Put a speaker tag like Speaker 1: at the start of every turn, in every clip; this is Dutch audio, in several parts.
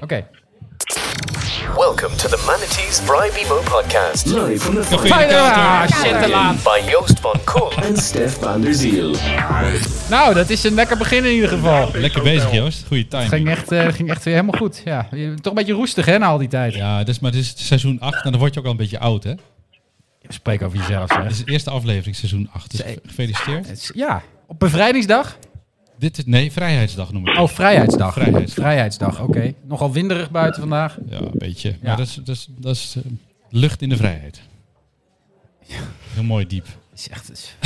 Speaker 1: Oké.
Speaker 2: Welcome to the Manatees Bribe Emo podcast
Speaker 3: Live from the fight
Speaker 1: Fijn, ah, shit, te laat.
Speaker 2: by Joost van Kool.
Speaker 3: and Stef van der Ziel.
Speaker 1: Nou, dat is een lekker begin in ieder geval.
Speaker 4: Lekker bezig, Joost. Goede
Speaker 1: Het ging
Speaker 4: timing.
Speaker 1: echt, eh, ging echt weer helemaal goed. Ja. Je bent Toch een beetje roestig, hè, na al die tijd.
Speaker 4: Ja, dus, maar het is seizoen 8 en dan word je ook al een beetje oud, hè?
Speaker 1: Spreek over jezelf, zeg.
Speaker 4: Het is de eerste aflevering, seizoen 8. Dus
Speaker 1: Zee.
Speaker 4: gefeliciteerd.
Speaker 1: Het is- Ja, op bevrijdingsdag?
Speaker 4: Dit is, nee, Vrijheidsdag noemen we
Speaker 1: Oh, vrijheidsdag.
Speaker 4: Vrijheidsdag.
Speaker 1: Vrijheidsdag, oké. Nogal winderig buiten vandaag.
Speaker 4: Ja, een beetje. Maar dat is, dat is, dat is eh, lucht in de vrijheid. Heel mooi diep.
Speaker 1: is echt...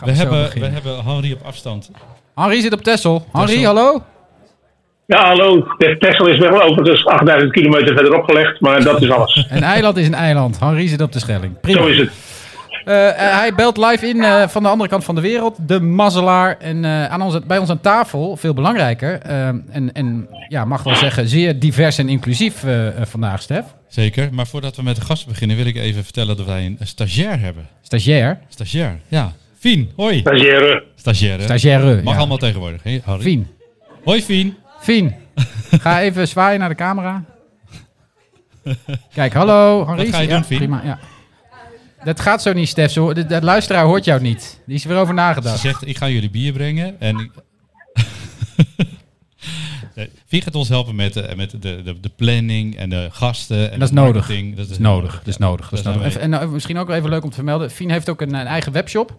Speaker 4: We hebben, we hebben Henry op afstand.
Speaker 1: Henri zit op Tessel. Henri,
Speaker 4: Texel.
Speaker 1: hallo?
Speaker 5: Ja, hallo. De Texel is wel overigens 8000 kilometer verderop gelegd, maar dat is alles.
Speaker 1: Een eiland is een eiland. Henri zit op de Schelling. Prima.
Speaker 5: Zo is het.
Speaker 1: Eh, eh, hij belt live in eh, van de andere kant van de wereld. De mazzelaar. En eh, aan ons, bij ons aan tafel, veel belangrijker. eh, en en ja, mag wel zeggen, zeer divers en inclusief eh, eh, vandaag, Stef.
Speaker 4: Zeker. Maar voordat we met de gasten beginnen, wil ik even vertellen dat wij een een stagiair hebben.
Speaker 1: Stagiair.
Speaker 4: Stagiair, ja. Fien, hoi.
Speaker 5: Stagiaire.
Speaker 4: Stagiair, hè?
Speaker 1: Stagiaire.
Speaker 4: Mag
Speaker 1: ja.
Speaker 4: allemaal tegenwoordig, hè, Henri?
Speaker 1: Fien.
Speaker 4: Hoi, Fien.
Speaker 1: Fien. Ga even zwaaien naar de camera. Kijk, hallo. Henri.
Speaker 4: Wat ga je
Speaker 1: Ja,
Speaker 4: doen, Fien?
Speaker 1: Prima, ja. Dat gaat zo niet, Stef. Zo, de, de luisteraar hoort jou niet. Die is er weer over
Speaker 4: Ze
Speaker 1: nagedacht.
Speaker 4: zegt, ik ga jullie bier brengen. En ik... Nee, Wie gaat ons helpen met, de, met de, de, de planning en de gasten? En
Speaker 1: dat is
Speaker 4: de
Speaker 1: nodig.
Speaker 4: marketing? Dat is
Speaker 1: nodig. Dat is nodig. Dat is
Speaker 4: Daar
Speaker 1: nodig.
Speaker 4: zijn
Speaker 1: En nou, misschien ook wel even leuk om te vermelden. Fien heeft ook een, een eigen webshop.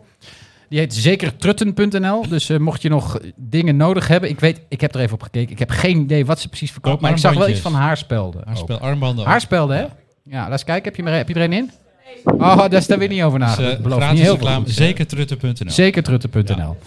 Speaker 1: Die heet zekertrutten.nl. Dus eh, mocht je nog dingen nodig hebben. Ik weet, ik heb er even op gekeken. Ik heb geen idee wat ze precies verkoopt.
Speaker 4: Ook
Speaker 1: Maar ik zag wel iets
Speaker 4: armbandjes.
Speaker 1: van haarspelden. ook.
Speaker 4: Haarspel, armbanden. ook.
Speaker 1: Haarspelden, hè? Ja, laat eens kijken. Heb je, er- heb je er een in? Oh, daar staan we niet over na.
Speaker 4: Dus, eh,
Speaker 1: Beloof niet
Speaker 4: gratis
Speaker 1: heel veel
Speaker 4: reclame.
Speaker 1: goed.
Speaker 4: Zeker trutten.nl.
Speaker 1: Zekertrutten.nl.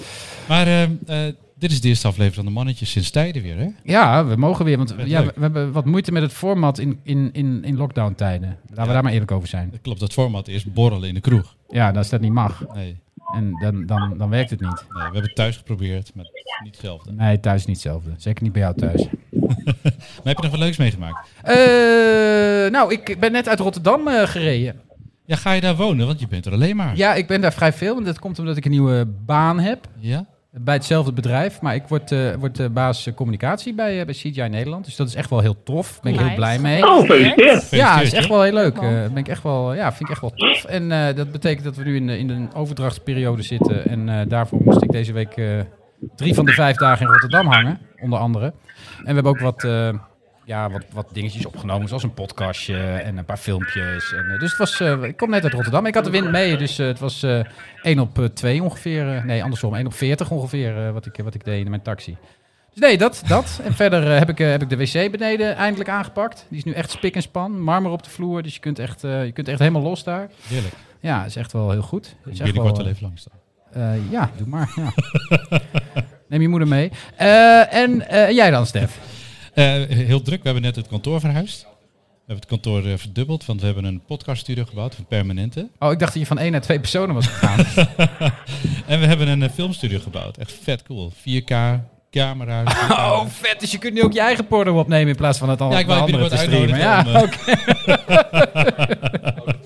Speaker 4: Maar eh, eh, dit is de eerste aflevering van de mannetjes sinds tijden weer, hè?
Speaker 1: Ja, we mogen weer. Want ja, we,
Speaker 4: leuk.
Speaker 1: we hebben wat moeite met het format in, in, in, in lockdown-tijden. Laten we daar maar eerlijk over zijn.
Speaker 4: Klopt, dat format is borrelen in de kroeg.
Speaker 1: Ja, als dat niet mag.
Speaker 4: Nee,
Speaker 1: En dan, dan, dan werkt het niet.
Speaker 4: nee we hebben het thuis geprobeerd, maar het is niet hetzelfde.
Speaker 1: Nee, thuis niet hetzelfde. Zeker niet bij jou thuis.
Speaker 4: Maar heb je nog wat leuks meegemaakt?
Speaker 1: Eh, nou, ik ben net uit Rotterdam eh, gereden.
Speaker 4: Ja, ga je daar wonen? Want je bent er alleen maar.
Speaker 1: Ja, ik ben daar vrij veel. En dat komt omdat ik een nieuwe baan heb.
Speaker 4: Ja?
Speaker 1: Bij hetzelfde bedrijf. Maar ik word, eh word eh, baas eh, communicatie bij, eh, bij CGI Nederland. Dus dat is echt wel heel tof. Daar ben ik heel
Speaker 6: Nice.
Speaker 1: blij mee.
Speaker 5: Oh, gefeliciteerd.
Speaker 1: Ja, is
Speaker 4: joh.
Speaker 1: echt wel heel leuk. Eh, ben ik echt wel, ja, vind ik echt wel tof. En eh, dat betekent dat we nu in, de- in een overdrachtsperiode zitten. En eh, daarvoor moest ik deze week eh, drie van de vijf dagen in Rotterdam hangen, onder andere. En we hebben ook wat, eh, ja, wat, wat dingetjes opgenomen, zoals een podcastje en een paar filmpjes. En, eh, dus het was, eh, ik kom net uit Rotterdam. Ik had de wind mee, dus eh, het was eh 1 op eh, 2 ongeveer. eh, nee, andersom, 1 op 40 ongeveer eh, wat, ik, wat ik deed in mijn taxi. Dus nee, dat. dat. En verder eh, heb, ik, eh, heb ik de wc beneden eindelijk aangepakt. Die is nu echt spik en span. Marmer op de vloer, dus je kunt echt, eh, je kunt echt helemaal los daar.
Speaker 4: Heerlijk.
Speaker 1: Ja, is echt wel heel goed. Is echt
Speaker 4: Binnenkort
Speaker 1: wel,
Speaker 4: wel even langs dan.
Speaker 1: eh, ja, doe maar. Ja. Neem je moeder mee. Eh, en eh, jij dan, Stef?
Speaker 4: Eh, heel druk. We hebben net het kantoor verhuisd. We hebben het kantoor eh, verdubbeld, want we hebben een podcaststudio gebouwd, een permanente.
Speaker 1: Oh, ik dacht dat je van één naar twee personen was gegaan.
Speaker 4: En we hebben een eh, filmstudio gebouwd. Echt vet cool. 4K, camera's.
Speaker 1: oh, vet. Dus je kunt nu ook je eigen porno opnemen in plaats van het al
Speaker 4: Ja, ik wou je
Speaker 1: andere te
Speaker 4: binnenkort
Speaker 1: streamen. Ja,
Speaker 4: uitnodigen eh,
Speaker 1: oké.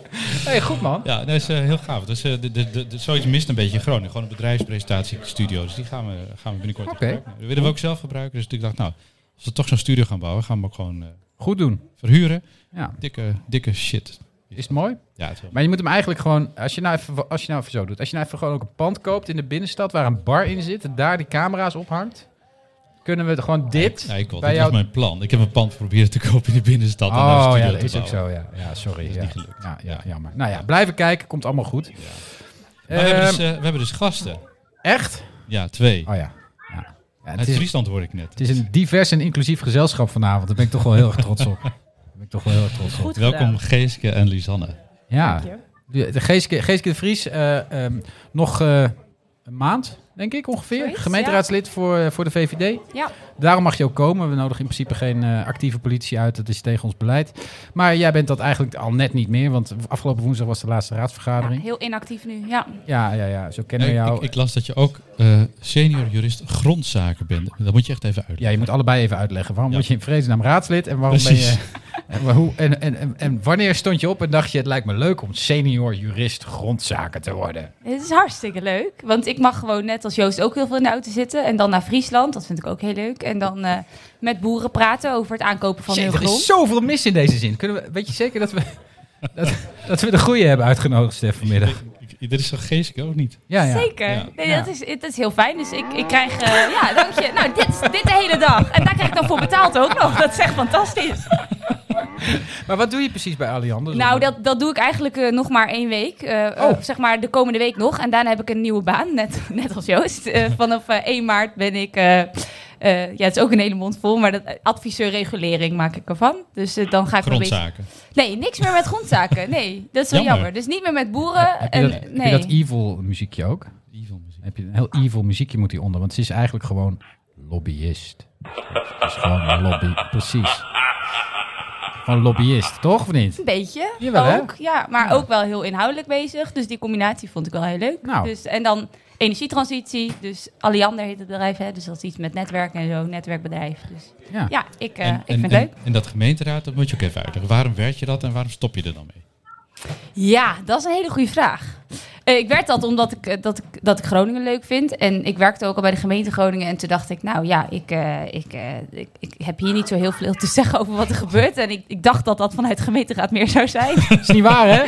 Speaker 1: hey, goed man.
Speaker 4: Ja, dat is eh, heel gaaf. Dus, eh, de, de, de, de- zoiets mist een beetje in Groningen. Gewoon een bedrijfspresentatiestudio. Dus die gaan we, gaan we binnenkort in
Speaker 1: Oké.
Speaker 4: gebruik nemen. Dat willen we ook zelf gebruiken. Dus ik dacht, nou, als we toch zo'n studio gaan bouwen, gaan we hem ook gewoon eh,
Speaker 1: Goed doen.
Speaker 4: verhuren.
Speaker 1: Ja.
Speaker 4: Dikke, dikke shit.
Speaker 1: Is het mooi?
Speaker 4: Ja, het is wel-
Speaker 1: Maar je moet hem eigenlijk gewoon, als je nou even, als je nou even zo doet, als je nou even gewoon ook een pand koopt in de binnenstad waar een bar in zit en daar die camera's ophangt, kunnen we het gewoon dit
Speaker 4: Ja, ik wil,
Speaker 1: bij
Speaker 4: dat
Speaker 1: jou.
Speaker 4: was mijn plan. Ik heb een pand proberen te kopen in de binnenstad. en daar een
Speaker 1: Oh
Speaker 4: studio
Speaker 1: ja, dat
Speaker 4: te
Speaker 1: is ook
Speaker 4: bouwen.
Speaker 1: zo. Ja, ja sorry.
Speaker 4: Dat is
Speaker 1: ja.
Speaker 4: niet gelukt.
Speaker 1: Ja, ja,
Speaker 4: Ja.
Speaker 1: jammer. Nou ja, blijven kijken, komt allemaal goed.
Speaker 4: Maar we, hebben
Speaker 1: Ehm,
Speaker 4: dus, eh, we hebben dus gasten.
Speaker 1: echt?
Speaker 4: Ja, twee.
Speaker 1: Oh ja. ja. ja het,
Speaker 4: Uit
Speaker 1: is,
Speaker 4: Friesland hoor ik net.
Speaker 1: het is een divers en inclusief gezelschap vanavond. Daar ben ik toch wel heel erg trots op. Daar ben ik toch wel heel erg trots op.
Speaker 6: Goed
Speaker 4: Welkom
Speaker 6: gedaan.
Speaker 4: Geeske en Lisanne.
Speaker 1: Ah. Ja.
Speaker 6: Dank
Speaker 1: De, de Geeske, Geeske de Vries, eh, ehm, nog eh, een maand, denk ik ongeveer.
Speaker 6: Zoiets,
Speaker 1: Gemeenteraadslid voor, eh, voor de VVD.
Speaker 6: Ja,
Speaker 1: Daarom mag je ook komen. We nodigen in principe geen eh, actieve politie uit. Dat is tegen ons beleid. Maar jij bent dat eigenlijk al net niet meer. Want afgelopen woensdag was de laatste
Speaker 6: ja,
Speaker 1: raadsvergadering.
Speaker 6: heel inactief nu. Ja,
Speaker 1: Ja, ja, ja. Zo kennen we
Speaker 4: Eh, Ik,
Speaker 1: jou.
Speaker 4: ik, ik las dat je ook eh, senior jurist grondzaken bent. Dat moet je echt even uitleggen.
Speaker 1: ja, je moet allebei even uitleggen. Waarom
Speaker 4: Ja.
Speaker 1: word je in vredesnaam raadslid? En waarom ben je,
Speaker 4: Precies.
Speaker 1: En, maar hoe, en, en, en, en wanneer stond je op en dacht je, het lijkt me leuk om senior jurist grondzaken te worden?
Speaker 6: Het is hartstikke leuk. Want ik mag gewoon net als Joost ook heel veel in de auto zitten. En dan naar Friesland. Dat vind ik ook heel leuk. En dan eh, met boeren praten over het aankopen van
Speaker 1: Shit,
Speaker 6: hun
Speaker 1: er is
Speaker 6: grond.
Speaker 1: zoveel mis in deze zin. Kunnen we, weet je zeker dat we, dat, dat we de goede hebben uitgenodigd, Stef, vanmiddag?
Speaker 4: Ik- ik- Dit is toch Geeseke ook niet?
Speaker 1: Ja, ja.
Speaker 6: Zeker.
Speaker 4: Ja.
Speaker 6: Nee,
Speaker 1: Ja.
Speaker 6: Dat, is, dat is heel fijn. Dus ik, ik krijg... eh, ja, dank je. Nou, dit, is- dit de hele dag. En daar krijg ik dan voor betaald ook nog. Dat is echt fantastisch.
Speaker 1: Maar wat doe je precies bij Alliander?
Speaker 6: Nou, dat, dat doe ik eigenlijk eh, nog maar één week. Eh, eh,
Speaker 1: Oh.
Speaker 6: zeg maar de komende week nog. En daarna heb ik een nieuwe baan, net, net als Joost. Eh, vanaf eh, 1 maart ben ik... eh, eh, ja, het is ook een hele mond vol, maar dat eh, adviseur regulering maak ik ervan. Dus eh, dan ga ik een beetje...
Speaker 4: Grondzaken.
Speaker 6: Nee, niks meer met grondzaken. Nee, dat is wel
Speaker 4: Jammer.
Speaker 6: jammer. Dus niet meer met boeren.
Speaker 1: heb, je
Speaker 6: en,
Speaker 1: dat, heb je
Speaker 6: eh, nee.
Speaker 1: dat evil muziekje ook?
Speaker 4: Evil muziek.
Speaker 1: Heb je een heel evil muziekje moet hieronder, want ze is eigenlijk gewoon lobbyist. Ze is gewoon een lobby, precies. Gewoon lobbyist, toch of niet?
Speaker 6: Een beetje.
Speaker 1: Jawel, hè?
Speaker 6: ook, ja, maar ook wel heel inhoudelijk bezig. Dus die combinatie vond ik wel heel leuk.
Speaker 1: Nou.
Speaker 6: Dus, en dan energietransitie. Dus Alliander heet het bedrijf, hè? Dus dat is iets met netwerk en zo, netwerkbedrijf. Dus
Speaker 1: Ja.
Speaker 6: ja, ik, eh,
Speaker 4: En-
Speaker 6: ik
Speaker 4: en-
Speaker 6: vind het
Speaker 4: en-
Speaker 6: leuk.
Speaker 4: En dat gemeenteraad, dat moet je ook even uitleggen. Waarom werd je dat en waarom stop je er dan mee?
Speaker 6: Ja, dat is een hele goede vraag. Eh, ik werd dat omdat ik, eh, dat, ik, dat ik Groningen leuk vind. En ik werkte ook al bij de gemeente Groningen. En toen dacht ik, nou ja, ik, eh, ik, eh, ik, ik heb hier niet zo heel veel te zeggen over wat er gebeurt. En ik, ik dacht dat dat vanuit de gemeenteraad meer zou zijn.
Speaker 1: Dat is niet waar, hè?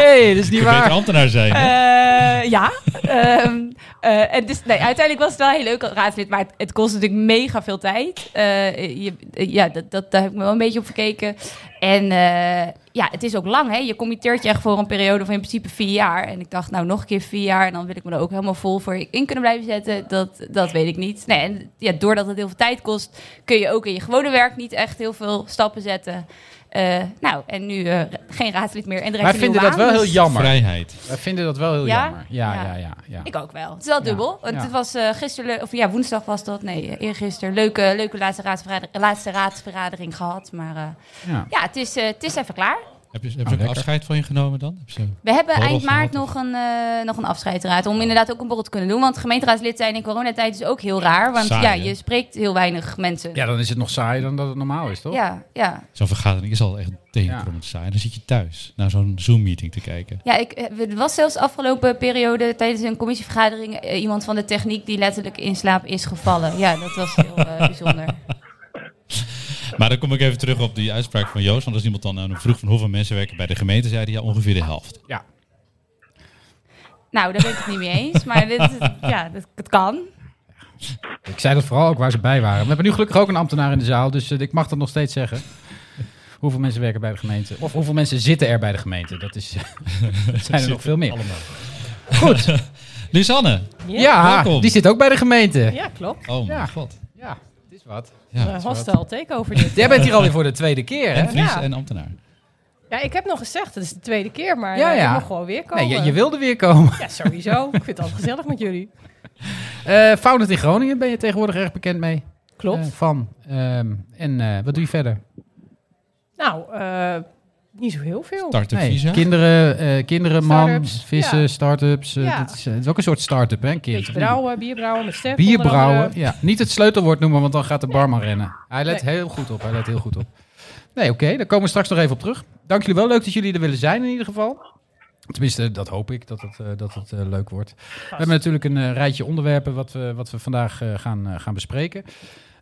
Speaker 1: Nee, dat is niet
Speaker 4: Je beter
Speaker 1: waar.
Speaker 4: ambtenaar zijn. hè?
Speaker 6: Eh, ja. Ehm, eh, en dus, nee, uiteindelijk was het wel heel leuk als raadslid, maar het, het kost natuurlijk mega veel tijd. Eh, je, eh, ja, dat, dat, daar heb ik me wel een beetje op verkeken. En eh, ja, het is ook lang, hè? Je committeert je echt voor een periode van in principe vier jaar. En ik dacht, nou, nog een keer vier jaar en dan wil ik me er ook helemaal vol voor in kunnen blijven zetten. Dat, dat weet ik niet. Nee, en ja, doordat het heel veel tijd kost, kun je ook in je gewone werk niet echt heel veel stappen zetten. Eh, nou, en nu eh, geen raadslid meer en direct
Speaker 1: Wij
Speaker 6: een nieuwe
Speaker 1: vinden dat
Speaker 6: baan,
Speaker 1: wel
Speaker 6: dus-
Speaker 1: heel jammer.
Speaker 4: Vrijheid.
Speaker 1: Wij vinden dat wel heel
Speaker 6: Ja?
Speaker 1: Oh, jammer. Ja, ja,
Speaker 6: Ja.
Speaker 1: ja. ja.
Speaker 6: Ik ook wel. Het is wel dubbel. Want
Speaker 1: ja.
Speaker 6: Het was eh gisteren, le- of ja, woensdag was dat. Nee, eh, eergisteren. Leuke, leuke laatste, raadsverrader, laatste raadsvergadering gehad. Maar eh,
Speaker 1: Ja.
Speaker 6: ja, het is, eh, het is even klaar.
Speaker 4: Heb je, heb je ook
Speaker 1: Ah, lekker.
Speaker 4: afscheid van je genomen dan? Heb je-
Speaker 6: We hebben
Speaker 4: Borrel
Speaker 6: eind maart
Speaker 4: gehad,
Speaker 6: nog een, eh, nog een afscheidsraad. Om inderdaad ook een borrel te kunnen doen. Want gemeenteraadslid zijn in coronatijd is ook heel raar. Want
Speaker 4: Saai,
Speaker 6: ja,
Speaker 4: hè?
Speaker 6: je spreekt heel weinig mensen.
Speaker 1: Ja, dan is het nog saaier dan dat het normaal is, toch?
Speaker 6: ja, ja.
Speaker 4: Zo'n vergadering is al echt tegenkomend saai. Dan zit je thuis naar zo'n Zoom-meeting te kijken.
Speaker 6: Ja, ik, eh, er was zelfs afgelopen periode tijdens een commissievergadering eh, iemand van de techniek die letterlijk in slaap is gevallen. Ja, dat was heel eh, bijzonder.
Speaker 4: Maar dan kom ik even terug op die uitspraak van Joost. Want als iemand dan aan hem vroeg van hoeveel mensen werken bij de gemeente, zei hij ja, ongeveer de helft.
Speaker 1: Ja.
Speaker 6: Nou, daar ben ik het niet mee eens. Maar dit, is- ja, dat, het kan.
Speaker 1: Ik zei dat vooral ook waar ze bij waren. We hebben nu gelukkig ook een ambtenaar in de zaal, dus eh, ik mag dat nog steeds zeggen. Hoeveel mensen werken bij de gemeente? Of hoeveel mensen zitten er bij de gemeente? Dat, is, dat zijn er nog veel meer.
Speaker 4: Lisanne!
Speaker 1: Ja,
Speaker 4: welkom.
Speaker 1: die zit ook bij de gemeente.
Speaker 7: Ja, klopt.
Speaker 4: Oh mijn
Speaker 1: Ja.
Speaker 4: god.
Speaker 1: Ja, het is wat.
Speaker 4: Ja.
Speaker 7: Eh, hostile takeover dit.
Speaker 1: Jij bent hier alweer voor de tweede keer, hè?
Speaker 4: En Fries
Speaker 7: Ja.
Speaker 4: en ambtenaar.
Speaker 1: Oh,
Speaker 7: Ja, ik heb nog gezegd, het is de tweede keer, maar
Speaker 1: Ja,
Speaker 7: ja,
Speaker 1: ja.
Speaker 7: ik mag gewoon weer komen.
Speaker 1: Nee, je, je wilde weer komen.
Speaker 7: Ja, sowieso. ik vind het altijd gezellig met jullie.
Speaker 1: Eh Founded in Groningen ben je tegenwoordig erg bekend mee.
Speaker 7: Klopt.
Speaker 1: Eh, van. Ehm, en eh, wat doe je verder?
Speaker 7: Nou, eh, niet zo heel veel.
Speaker 4: Starter
Speaker 1: Nee,
Speaker 4: Visa.
Speaker 1: kinderen, eh, kinderen, man,
Speaker 7: Start-ups,
Speaker 1: vissen,
Speaker 7: ja.
Speaker 1: start-ups. eh,
Speaker 7: Ja.
Speaker 1: dit is, eh, het is ook een soort start-up, hè? Een kind.
Speaker 7: Beetje brouwen, bierbrouwen met Stef. onder
Speaker 1: Bierbrouwen.
Speaker 7: andere.
Speaker 1: Ja. Niet het sleutelwoord noemen, want dan gaat de barman rennen. Hij let
Speaker 7: Nee.
Speaker 1: heel goed op. Hij let heel goed op. Nee, oké. daar komen we straks nog even op terug. Dank jullie wel. Leuk dat jullie er willen zijn in ieder geval. Tenminste, dat hoop ik, dat het, eh, dat het eh, leuk wordt. We hebben natuurlijk een eh, rijtje onderwerpen wat we, wat we vandaag eh, gaan, eh, gaan bespreken.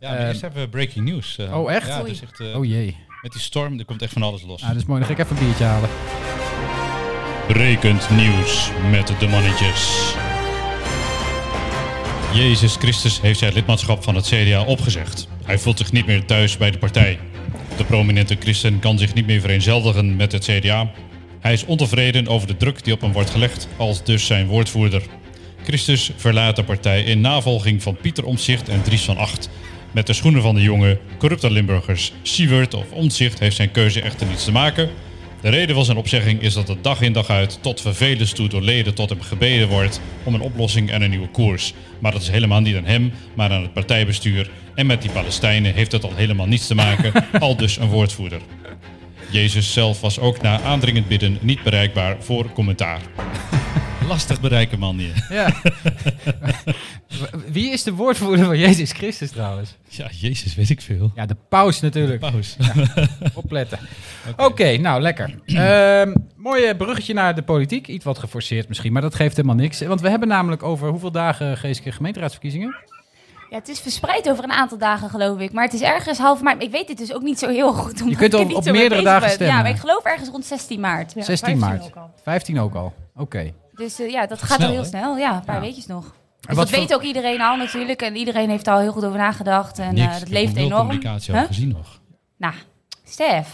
Speaker 4: Ja, maar
Speaker 1: Eh,
Speaker 4: eerst hebben we breaking news. eh.
Speaker 1: oh, echt?
Speaker 4: Ja,
Speaker 1: Oei.
Speaker 4: dus echt eh,
Speaker 1: Oh jee.
Speaker 4: met die storm, er komt echt van alles los.
Speaker 1: Nou, dat is mooi. Dan ga ik even een biertje halen.
Speaker 4: Rekend nieuws met de mannetjes. Jezus Christus heeft zijn lidmaatschap van het CDA opgezegd. Hij voelt zich niet meer thuis bij de partij. De prominente christen kan zich niet meer vereenzeldigen met het CDA. Hij is ontevreden over de druk die op hem wordt gelegd, als dus zijn woordvoerder. Christus verlaat de partij in navolging van Pieter Omtzigt en Dries van Acht. Met de schoenen van de jonge, corrupte Limburgers. Siewert of Omtzigt heeft zijn keuze echter niets te maken. De reden van zijn opzegging is dat het dag in dag uit tot vervelens toe door leden tot hem gebeden wordt om een oplossing en een nieuwe koers. Maar dat is helemaal niet aan hem, maar aan het partijbestuur. En met die Palestijnen heeft dat al helemaal niets te maken, al dus een woordvoerder. Jezus zelf was ook na aandringend bidden niet bereikbaar voor commentaar.
Speaker 8: lastig bereiken man hier.
Speaker 1: Ja. Wie is de woordvoerder van Jezus Christus trouwens?
Speaker 8: Ja, jezus, weet ik veel.
Speaker 1: Ja, de paus natuurlijk.
Speaker 8: Paus.
Speaker 1: Opletten. Oké, nou lekker. Ehm, mooi bruggetje naar de politiek. Iets wat geforceerd misschien, maar dat geeft helemaal niks. Want we hebben namelijk over hoeveel dagen geestelijke gemeenteraadsverkiezingen?
Speaker 6: Ja, het is verspreid over een aantal dagen, geloof ik. Maar het is ergens half maart. Ik weet dit dus ook niet zo heel goed. omdat
Speaker 1: Je kunt
Speaker 6: ik er
Speaker 1: op-
Speaker 6: niet
Speaker 1: op
Speaker 6: zo mee
Speaker 1: meerdere
Speaker 6: bezig
Speaker 1: dagen
Speaker 6: ben.
Speaker 1: stemmen.
Speaker 6: Ja, maar ik geloof ergens rond 16 maart.
Speaker 7: Ja,
Speaker 1: 16
Speaker 7: 15
Speaker 1: maart.
Speaker 7: ook al.
Speaker 1: 15 ook al. Oké.
Speaker 6: Dus eh, ja, dat gaat
Speaker 8: Snel,
Speaker 6: al heel
Speaker 8: hè?
Speaker 6: snel. Ja, een paar
Speaker 1: Ja.
Speaker 6: weekjes nog.
Speaker 1: En
Speaker 6: Dus
Speaker 1: wat
Speaker 6: dat
Speaker 1: voor-
Speaker 6: weet ook iedereen al natuurlijk. En iedereen heeft daar al heel goed over nagedacht.
Speaker 1: nou,
Speaker 6: En eh,
Speaker 8: Niks.
Speaker 6: dat
Speaker 8: Ik heb
Speaker 6: leeft
Speaker 8: nog nul
Speaker 6: enorm.
Speaker 8: communicatie
Speaker 6: Huh?
Speaker 8: al gezien nog.
Speaker 6: Nou, Stef.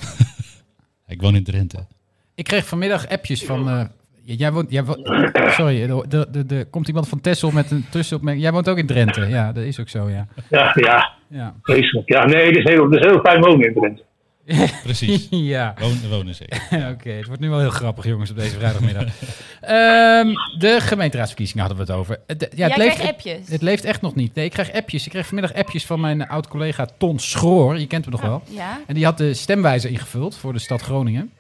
Speaker 8: Ik woon in Drenthe.
Speaker 1: Ik kreeg vanmiddag appjes van. eh, jij woont, jij woont, sorry, er de, de, de, komt iemand van Tessel met een tussenopmerking. Jij woont ook in Drenthe. Ja, dat is ook zo, ja.
Speaker 5: Ja, ja,
Speaker 1: Ja.
Speaker 5: vreselijk. Ja, nee, dat is heel, dat is heel fijn wonen in Drenthe.
Speaker 8: Precies.
Speaker 1: ja.
Speaker 8: Wonen, wonen zeker.
Speaker 1: Oké, het wordt nu wel heel grappig, jongens, op deze vrijdagmiddag. Ehm, de gemeenteraadsverkiezingen hadden we het over. Het, ja, het
Speaker 6: Jij
Speaker 1: leeft,
Speaker 6: krijgt appjes.
Speaker 1: Het, leeft echt nog niet. Nee, ik krijg appjes. Ik kreeg vanmiddag appjes van mijn oud-collega Ton Schroor. Je kent hem nog wel.
Speaker 6: ja.
Speaker 1: En die had de stemwijzer ingevuld voor de stad Groningen.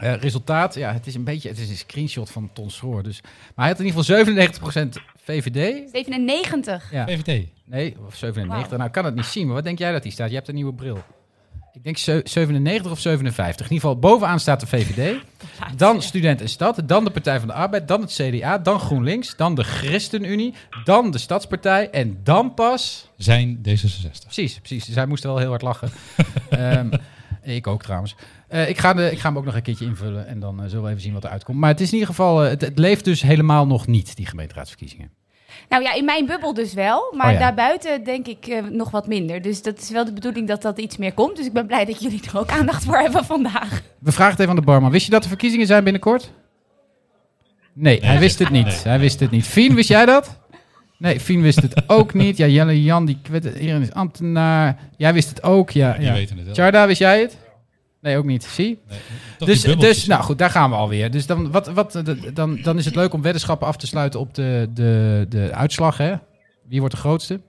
Speaker 1: Eh, resultaat, ja, het is een beetje, het is een screenshot van Ton Schroor. Dus, maar hij had in ieder geval 97% VVD.
Speaker 6: 97.
Speaker 1: Ja.
Speaker 8: VVD.
Speaker 1: Nee, of 97.
Speaker 6: Wauw.
Speaker 1: Nou, ik kan het niet zien, maar wat denk jij dat die staat? Je hebt een nieuwe bril. Ik denk ze- 97 of 57. In ieder geval, bovenaan staat de VVD. Dan Student en Stad. Dan de Partij van de Arbeid. Dan het CDA. Dan GroenLinks. Dan de ChristenUnie. Dan de Stadspartij. En dan pas...
Speaker 8: Zijn D66.
Speaker 1: Precies, precies. Zij moesten wel heel hard lachen. Ehm, ik ook trouwens. Eh, ik, ga de, ik ga hem ook nog een keertje invullen en dan eh, zullen we even zien wat er uitkomt. Maar het is in ieder geval, eh, het, het leeft dus helemaal nog niet, die gemeenteraadsverkiezingen.
Speaker 6: Nou ja, in mijn bubbel dus wel. Maar
Speaker 1: Oh ja.
Speaker 6: daarbuiten denk ik eh, nog wat minder. Dus dat is wel de bedoeling dat dat iets meer komt. Dus ik ben blij dat jullie er ook aandacht voor hebben vandaag.
Speaker 1: We vragen het even aan de barman. Wist je dat er verkiezingen zijn binnenkort? Nee, hij wist het niet.
Speaker 8: Nee.
Speaker 1: Hij wist het niet. Fien, wist jij dat? Nee, Fien wist het ook niet. Ja, Jelle Jan, die kwet, Erin is ambtenaar. Jij wist het ook, ja.
Speaker 8: die
Speaker 1: ja.
Speaker 8: weten het wel.
Speaker 1: Charda, wist jij het? Nee, ook niet. Zie?
Speaker 8: Toch
Speaker 1: Dus,
Speaker 8: die bubbeltjes.
Speaker 1: dus nou goed, daar gaan we alweer. Dus dan, wat, wat, eh, d- dan, dan is het leuk om weddenschappen af te sluiten op de, de, de uitslag. Hè? Wie wordt de grootste?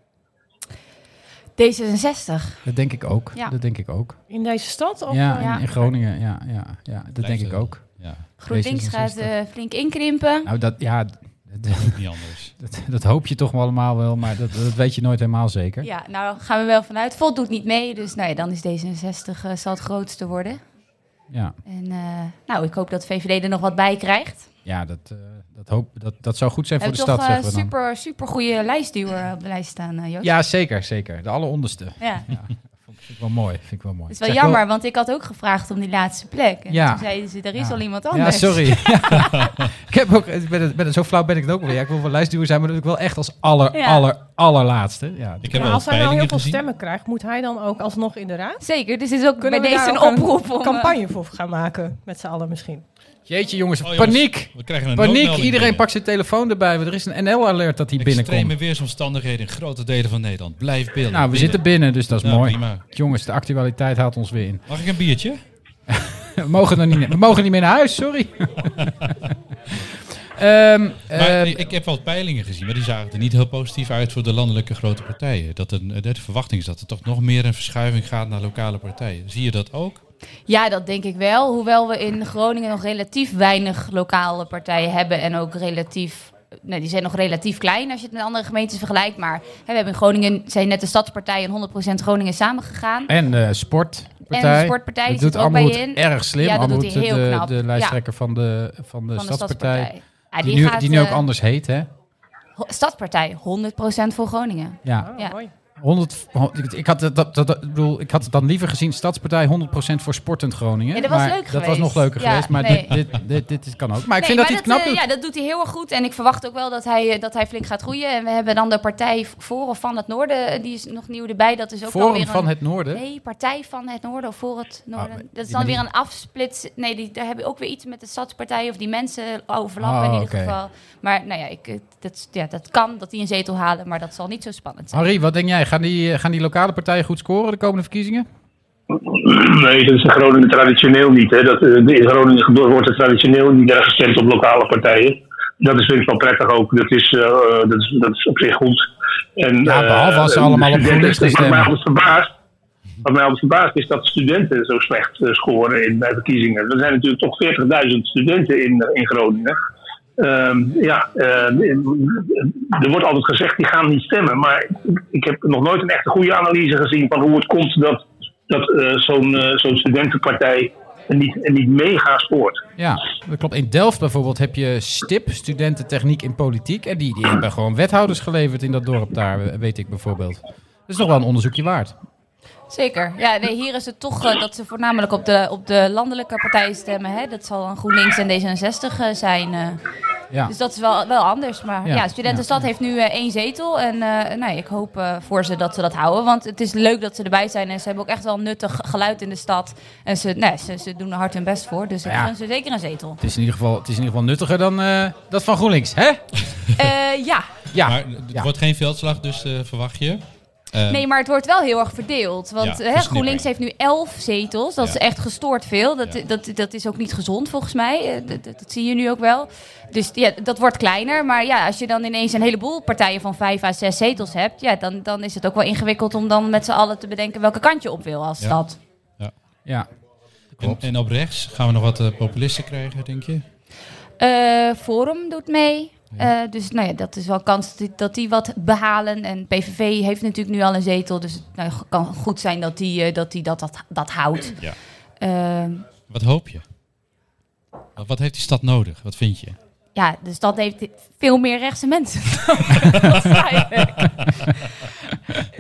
Speaker 6: D66.
Speaker 1: Dat denk ik ook.
Speaker 6: Ja.
Speaker 1: Dat denk ik ook.
Speaker 7: In deze stad? Of,
Speaker 1: ja,
Speaker 7: eh,
Speaker 1: in,
Speaker 6: Ja.
Speaker 1: in Groningen. Ja, ja, ja, dat denk
Speaker 8: Blijft,
Speaker 1: ik
Speaker 8: eh,
Speaker 1: ook.
Speaker 8: Ja,
Speaker 6: GroenLinks gaat eh, flink inkrimpen.
Speaker 1: Nou, dat, ja, d- d-
Speaker 8: ook niet anders.
Speaker 1: dat, dat hoop je toch wel allemaal wel, maar dat, dat weet je nooit helemaal zeker.
Speaker 6: Ja, nou gaan we wel vanuit. Volt doet niet mee. Dus nou ja, dan is D66 eh, zal het grootste worden.
Speaker 1: Ja,
Speaker 6: En eh, nou, ik hoop dat VVD er nog wat bij krijgt.
Speaker 1: ja dat, eh, dat, hoop, dat, dat zou goed zijn
Speaker 6: We
Speaker 1: voor de
Speaker 6: hebben toch eh,
Speaker 1: stad,
Speaker 6: een
Speaker 1: zeggen we dan.
Speaker 6: super, super goede lijstduwer op de lijst staan, eh, Joost.
Speaker 1: Ja, zeker, zeker. De alleronderste.
Speaker 6: Ja.
Speaker 1: Vind ik wel mooi. Vind ik wel mooi.
Speaker 6: Het is wel
Speaker 1: Zeg oh.
Speaker 6: jammer, want ik had ook gevraagd om die laatste plek. En
Speaker 1: Ja.
Speaker 6: toen zeiden ze, er is
Speaker 1: Ja.
Speaker 6: al iemand anders.
Speaker 1: Ja, sorry. ik heb ook, ik ben, het- ben, het- zo flauw ben ik het ook wel. Ja, ik wil wel lijstduwer zijn, maar dat doe ik wel echt als aller,
Speaker 6: Ja.
Speaker 1: aller, allerlaatste. Ja,
Speaker 8: Ik heb
Speaker 7: maar
Speaker 8: wel
Speaker 7: als hij nou heel
Speaker 8: peilingen
Speaker 7: veel
Speaker 8: gezien.
Speaker 7: stemmen krijgt, moet hij dan ook alsnog in de raad?
Speaker 6: Zeker, dus het is ook
Speaker 7: Kunnen
Speaker 6: bij
Speaker 7: we
Speaker 6: deze
Speaker 7: daar
Speaker 6: een
Speaker 7: ook
Speaker 6: oproep om... eh,
Speaker 7: campagne voor gaan maken, met z'n allen misschien.
Speaker 1: Jeetje jongens,
Speaker 8: Oh, jongens,
Speaker 1: paniek!
Speaker 8: We krijgen een
Speaker 1: Paniek,
Speaker 8: noodmelding
Speaker 1: iedereen
Speaker 8: binnen.
Speaker 1: pakt zijn telefoon erbij, want er is een NL-alert dat hier binnenkomt.
Speaker 8: Extreme weersomstandigheden in grote delen van Nederland. Blijf beelden.
Speaker 1: Nou, we
Speaker 8: Binnen.
Speaker 1: zitten binnen, dus dat is
Speaker 8: Nou,
Speaker 1: mooi.
Speaker 8: prima.
Speaker 1: Jongens, de actualiteit haalt ons weer in.
Speaker 8: Mag ik een biertje?
Speaker 1: We mogen, er niet, we mogen niet meer naar huis, sorry. Ehm,
Speaker 8: maar
Speaker 1: ehm,
Speaker 8: ik heb wel peilingen gezien, maar die zagen er niet heel positief uit voor de landelijke grote partijen. Dat een, eh, de verwachting is dat er toch nog meer een verschuiving gaat naar lokale partijen. Zie je dat ook?
Speaker 6: Ja, dat denk ik wel. Hoewel we in Groningen nog relatief weinig lokale partijen hebben. En ook relatief... Nou, die zijn nog relatief klein als je het met andere gemeentes vergelijkt. Maar hè, we hebben in Groningen zijn net de stadspartijen 100% Groningen samengegaan.
Speaker 1: en de sportpartij.
Speaker 6: En de sportpartij, die
Speaker 1: dat doet
Speaker 6: zit er ook bij
Speaker 1: Amroet
Speaker 6: in.
Speaker 1: erg slim.
Speaker 6: Ja, dat doet
Speaker 1: Amroet,
Speaker 6: hij heel
Speaker 1: de,
Speaker 6: knap.
Speaker 1: de lijsttrekker van, de, van, de
Speaker 6: Van de
Speaker 1: stadspartij.
Speaker 6: stadspartij. Ja,
Speaker 1: die, nu,
Speaker 6: gaat,
Speaker 1: die nu ook
Speaker 6: eh,
Speaker 1: anders heet, hè?
Speaker 6: Ho- Stadspartij, 100% voor Groningen.
Speaker 1: Ja.
Speaker 6: Ja.
Speaker 7: Oh, mooi.
Speaker 1: 100, ik- ik, had het, dat, dat, dat- ik bedoel, ik had het dan liever gezien Stadspartij 100% voor Sportend Groningen.
Speaker 6: Ja, dat was
Speaker 1: maar
Speaker 6: leuk
Speaker 1: Dat
Speaker 6: geweest.
Speaker 1: was nog leuker
Speaker 6: Ja,
Speaker 1: geweest, maar
Speaker 6: nee.
Speaker 1: dit, dit, dit, dit is- kan ook. Maar ik
Speaker 6: Nee,
Speaker 1: vind dat hij
Speaker 6: maar
Speaker 1: het knap doet.
Speaker 6: eh, Ja, dat doet hij heel erg goed. En ik verwacht ook wel dat hij, eh, dat hij flink gaat groeien. En we hebben dan de Partij voor of van het Noorden. eh, Die is nog nieuw erbij. Dat is ook wel
Speaker 1: Forum
Speaker 6: weer
Speaker 1: van
Speaker 6: een...
Speaker 1: het Noorden.
Speaker 6: Nee, Partij van het Noorden of voor het Noorden.
Speaker 1: Ah, maar
Speaker 6: dat is
Speaker 1: die
Speaker 6: dan weer
Speaker 1: manier-
Speaker 6: een afsplits. Nee, die, daar heb je ook weer iets met de stadspartij of die mensen overlappen
Speaker 1: Ah,
Speaker 6: in ieder
Speaker 1: oké.
Speaker 6: geval. Maar nou ja, ik, eh, dat, ja, dat kan dat die een zetel halen, maar dat zal niet zo spannend zijn.
Speaker 1: Harry, wat denk jij? Gaan die, eh, gaan die lokale partijen goed scoren de komende verkiezingen?
Speaker 5: Nee, dat is in Groningen traditioneel niet. Hè. Dat, eh, in Groningen gebeurt- wordt er traditioneel niet erg gestemd op lokale partijen. Dat is vind ik wel prettig ook. Dat is, eh, dat is, dat is op zich goed. En,
Speaker 1: Ja, behalve als ze
Speaker 5: eh,
Speaker 1: allemaal op
Speaker 5: studenten-
Speaker 1: GroenLinks gaan
Speaker 5: Wat mij
Speaker 1: stemmen.
Speaker 5: altijd verbaast, wat mij altijd verbaast is dat studenten zo slecht eh, scoren in, bij verkiezingen. Er zijn natuurlijk toch 40.000 studenten in, eh, in Groningen. Ehm, ja, ehm, er wordt altijd gezegd, die gaan niet stemmen. Maar ik heb nog nooit een echte goede analyse gezien van hoe het komt dat, dat eh, zo'n eh, zo'n studentenpartij niet, niet mega spoort.
Speaker 1: Ja, dat klopt. In Delft bijvoorbeeld heb je STIP, Studententechniek in Politiek. En die, die hebben gewoon wethouders geleverd in dat dorp daar, weet ik bijvoorbeeld. Dat is nog wel een onderzoekje waard. Ah.
Speaker 6: Zeker. Ja, nee, hier is het toch eh, dat ze voornamelijk op de, op de landelijke partijen stemmen. Hè? Dat zal dan GroenLinks en D66 eh, zijn. eh.
Speaker 1: Ja.
Speaker 6: Dus dat is wel, wel anders. Maar
Speaker 1: Ja.
Speaker 6: ja, Studentenstad heeft nu eh, één zetel. En eh, nou, ik hoop eh, voor ze dat ze dat houden. Want het is leuk dat ze erbij zijn. En ze hebben ook echt wel nuttig geluid in de stad. En ze, nee, ze, ze doen er hard hun best voor. Dus ik
Speaker 1: Ja.
Speaker 6: gun ze zeker een zetel.
Speaker 1: Het is in ieder geval, het is in ieder geval nuttiger dan eh, dat van GroenLinks, hè?
Speaker 6: Eh, ja,
Speaker 1: Ja.
Speaker 8: Maar het
Speaker 1: ja.
Speaker 8: wordt geen veldslag, dus eh, verwacht je. Eh,
Speaker 6: Nee, maar het wordt wel heel erg verdeeld. Want
Speaker 8: Ja,
Speaker 6: hè,
Speaker 8: versnippering.
Speaker 6: GroenLinks heeft nu elf zetels. Dat
Speaker 8: Ja.
Speaker 6: is echt gestoord veel. Dat,
Speaker 8: Ja.
Speaker 6: dat, dat is ook niet gezond volgens mij. Eh, Dat, dat, dat zie je nu ook wel. Dus ja, dat wordt kleiner. Maar ja, als je dan ineens een heleboel partijen van vijf à zes zetels hebt... Ja, dan, dan is het ook wel ingewikkeld om dan met z'n allen te bedenken... welke kant je op wil als
Speaker 8: Ja.
Speaker 6: stad.
Speaker 1: ja.
Speaker 8: en, en op rechts gaan we nog wat eh, populisten krijgen, denk je?
Speaker 6: Eh, Forum doet mee. Eh, dus nou ja, dat is wel kans dat die, dat die wat behalen. En PVV heeft natuurlijk nu al een zetel. Dus het nou, kan goed zijn dat die, eh, dat, die dat, dat, dat houdt.
Speaker 8: Ja.
Speaker 6: Eh,
Speaker 8: Wat hoop je? Wat, wat heeft die stad nodig? Wat vind je?
Speaker 6: ja, de stad heeft veel meer rechtse mensen. Waarschijnlijk.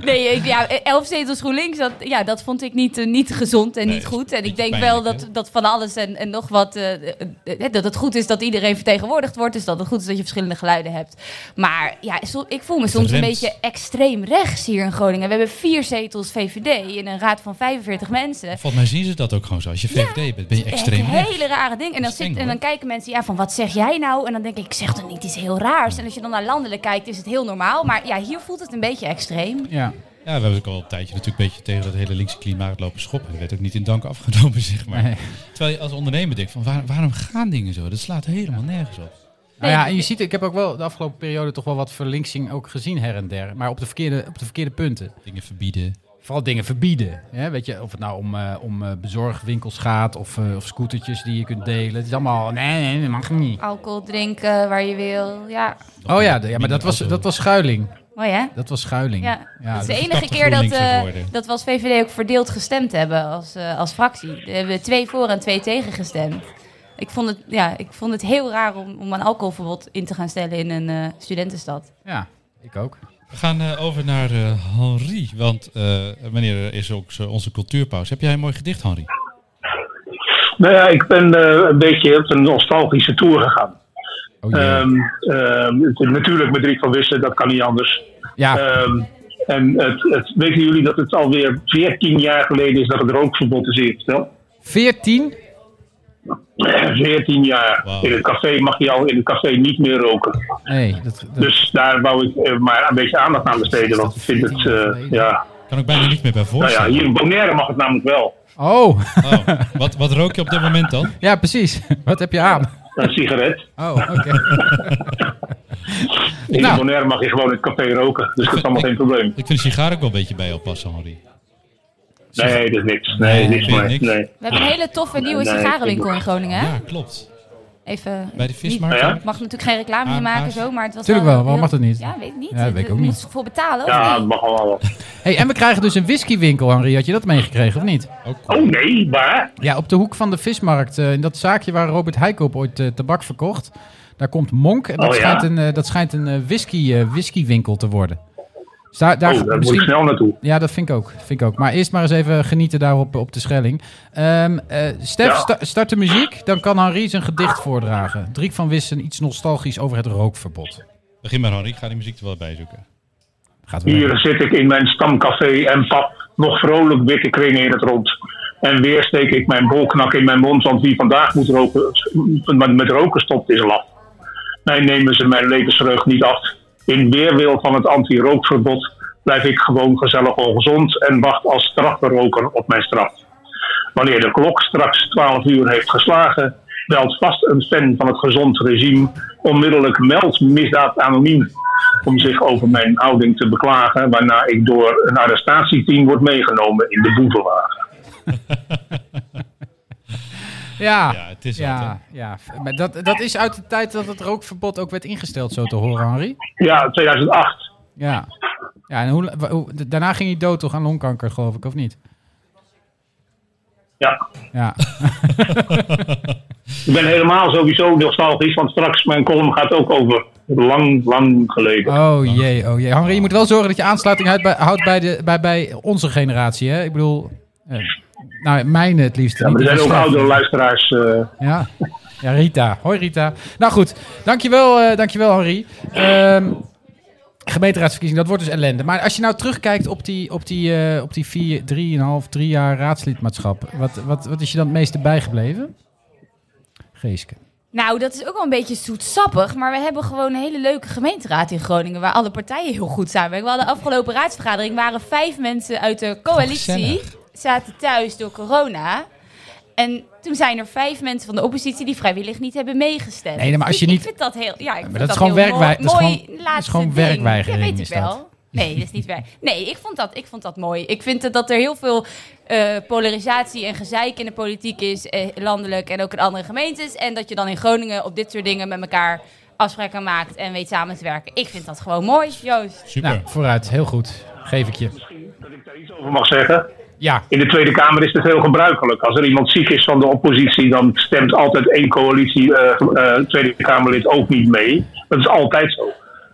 Speaker 6: nee, ik- ja, elf zetels GroenLinks, dat, ja, dat vond ik niet, eh, niet gezond
Speaker 8: Nee,
Speaker 6: en niet
Speaker 8: het is
Speaker 6: goed.
Speaker 8: een
Speaker 6: En ik
Speaker 8: beetje
Speaker 6: denk wel
Speaker 8: pijnlijk,
Speaker 6: dat, dat van alles en, en nog wat, eh, eh, eh, dat het goed is dat iedereen vertegenwoordigd wordt. Dus dat het goed is dat je verschillende geluiden hebt. Maar ja, so- ik voel me soms een
Speaker 8: remt.
Speaker 6: beetje extreem rechts hier in Groningen. We hebben vier zetels VVD in een raad van 45 mensen.
Speaker 8: Volgens mij zien ze dat ook gewoon zo. Als je VVD bent, ben je extreem
Speaker 6: Echt
Speaker 8: rechts.
Speaker 6: hele rare ding. En dan,
Speaker 8: is eng,
Speaker 6: zit, en
Speaker 8: hoor.
Speaker 6: dan kijken mensen, ja, van wat zeg jij nou? En dan denk ik, ik zeg toch niet iets heel raars. En als je dan naar landelijk kijkt, is het heel normaal. Maar ja, hier voelt het een beetje extreem.
Speaker 1: ja. Nou
Speaker 8: Ja, we hebben ook al een tijdje natuurlijk een beetje tegen dat hele linkse klimaat lopen schoppen. Dat werd ook niet in dank afgenomen, zeg maar.
Speaker 1: Nee.
Speaker 8: Terwijl je als ondernemer denkt van waar- waarom gaan dingen zo? Dat slaat helemaal nergens op.
Speaker 1: Nou ja, en je ziet, ik heb ook wel de afgelopen periode toch wel wat verlinksing ook gezien her en der. Maar op de verkeerde, op de verkeerde punten.
Speaker 8: Dingen verbieden.
Speaker 1: Vooral dingen verbieden. Hè? Weet je, of het nou om, eh, om eh, bezorgwinkels gaat of, eh, of scootertjes die je kunt delen. Het is allemaal, nee, nee, dat mag niet.
Speaker 6: Alcohol drinken waar je wil, ja.
Speaker 1: Oh ja, de- ja maar dat was, dat was schuiling.
Speaker 6: Mooi hè?
Speaker 1: Dat was schuiling.
Speaker 6: Ja. dat is de
Speaker 1: dat-
Speaker 6: enige
Speaker 8: de
Speaker 6: keer dat,
Speaker 8: GroenLinks
Speaker 6: eh,
Speaker 8: geworden.
Speaker 6: dat we als VVD ook verdeeld gestemd hebben als, eh, als fractie. We hebben twee voor en twee tegen gestemd. Ik vond het, ja, ik vond het heel raar om, om een alcoholverbod in te gaan stellen in een eh, studentenstad.
Speaker 1: ja, ik ook.
Speaker 8: We gaan eh, over naar eh, Henri, want eh, meneer is ook zo onze cultuurpauze. Heb jij een mooi gedicht, Henri?
Speaker 5: Nou ja, ik ben eh, een beetje op een nostalgische tour gegaan.
Speaker 1: Oh, jee.
Speaker 5: Ehm, ehm, het- natuurlijk met Rick van Wissen, dat kan niet anders.
Speaker 1: ja,
Speaker 5: Ehm, en het, het, weten jullie dat het alweer 14 jaar geleden is dat het rookverbod is ingesteld?
Speaker 1: 14?
Speaker 5: 14 jaar.
Speaker 8: Wauw.
Speaker 5: In het café mag je al in het café niet meer roken.
Speaker 1: Nee, dat, dat-
Speaker 5: Dus daar wou ik eh, maar een beetje aandacht aan besteden. Want ik vind het, eh, ja.
Speaker 8: Kan ik bijna niet meer bij
Speaker 5: Nou ja,
Speaker 8: voorstellen.
Speaker 5: hier in Bonaire mag het namelijk wel.
Speaker 1: Oh,
Speaker 8: Oh, wat, wat rook je op dit moment dan?
Speaker 1: ja, precies. Wat heb je aan?
Speaker 5: Een sigaret.
Speaker 1: Oh, oké.
Speaker 5: In
Speaker 1: Nou.
Speaker 5: Bonaire mag je gewoon in het café roken. Dus dat is allemaal geen probleem.
Speaker 8: Ik vind de sigaar ook wel een beetje bij jou passen, Henri.
Speaker 5: Nee, dat is niks. Nee, niks
Speaker 8: vind je
Speaker 5: meer.
Speaker 8: niks?
Speaker 5: Nee.
Speaker 6: We hebben een hele toffe nieuwe
Speaker 5: Nee,
Speaker 6: sigarenwinkel in Groningen. hè?
Speaker 8: Ja, klopt.
Speaker 6: Even
Speaker 8: Bij de vismarkt.
Speaker 5: Ja,
Speaker 8: hè?
Speaker 5: ja.
Speaker 6: Ik mag natuurlijk geen reclame meer
Speaker 8: Ah,
Speaker 6: maken,
Speaker 8: maar-
Speaker 6: zo, maar het was
Speaker 1: Tuurlijk wel, waarom
Speaker 6: heel-
Speaker 1: mag dat niet?
Speaker 6: Ja, weet ik niet.
Speaker 1: Ja, dat weet ik ook
Speaker 6: Daar
Speaker 1: niet.
Speaker 6: moest ik voor betalen, of
Speaker 5: Ja, dat
Speaker 6: niet?
Speaker 5: mag allemaal wel.
Speaker 1: Hey, en we krijgen dus een whiskywinkel, Henri. Had je dat meegekregen of niet?
Speaker 8: Ook
Speaker 5: Oh nee, waar?
Speaker 1: Ja, op de hoek van de vismarkt. eh, in dat zaakje waar Robert Heikoop ooit eh, tabak verkocht. Daar komt Monk. En dat,
Speaker 5: Oh, ja.
Speaker 1: schijnt, een, eh, dat schijnt een eh, whisky, eh, whiskywinkel te worden. Dus daar, daar
Speaker 5: oh, daar moet ik
Speaker 1: misschien-
Speaker 5: snel naartoe.
Speaker 1: Ja, dat vind ik, ook, vind ik ook. Maar eerst maar eens even genieten daarop op de Schelling. Ehm, eh, Stef,
Speaker 5: Ja.
Speaker 1: sta- start de muziek. Dan kan Henri zijn gedicht voordragen. Driek van Wissen, iets nostalgisch over het rookverbod.
Speaker 8: Begin maar, Henri. Ik ga die muziek er wel bij zoeken.
Speaker 1: Gaat wel.
Speaker 5: Hier zit ik in mijn stamcafé en pap, nog vrolijk witte kringen in het rond. En weer steek ik mijn bolknak in mijn mond, want wie vandaag moet roken, met met roken stopt is laf. Mij nemen ze mijn levensvreugd niet af. In weerwil van het anti-rookverbod blijf ik gewoon gezellig ongezond en wacht als strafberoker op mijn straf. Wanneer de klok straks 12 uur heeft geslagen, belt vast een fan van het gezond regime onmiddellijk meld misdaad anoniem om zich over mijn houding te beklagen, waarna ik door een arrestatieteam word meegenomen in de boevenwagen.
Speaker 1: Ja,
Speaker 8: Ja, het is wat,
Speaker 1: ja, ja. Maar dat, dat is uit de tijd dat het rookverbod ook werd ingesteld, zo te horen, Henri.
Speaker 5: Ja, 2008.
Speaker 1: Ja. Ja, en hoe, wa- hoe- d- daarna ging hij dood toch aan longkanker, geloof ik, of niet?
Speaker 5: Ja.
Speaker 1: Ja,
Speaker 5: Ik ben helemaal sowieso nostalgisch, want straks mijn column gaat ook over lang, lang geleden.
Speaker 1: oh jee, oh jee. Henri, je moet wel zorgen dat je aansluiting houdt bij, houdt bij, de, bij, bij onze generatie, hè? Ik bedoel, eh, nou, mijn het liefst.
Speaker 5: ja, maar er
Speaker 1: niet
Speaker 5: zijn
Speaker 1: die van
Speaker 5: ook
Speaker 1: Stef.
Speaker 5: oudere luisteraars. eh,
Speaker 1: Ja. ja, Rita. Hoi Rita. Nou goed, dankjewel, eh dankjewel Henri. Ehm gemeenteraadsverkiezing, dat wordt dus ellende. Maar als je nou terugkijkt op die, op die, eh, op die vier, drieënhalf, drie jaar raadslidmaatschap, wat, wat, wat is je dan het meeste bijgebleven? Geeske.
Speaker 6: Nou, dat is ook wel een beetje zoetsappig. Maar we hebben gewoon een hele leuke gemeenteraad in Groningen. Waar alle partijen heel goed samenwerken. We hadden de afgelopen raadsvergadering. waren vijf mensen uit de coalitie.
Speaker 1: gezellig.
Speaker 6: zaten thuis door corona. En toen zijn er vijf mensen van de oppositie. die vrijwillig niet hebben meegestemd.
Speaker 1: Nee, maar als je
Speaker 6: Ik-
Speaker 1: niet-
Speaker 6: Ik vind dat heel. Ja, ik vind
Speaker 1: dat
Speaker 6: dat
Speaker 1: is gewoon
Speaker 6: heel mooi-
Speaker 1: werkwij- dat is
Speaker 6: mooi
Speaker 1: gewoon- dat is
Speaker 6: laatste
Speaker 1: gewoon
Speaker 6: ding.
Speaker 1: werkweigering
Speaker 6: Ja, weet
Speaker 1: is
Speaker 6: ik
Speaker 1: dat.
Speaker 6: wel. Nee, dat is niet waar. Nee, ik vond dat, ik vond dat mooi. Ik vind dat- dat er heel veel eh, polarisatie en gezeik in de politiek is, eh, landelijk en ook in andere gemeentes. En dat je dan in Groningen op dit soort dingen met elkaar afspraken maakt en weet samen te werken. Ik vind dat gewoon mooi, Joost.
Speaker 8: Super.
Speaker 1: Nou, vooruit. Heel goed. Geef ik je.
Speaker 5: dat ik daar iets over mag zeggen.
Speaker 1: Ja,
Speaker 5: In de Tweede Kamer is het heel gebruikelijk. Als er iemand ziek is van de oppositie, dan stemt altijd één coalitie eh, eh, Tweede Kamerlid ook niet mee. Dat is altijd zo.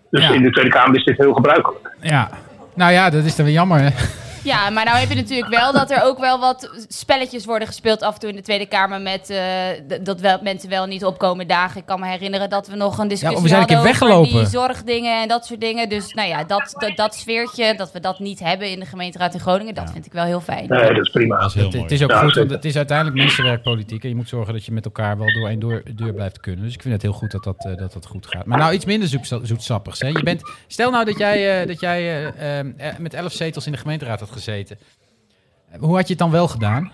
Speaker 5: Dus
Speaker 1: Ja.
Speaker 5: in de Tweede Kamer is dit heel gebruikelijk.
Speaker 1: ja. Nou ja, dat is dan weer jammer. Hè?
Speaker 6: Ja, maar nou heb je natuurlijk wel dat er ook wel wat spelletjes worden gespeeld af en toe in de Tweede Kamer met eh, d- dat wel, mensen wel niet opkomen dagen. Ik kan me herinneren dat we nog een discussie
Speaker 1: Ja, we zijn een keer
Speaker 6: hadden over
Speaker 1: weggelopen.
Speaker 6: die zorgdingen en dat soort dingen. Dus nou ja, dat, dat, dat sfeertje, dat we dat niet hebben in de gemeenteraad in Groningen, dat vind ik wel heel fijn.
Speaker 5: Nee, Eh, dat is prima.
Speaker 8: Dat is heel
Speaker 1: Het,
Speaker 8: mooi.
Speaker 1: het is ook
Speaker 5: Ja,
Speaker 1: goed, want
Speaker 5: zeker.
Speaker 1: het is uiteindelijk mensenwerkpolitiek. En je moet zorgen dat je met elkaar wel door één deur, deur blijft kunnen. Dus ik vind het heel goed dat dat, eh, dat, dat goed gaat. Maar nou iets minder zoet, zoetsappigs. Hè? Je bent, stel nou dat jij, eh, dat jij eh, ehm, eh, met elf zetels in de gemeenteraad had gezeten. Eh, Hoe had je het dan wel gedaan?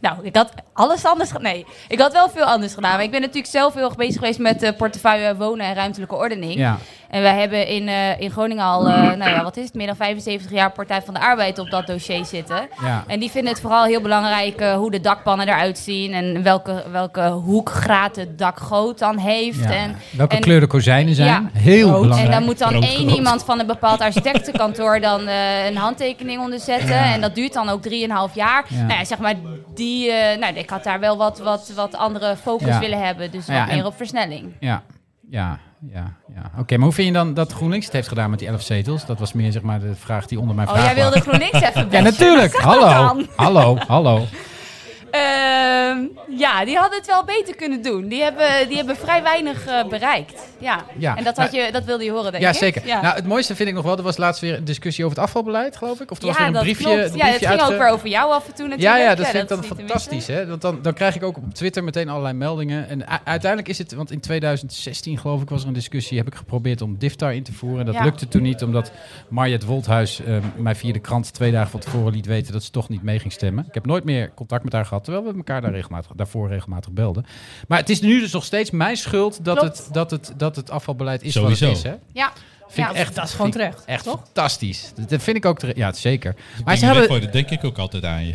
Speaker 6: Nou, ik had alles anders gedaan. Nee, ik had wel veel anders gedaan. Maar ik ben natuurlijk zelf heel erg bezig geweest met eh, portefeuille wonen en ruimtelijke ordening.
Speaker 1: Ja.
Speaker 6: En wij hebben in, eh, in Groningen al, eh, nou ja, wat is het, meer dan 75 jaar Partij van de Arbeid op dat dossier zitten.
Speaker 1: Ja.
Speaker 6: En die vinden het vooral heel belangrijk eh, hoe de dakpannen eruit zien en welke, welke hoekgraad het dakgoot dan heeft.
Speaker 1: Ja.
Speaker 6: En,
Speaker 1: Welke
Speaker 6: en-
Speaker 1: kleur de kozijnen zijn?
Speaker 6: Ja.
Speaker 1: Heel
Speaker 7: Rood.
Speaker 1: belangrijk.
Speaker 6: en dan moet dan
Speaker 8: Rood,
Speaker 6: één
Speaker 8: rood.
Speaker 6: iemand van een bepaald architectenkantoor dan eh, een handtekening onderzetten. En dat duurt dan ook 3,5 jaar.
Speaker 1: Ja.
Speaker 6: Nou ja, zeg maar, die, eh, nou, ik had daar wel wat, wat, wat andere focus
Speaker 1: Ja.
Speaker 6: willen hebben. Dus
Speaker 1: Nou ja,
Speaker 6: wat meer
Speaker 1: en-
Speaker 6: op versnelling.
Speaker 1: Ja, ja, ja. ja. Oké, maar hoe vind je dan dat GroenLinks het heeft gedaan met die elf zetels? Dat was meer zeg maar, de vraag die onder mijn
Speaker 6: Oh,
Speaker 1: vraag
Speaker 6: jij wilde
Speaker 1: lag.
Speaker 6: GroenLinks even
Speaker 1: Ja,
Speaker 6: bashen.
Speaker 1: natuurlijk.
Speaker 6: Wat zeg dat
Speaker 1: Hallo.
Speaker 6: dan?
Speaker 1: Hallo, hallo.
Speaker 6: Ehm, ja, die hadden het wel beter kunnen doen. Die hebben, die hebben vrij weinig eh, bereikt. Ja.
Speaker 1: Ja,
Speaker 6: En dat, had je, dat wilde je horen, denk
Speaker 1: Ja,
Speaker 6: ik.
Speaker 1: zeker.
Speaker 6: Ja.
Speaker 1: Nou, het mooiste vind ik nog wel, er was laatst weer een discussie over het afvalbeleid, geloof ik. Of er was
Speaker 6: Ja,
Speaker 1: weer een
Speaker 6: dat
Speaker 1: briefje,
Speaker 6: klopt.
Speaker 1: een
Speaker 6: Ja,
Speaker 1: briefje
Speaker 6: het ging ook
Speaker 1: uitge-
Speaker 6: weer over jou af en toe natuurlijk.
Speaker 1: Ja, ja, dat vind ik dan
Speaker 6: is niet te
Speaker 1: fantastisch.
Speaker 6: missen.
Speaker 1: Hè? Want dan, dan krijg ik ook op Twitter meteen allerlei meldingen. En u- uiteindelijk is het, want in 2016 geloof ik was er een discussie, heb ik geprobeerd om DIFTAR in te voeren. En dat
Speaker 6: Ja.
Speaker 1: lukte toen niet, omdat Marjet Woldhuis eh, mij via de krant twee dagen van tevoren liet weten dat ze toch niet mee ging stemmen. Ik heb nooit meer contact met haar gehad, terwijl we elkaar daar regelmatig, daarvoor regelmatig belden. Maar het is nu dus nog steeds mijn schuld dat,
Speaker 6: Klopt.
Speaker 1: het, dat, het, dat het afvalbeleid is
Speaker 8: Sowieso.
Speaker 1: wat het is. Hè?
Speaker 6: Ja.
Speaker 1: Vind
Speaker 6: Ja,
Speaker 1: ik echt,
Speaker 7: dat is gewoon
Speaker 1: vind ik
Speaker 7: terecht,
Speaker 1: Echt
Speaker 7: toch?
Speaker 1: fantastisch. Dat vind ik ook terecht. Ja, zeker. Maar ze
Speaker 8: Dingen
Speaker 1: hebben,
Speaker 8: weggooien, dat denk ik ook altijd aan je.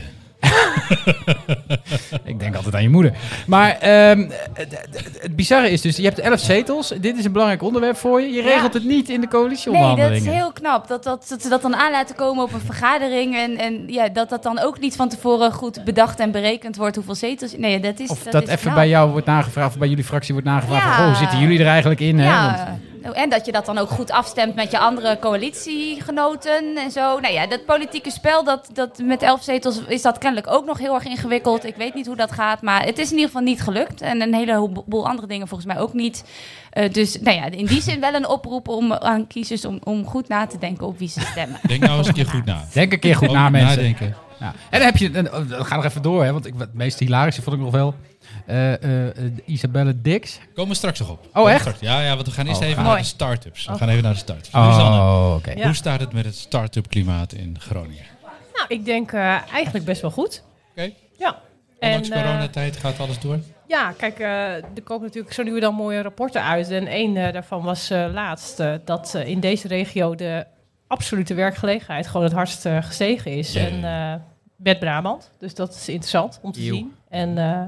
Speaker 1: ik denk altijd aan je moeder. Maar ehm, het- het het bizarre is dus, je hebt elf zetels. Dit is een belangrijk onderwerp voor je. Je
Speaker 6: Ja.
Speaker 1: regelt het niet in de
Speaker 6: Nee, dat
Speaker 1: coalitieonderhandelingen.
Speaker 6: is heel knap. Dat, dat, dat ze dat dan aan laten komen op een vergadering. En, en ja, dat dat dan ook niet van tevoren goed bedacht en berekend wordt hoeveel zetels. Nee, dat is.
Speaker 1: Of dat,
Speaker 6: is
Speaker 1: even
Speaker 6: knap.
Speaker 1: bij jou wordt nagevraagd, of bij jullie fractie wordt nagevraagd.
Speaker 6: Ja.
Speaker 1: van, oh, hoe zitten jullie er eigenlijk in? Hè?
Speaker 6: Ja,
Speaker 1: Want-
Speaker 6: Nou, en dat je dat dan ook goed afstemt met je andere coalitiegenoten en zo. Nou ja, dat politieke spel, dat, dat met elf zetels is dat kennelijk ook nog heel erg ingewikkeld. Ik weet niet hoe dat gaat, maar het is in ieder geval niet gelukt. En een heleboel andere dingen volgens mij ook niet. Eh, dus nou ja, in die zin wel een oproep om aan kiezers om, om goed na te denken op wie ze stemmen.
Speaker 8: Denk nou eens een keer goed na.
Speaker 1: Denk een keer goed
Speaker 8: Ook
Speaker 1: na, mensen.
Speaker 8: Nadenken.
Speaker 1: Ja. En dan heb je, en, oh, dan ga nog even door, hè, want ik, het meest hilarische vond ik nog wel eh, eh, eh, Isabelle Dix.
Speaker 8: Komen we straks nog op. Komen
Speaker 1: Oh,
Speaker 8: we
Speaker 1: echt?
Speaker 8: straks- Ja, ja, want we gaan eerst even
Speaker 6: Mooi.
Speaker 8: naar de start-ups. We gaan even naar de start-ups. Suzanne,
Speaker 1: Oh, oké.
Speaker 7: Ja.
Speaker 8: hoe staat het met het start-up klimaat in Groningen?
Speaker 7: Nou, ik denk eh, eigenlijk best wel goed.
Speaker 8: Oké,
Speaker 7: Ja.
Speaker 8: ondanks
Speaker 7: eh,
Speaker 8: coronatijd gaat alles door.
Speaker 7: ja, kijk, eh, er komen natuurlijk zo nu en dan mooie rapporten uit. En één eh, daarvan was eh, laatst eh, dat eh, in deze regio de absolute werkgelegenheid gewoon het hardst eh, gestegen is.
Speaker 8: Ja.
Speaker 7: En eh, Bert Brabant. Dus dat is interessant om te
Speaker 1: Eeuw.
Speaker 7: zien. En eh,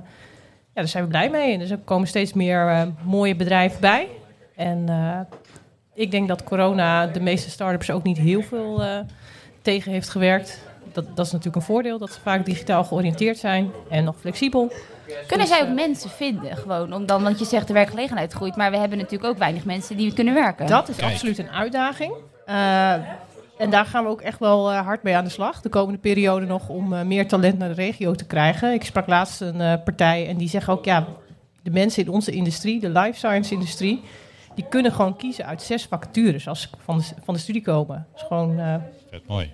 Speaker 7: ja, daar zijn we blij mee. En dus er komen steeds meer eh, mooie bedrijven bij. En eh, ik denk dat corona de meeste start-ups ook niet heel veel eh, tegen heeft gewerkt. Dat, dat is natuurlijk een voordeel, dat ze vaak digitaal georiënteerd zijn en nog flexibel.
Speaker 6: Kunnen zij ook mensen vinden gewoon? Om dan, want je zegt de werkgelegenheid groeit, maar we hebben natuurlijk ook weinig mensen die kunnen werken.
Speaker 7: Dat is
Speaker 4: Kijk.
Speaker 7: absoluut een uitdaging. Eh, en daar gaan we ook echt wel eh, hard mee aan de slag. De komende periode nog om eh, meer talent naar de regio te krijgen. Ik sprak laatst een eh, partij en die zeggen ook... ja, de mensen in onze industrie, de life science industrie... die kunnen gewoon kiezen uit zes vacatures als ze van de, van de studie komen. Dus gewoon, eh,
Speaker 4: Vet mooi.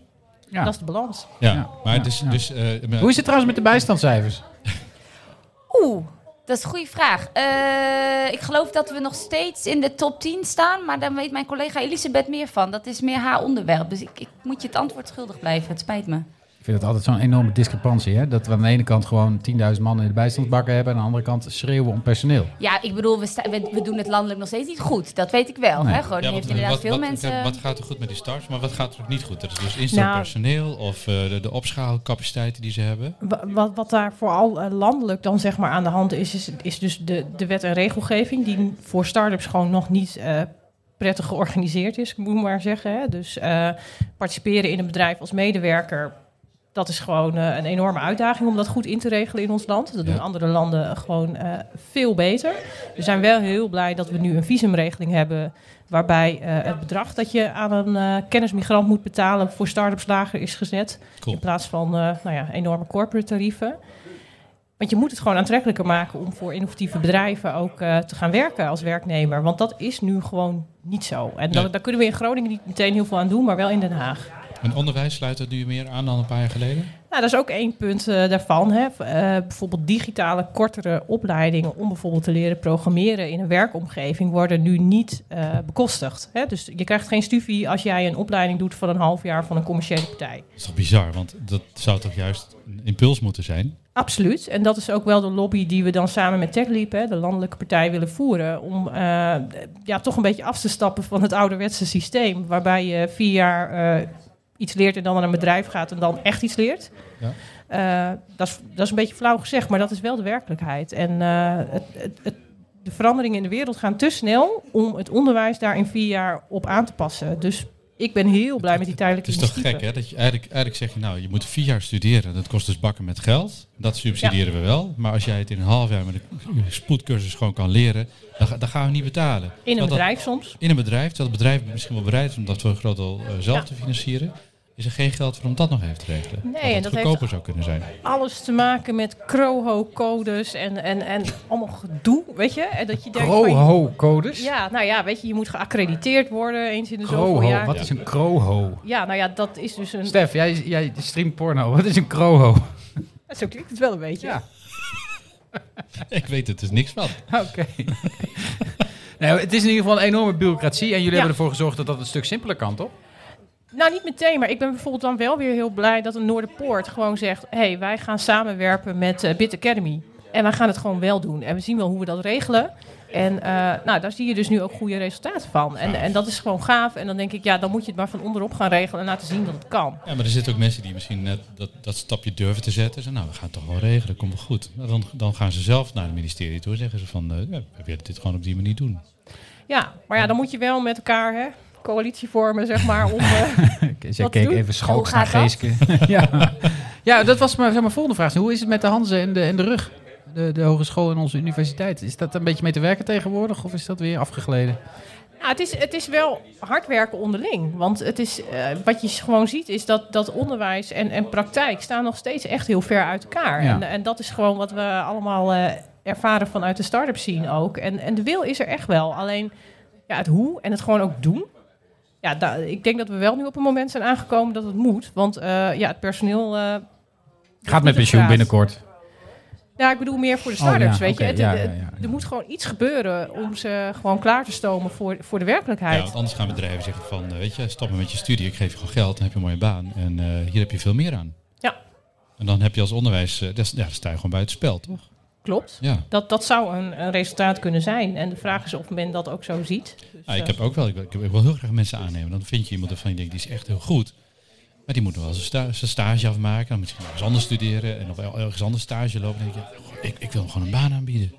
Speaker 1: Ja.
Speaker 7: dat is de balans.
Speaker 4: Ja,
Speaker 1: Ja,
Speaker 4: maar
Speaker 1: ja,
Speaker 4: dus...
Speaker 1: ja.
Speaker 4: dus eh, maar-
Speaker 1: Hoe is het trouwens met de bijstandscijfers?
Speaker 6: Oeh, dat is een goede vraag. Eh, ik geloof dat we nog steeds in de top 10 staan, maar daar weet mijn collega Elisabeth meer van. Dat is meer haar onderwerp, dus ik, ik moet je het antwoord schuldig blijven. Het spijt me.
Speaker 1: Ik vind het altijd zo'n enorme discrepantie. Hè? Dat we aan de ene kant gewoon 10.000 man in de bijstandsbakken hebben... en aan de andere kant schreeuwen om personeel.
Speaker 6: Ja, ik bedoel, we, sta- we, we doen het landelijk nog steeds niet goed. Dat weet ik wel.
Speaker 1: Nee.
Speaker 6: Hè? Gewoon,
Speaker 4: Ja,
Speaker 6: er heeft
Speaker 4: want,
Speaker 6: inderdaad
Speaker 4: wat-
Speaker 6: veel
Speaker 4: wat-
Speaker 6: mensen...
Speaker 4: Wat gaat er goed met die starts, maar wat gaat er ook niet goed? Dat is dus instant
Speaker 7: Nou.
Speaker 4: personeel of eh, de, de opschaalcapaciteiten die ze hebben.
Speaker 7: Wa- Wat, wat daar vooral eh, landelijk dan zeg maar aan de hand is, is, is dus de, de wet en regelgeving die voor start-ups gewoon nog niet eh, prettig georganiseerd is, moet ik maar zeggen. Hè. Dus eh, participeren in een bedrijf als medewerker, dat is gewoon eh, een enorme uitdaging om dat goed in te regelen in ons land. Dat
Speaker 4: Ja.
Speaker 7: doen andere landen gewoon eh, veel beter. We zijn wel heel blij dat we nu een visumregeling hebben waarbij eh, het bedrag dat je aan een eh, kennismigrant moet betalen voor start-ups lager is gezet.
Speaker 4: Cool.
Speaker 7: In plaats van eh, nou ja, enorme corporate tarieven. Want je moet het gewoon aantrekkelijker maken om voor innovatieve bedrijven ook eh, te gaan werken als werknemer. Want dat is nu gewoon niet zo. En dat,
Speaker 4: Nee.
Speaker 7: daar kunnen we in Groningen niet meteen heel veel aan doen, maar wel in Den Haag.
Speaker 4: En onderwijs sluit het nu meer aan dan een paar jaar geleden?
Speaker 7: Nou, dat is ook één punt eh, daarvan. Hè. V- eh, bijvoorbeeld digitale, kortere opleidingen om bijvoorbeeld te leren programmeren in een werkomgeving worden nu niet eh, bekostigd. Hè. Dus je krijgt geen studie als jij een opleiding doet van een half jaar van een commerciële partij.
Speaker 4: Dat is toch bizar, want dat zou toch juist een impuls moeten zijn?
Speaker 7: Absoluut. En dat is ook wel de lobby die we dan samen met TechLeap, hè, de landelijke partij, willen voeren. Om eh, ja, toch een beetje af te stappen van het ouderwetse systeem. Waarbij je vier jaar eh, iets leert en dan naar een bedrijf gaat en dan echt iets leert.
Speaker 4: Ja.
Speaker 7: Eh, dat, is, dat is een beetje flauw gezegd, maar dat is wel de werkelijkheid. En eh, het, het, het, de veranderingen in de wereld gaan te snel om het onderwijs daar in vier jaar op aan te passen. Dus ik ben heel blij met die
Speaker 4: Het
Speaker 7: tijdelijke
Speaker 4: is toch
Speaker 7: initiatieven.
Speaker 4: gek, hè? Dat je eigenlijk, eigenlijk zeg je, nou, je moet vier jaar studeren. Dat kost dus bakken met geld. Dat subsidiëren we wel. Maar als jij het in een half jaar met een spoedcursus gewoon kan leren, dan, ga- dan gaan we niet betalen.
Speaker 7: In een
Speaker 4: Want dat-
Speaker 7: bedrijf soms.
Speaker 4: in een bedrijf, terwijl het bedrijf misschien wel bereid is om dat voor een groot deel eh, zelf te financieren, is er geen geld voor om dat nog even te regelen.
Speaker 7: Nee,
Speaker 4: dat
Speaker 7: en
Speaker 4: het
Speaker 7: dat
Speaker 4: goedkoper
Speaker 7: heeft-
Speaker 4: zou kunnen zijn.
Speaker 7: alles te maken met CROHO-codes en, en, en allemaal gedoe, weet je? En dat je denkt van-
Speaker 1: Kroho-codes?
Speaker 7: Ja, nou ja, weet je, je moet geaccrediteerd worden eens in de zoveel
Speaker 1: Kroho,
Speaker 7: jaar.
Speaker 1: wat is een kroho?
Speaker 7: Ja, nou ja, dat is dus een...
Speaker 1: Stef, jij, jij streamt porno. Wat is een kroho?
Speaker 7: Zo klinkt het wel een beetje.
Speaker 1: Ja.
Speaker 4: Ik weet het, dus niks van.
Speaker 1: Oké. nou, het is in ieder geval een enorme bureaucratie. En jullie
Speaker 7: Ja.
Speaker 1: hebben ervoor gezorgd dat dat een stuk simpeler kan, toch?
Speaker 7: Nou, niet meteen, maar ik ben bijvoorbeeld dan wel weer heel blij dat een Noorderpoort gewoon zegt... hé, hey, wij gaan samenwerpen met eh, Bit Academy. En wij gaan het gewoon wel doen. En we zien wel hoe we dat regelen. En eh, nou, daar zie je dus nu ook goede resultaten van. En, en dat is gewoon gaaf. En dan denk ik, ja, dan moet je het maar van onderop gaan regelen en laten zien dat het kan.
Speaker 4: Ja, maar er zitten ook mensen die misschien net dat, dat stapje durven te zetten. Ze nou, we gaan het toch wel regelen, komt wel goed. Nou, dan, dan gaan ze zelf naar het ministerie toe en zeggen ze van, eh, ja, we willen dit gewoon op die manier doen.
Speaker 7: Ja, maar ja, dan moet je wel met elkaar hè, coalitie vormen, zeg maar. Om, eh,
Speaker 1: Zij
Speaker 7: Wat
Speaker 1: keek
Speaker 7: doen?
Speaker 1: even schalks
Speaker 6: Hoe
Speaker 1: naar
Speaker 6: gaat dat?
Speaker 1: Geeske. ja. ja, dat was mijn, zeg maar, volgende vraag. Hoe is het met de Hanze en de, en de rug? De, de hogeschool en onze universiteit. Is dat een beetje mee te werken tegenwoordig? Of is dat weer afgegleden?
Speaker 7: ja, het, is, het is wel hard werken onderling. Want het is, eh, wat je gewoon ziet is dat, dat onderwijs en, en praktijk staan nog steeds echt heel ver uit elkaar.
Speaker 1: Ja.
Speaker 7: En, en dat is gewoon wat we allemaal eh, ervaren vanuit de start-up scene ook. En, en de wil is er echt wel. Alleen ja, het hoe en het gewoon ook doen. Ja, da- ik denk dat we wel nu op een moment zijn aangekomen dat het moet. Want eh, ja, het personeel eh,
Speaker 1: Gaat met
Speaker 7: op
Speaker 1: pensioen
Speaker 7: straat.
Speaker 1: binnenkort.
Speaker 7: Ja, Nou, ik bedoel meer voor de start-ups,
Speaker 1: Oh, ja,
Speaker 7: weet
Speaker 1: oké,
Speaker 7: je. Het-
Speaker 1: ja,
Speaker 7: het-
Speaker 1: ja, ja, ja.
Speaker 7: Er moet gewoon iets gebeuren om ze gewoon klaar te stomen voor, voor de
Speaker 4: Ja,
Speaker 7: werkelijkheid.
Speaker 4: want anders gaan bedrijven zeggen van, eh, weet je, stop maar met je studie, ik geef je gewoon geld, dan heb je een mooie baan. En eh, hier heb je veel meer aan.
Speaker 7: Ja.
Speaker 4: En dan heb je als onderwijs, eh, dat is- ja, dan sta je gewoon buiten spel, toch?
Speaker 7: Klopt.
Speaker 4: Ja.
Speaker 7: Dat, dat zou een, een resultaat kunnen zijn. En de vraag is of men dat ook zo ziet. Dus,
Speaker 4: Ja, Ah, ik
Speaker 7: eh,
Speaker 4: heb ook wel, ik wil, ik wil heel graag mensen aannemen. Dan vind je iemand waarvan je denkt, die is echt heel goed. Maar die moet nog wel zijn, sta- zijn stage afmaken. Dan misschien ergens anders studeren. En nog wel ergens anders stage lopen. Dan denk je, "Goh, ik, ik wil hem gewoon een baan aanbieden.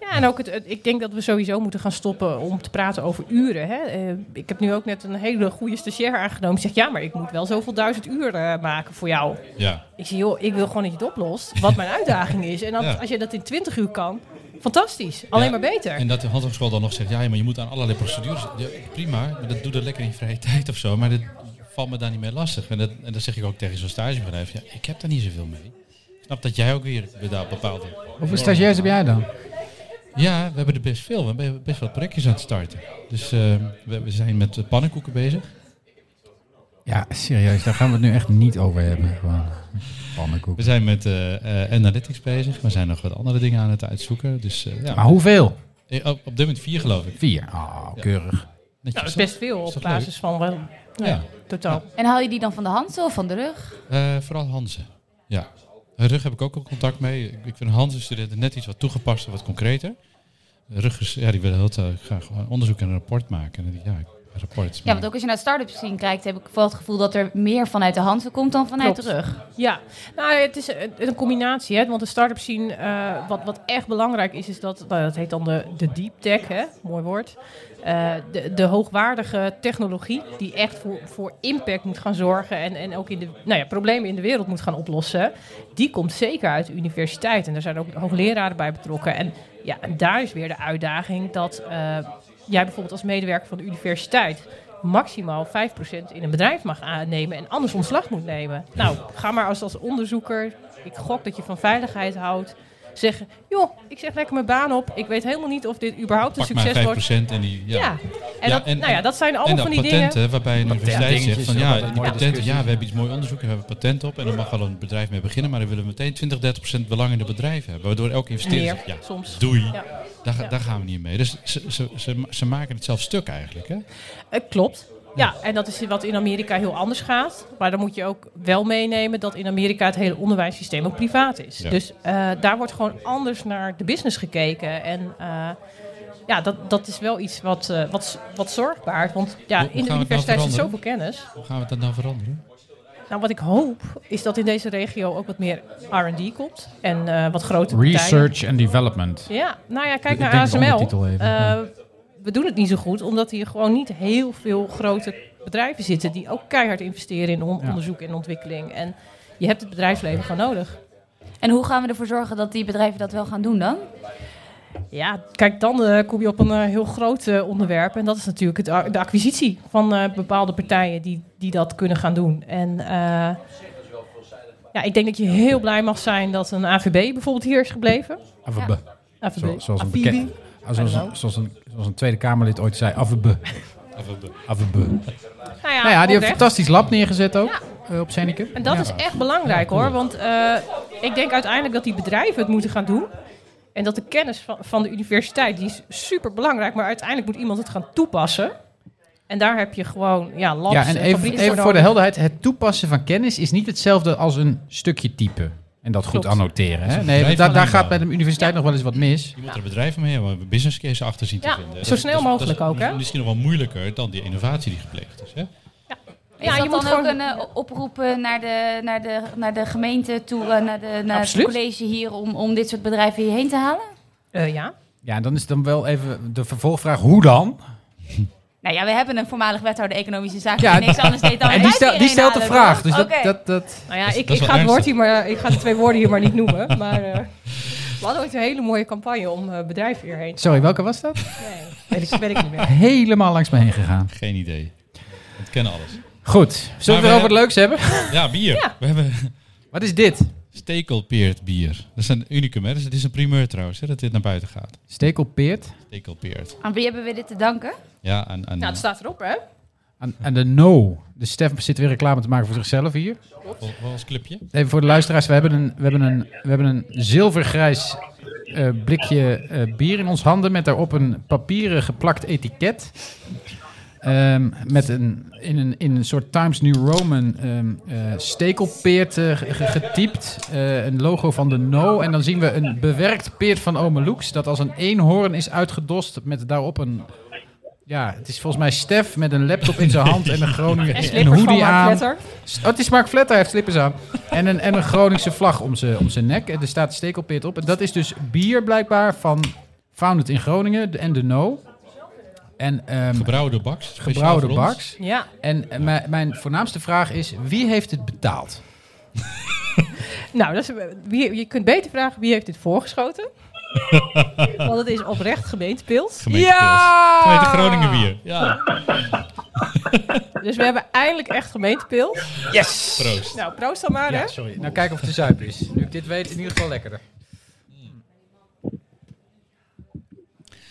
Speaker 7: Ja, en ook het, het- ik denk dat we sowieso moeten gaan stoppen om te praten over uren. Hè? Eh, ik heb nu ook net een hele goede stagiair aangenomen. Die zegt, ja, maar ik moet wel zoveel duizend uur eh, maken voor jou.
Speaker 4: Ja.
Speaker 7: Ik zeg, joh, ik wil gewoon dat je het oplost. Wat mijn uitdaging is. En dan,
Speaker 4: Ja.
Speaker 7: als je dat in 20 uur kan, fantastisch. Alleen
Speaker 4: Ja,
Speaker 7: maar beter.
Speaker 4: En dat de handelschool dan nog zegt, ja, maar je moet aan allerlei procedures. Ja, prima, maar dat doe dat lekker in je vrije tijd of zo. Maar dat valt me daar niet mee lastig. En dat, en dat zeg ik ook tegen zo'n stagebedrijf. Ja, ik heb daar niet zoveel mee. Ik snap dat jij ook weer bepaalt. bepaalde...
Speaker 1: Hoeveel stagiairs heb jij dan?
Speaker 4: Ja, we hebben er best veel. We hebben best wel projectjes aan het starten. Dus eh, we, we zijn met eh, pannenkoeken bezig.
Speaker 1: Ja, serieus, daar gaan we het nu echt niet over hebben. Gewoon pannenkoek.
Speaker 4: We zijn met eh, eh, analytics bezig. We zijn nog wat andere dingen aan het uitzoeken. Dus eh, ja,
Speaker 1: Maar hoeveel?
Speaker 4: Eh, op, op dit moment vier geloof ik.
Speaker 1: Vier. Ah, keurig.
Speaker 4: Netjes,
Speaker 7: Nou, dat is
Speaker 4: hè?
Speaker 7: best veel
Speaker 4: is
Speaker 7: op
Speaker 4: dat
Speaker 7: basis van wel,
Speaker 4: Ja.
Speaker 7: totaal.
Speaker 6: En haal je die dan van de hand of van de rug?
Speaker 4: Eh, vooral Hansen. Ja. Rug heb ik ook al contact mee. Ik- Ik vind Hansen studenten net iets wat toegepaster, wat concreter. Rug is, ja, die willen heel eh, graag onderzoek en een rapport maken. En dan denk ik, Ja, rapport.
Speaker 6: Ja, want ook als je naar start-up zien kijkt, heb ik vooral het gevoel dat er meer vanuit de hand komt dan vanuit
Speaker 7: Klopt.
Speaker 6: de rug.
Speaker 7: Ja, nou, het is een, een combinatie. Hè? Want de start-up scene, eh, wat, wat echt belangrijk is, is dat, nou, dat heet dan de, de deep tech, hè? mooi woord. Eh, de, de hoogwaardige technologie die echt voor, voor impact moet gaan zorgen en, en ook in de, nou ja, problemen in de wereld moet gaan oplossen. Die komt zeker uit de universiteit en daar zijn ook hoogleraren bij betrokken. En ja, en daar is weer de uitdaging dat eh, jij bijvoorbeeld als medewerker van de universiteit maximaal 5% in een bedrijf mag aannemen en anders ontslag moet nemen. Nou, ga maar als, als onderzoeker, ik gok dat je van veiligheid houdt, zeggen, joh, ik zeg lekker mijn baan op, ik weet helemaal niet of dit überhaupt een
Speaker 4: Pak maar 5%
Speaker 7: succes wordt.
Speaker 4: en die... Ja.
Speaker 7: Ja, en,
Speaker 4: Ja,
Speaker 7: dat,
Speaker 4: en-
Speaker 7: nou ja, dat zijn allemaal
Speaker 4: en dan
Speaker 7: van die
Speaker 4: patenten,
Speaker 7: dingen.
Speaker 4: waarbij een universiteit zegt
Speaker 1: dingetjes,
Speaker 4: van
Speaker 1: ja,
Speaker 4: ja,
Speaker 1: dat
Speaker 4: die
Speaker 1: is mooie
Speaker 4: patenten,
Speaker 1: discussie.
Speaker 4: ja, we hebben iets mooi onderzoek, we hebben een patent op en dan mag wel een bedrijf mee beginnen, maar dan willen we meteen 20, 30 procent belang in het bedrijf hebben, waardoor elke investeerder
Speaker 7: Meer,
Speaker 4: zegt, ja,
Speaker 7: soms.
Speaker 4: doei,
Speaker 7: Ja.
Speaker 4: Daar, ga- daar gaan we niet mee. Dus ze, ze, ze, ze maken het zelf stuk eigenlijk, hè?
Speaker 7: Eh, klopt. Ja, en dat is wat in Amerika heel anders gaat. Maar dan moet je ook wel meenemen dat in Amerika het hele onderwijssysteem ook privaat is.
Speaker 4: Ja.
Speaker 7: Dus eh, daar wordt gewoon anders naar de business gekeken. En eh, ja, dat, dat is wel iets wat, eh, wat, wat zorgbaart. Want ja,
Speaker 4: Hoe- hoe
Speaker 7: in de
Speaker 4: gaan we het nou
Speaker 7: universiteit zit
Speaker 4: veranderen?
Speaker 7: zoveel kennis.
Speaker 4: Hoe gaan we dat nou veranderen?
Speaker 7: Nou, wat ik hoop is dat in deze regio ook wat meer R&D komt. En eh, wat grotere partijen.
Speaker 1: Research and Development.
Speaker 7: Ja, nou ja, kijk
Speaker 1: Ik
Speaker 7: naar
Speaker 1: denk de
Speaker 7: ASML.
Speaker 1: ondertitel even,
Speaker 7: Eh,
Speaker 1: ja.
Speaker 7: We doen het niet zo goed, omdat hier gewoon niet heel veel grote bedrijven zitten die ook keihard investeren in on-
Speaker 1: Ja.
Speaker 7: onderzoek en ontwikkeling. En je hebt het bedrijfsleven gewoon nodig.
Speaker 6: En hoe gaan we ervoor zorgen dat die bedrijven dat wel gaan doen dan?
Speaker 7: Ja, kijk, dan eh, kom je op een eh, heel groot eh, onderwerp. En dat is natuurlijk het, a- de acquisitie van eh, bepaalde partijen die, die dat kunnen gaan doen. En eh, ja, ik denk dat je heel blij mag zijn dat een AVB bijvoorbeeld hier is gebleven.
Speaker 1: AVB.
Speaker 7: AVB.
Speaker 1: Zo- zoals een
Speaker 7: AVB.
Speaker 1: bekend... ah, Zoals
Speaker 7: Hallo.
Speaker 1: een, zoals, een, zoals een Tweede Kamerlid ooit zei, AVB. AVB.
Speaker 7: Nou ja,
Speaker 1: Nou ja, die heeft een
Speaker 7: oprecht.
Speaker 1: fantastisch lab neergezet ook, eh, op Zenicum.
Speaker 7: En dat
Speaker 1: Ja.
Speaker 7: is echt belangrijk hoor. Want eh, ik denk uiteindelijk dat die bedrijven het moeten gaan doen. En dat de kennis van, van de universiteit, die is super belangrijk. Maar uiteindelijk moet iemand het gaan toepassen. En daar heb je gewoon ja, labs
Speaker 1: Ja, en even,
Speaker 7: fabrieken
Speaker 1: even voor de
Speaker 7: nodig.
Speaker 1: helderheid. Het toepassen van kennis is niet hetzelfde als een stukje typen. En dat goed
Speaker 7: Klopt.
Speaker 1: annoteren. Hè?
Speaker 4: een
Speaker 1: Nee,
Speaker 4: bedrijf
Speaker 1: daar, daar
Speaker 4: alleen
Speaker 1: gaat bij
Speaker 4: bouwen.
Speaker 1: de universiteit nog wel eens wat mis.
Speaker 4: Je moet er bedrijven mee hebben, een business case achter zien te
Speaker 7: Ja,
Speaker 4: vinden.
Speaker 7: zo
Speaker 4: Dat-
Speaker 7: snel
Speaker 4: dat-
Speaker 7: mogelijk
Speaker 4: dat is
Speaker 7: ook, hè?
Speaker 4: Misschien nog wel moeilijker dan die innovatie die gepleegd is, hè?
Speaker 6: is
Speaker 7: Ja,
Speaker 6: dat
Speaker 7: je
Speaker 6: dan
Speaker 7: moet gewoon...
Speaker 6: ook een eh, oproep eh, naar de, naar, de, naar de gemeente toe, eh, naar, de, naar het
Speaker 7: Absoluut.
Speaker 6: college hier, om, om dit soort bedrijven hierheen te halen?
Speaker 7: Eh, ja.
Speaker 1: Ja, en dan is dan wel even de vervolgvraag, hoe
Speaker 7: Oh,
Speaker 1: dan?
Speaker 6: Nou ja, we hebben een voormalig wethouder economische zaken
Speaker 1: Ja, nou,
Speaker 6: die niks anders deed dan
Speaker 1: en die, stel- die stelt de vraag. Dus dat,
Speaker 6: Oké.
Speaker 1: dat, dat,
Speaker 7: Nou ja,
Speaker 4: Dat is-
Speaker 7: ik,
Speaker 4: dat is
Speaker 7: ik,
Speaker 4: wel
Speaker 7: ga het woord
Speaker 4: ernstig.
Speaker 7: hier maar, eh, ik ga de twee woorden hier maar niet noemen. Maar eh, we hadden ooit een hele mooie campagne om eh, bedrijven hierheen.
Speaker 1: sorry, welke was dat?
Speaker 7: Nee, weet ik, weet ik niet meer.
Speaker 1: Helemaal langs me heen gegaan.
Speaker 4: Geen idee. We kennen alles.
Speaker 1: Goed, zullen we
Speaker 4: we
Speaker 1: het over het leuks hebben?
Speaker 4: Ja, bier.
Speaker 7: Ja.
Speaker 4: We hebben
Speaker 1: Wat is dit?
Speaker 4: stekelpeerd bier. Dat is een unicum, hè? Dus het is een primeur trouwens, hè, dat dit naar buiten gaat.
Speaker 1: Stekelpeert
Speaker 4: Stekelpeerd.
Speaker 6: Aan wie hebben we dit te danken?
Speaker 4: Ja, aan, aan
Speaker 7: Nou, het staat erop, hè?
Speaker 1: aan, aan de no. Dus Stef zit weer reclame te maken voor zichzelf hier.
Speaker 4: wel- wel als clubje.
Speaker 1: Even voor de luisteraars, we hebben een, we hebben een, we hebben een zilvergrijs eh, blikje eh, bier in ons handen met daarop een papieren geplakt etiket. Ehm, met een, in, een, in een soort Times New Roman ehm eh, stekelpeert eh, ge- ge- getypt. Eh, een logo van de No. En dan zien we een bewerkt peert van Ome Loeks. Dat als een eenhoorn is uitgedost met daarop een Ja, het is volgens mij Stef met een laptop in zijn hand en een Groningen
Speaker 7: En
Speaker 1: een
Speaker 7: slippers van
Speaker 1: hoodie
Speaker 7: Mark
Speaker 1: aan.
Speaker 7: Letter.
Speaker 1: Oh, het is Mark Vletter, hij heeft slippers aan. En een, en een Groningse vlag om zijn, om zijn nek. En er staat een stekelpit op. En dat is dus bier blijkbaar van Founded in Groningen de- en de No. En ehm
Speaker 4: Gebrouwen door Baks. speciaal
Speaker 1: gebrouwen door
Speaker 4: voor ons.
Speaker 1: Baks.
Speaker 7: Ja.
Speaker 1: En eh, mijn- mijn voornaamste vraag is, wie heeft het betaald?
Speaker 7: Nou, dat is, wie, je kunt beter vragen wie heeft dit voorgeschoten. Want het is oprecht gemeentepils.
Speaker 8: Gemeente Pils. Gemeente Groningen
Speaker 7: Ah.
Speaker 8: bier.
Speaker 4: Ja,
Speaker 7: Dus we hebben eindelijk echt gemeentepils.
Speaker 1: Yes!
Speaker 4: proost.
Speaker 7: Nou, proost dan maar, hè.
Speaker 1: Ja, sorry. Nou, kijken of het de zuip is. Nu ik dit weet, in ieder geval lekkerder.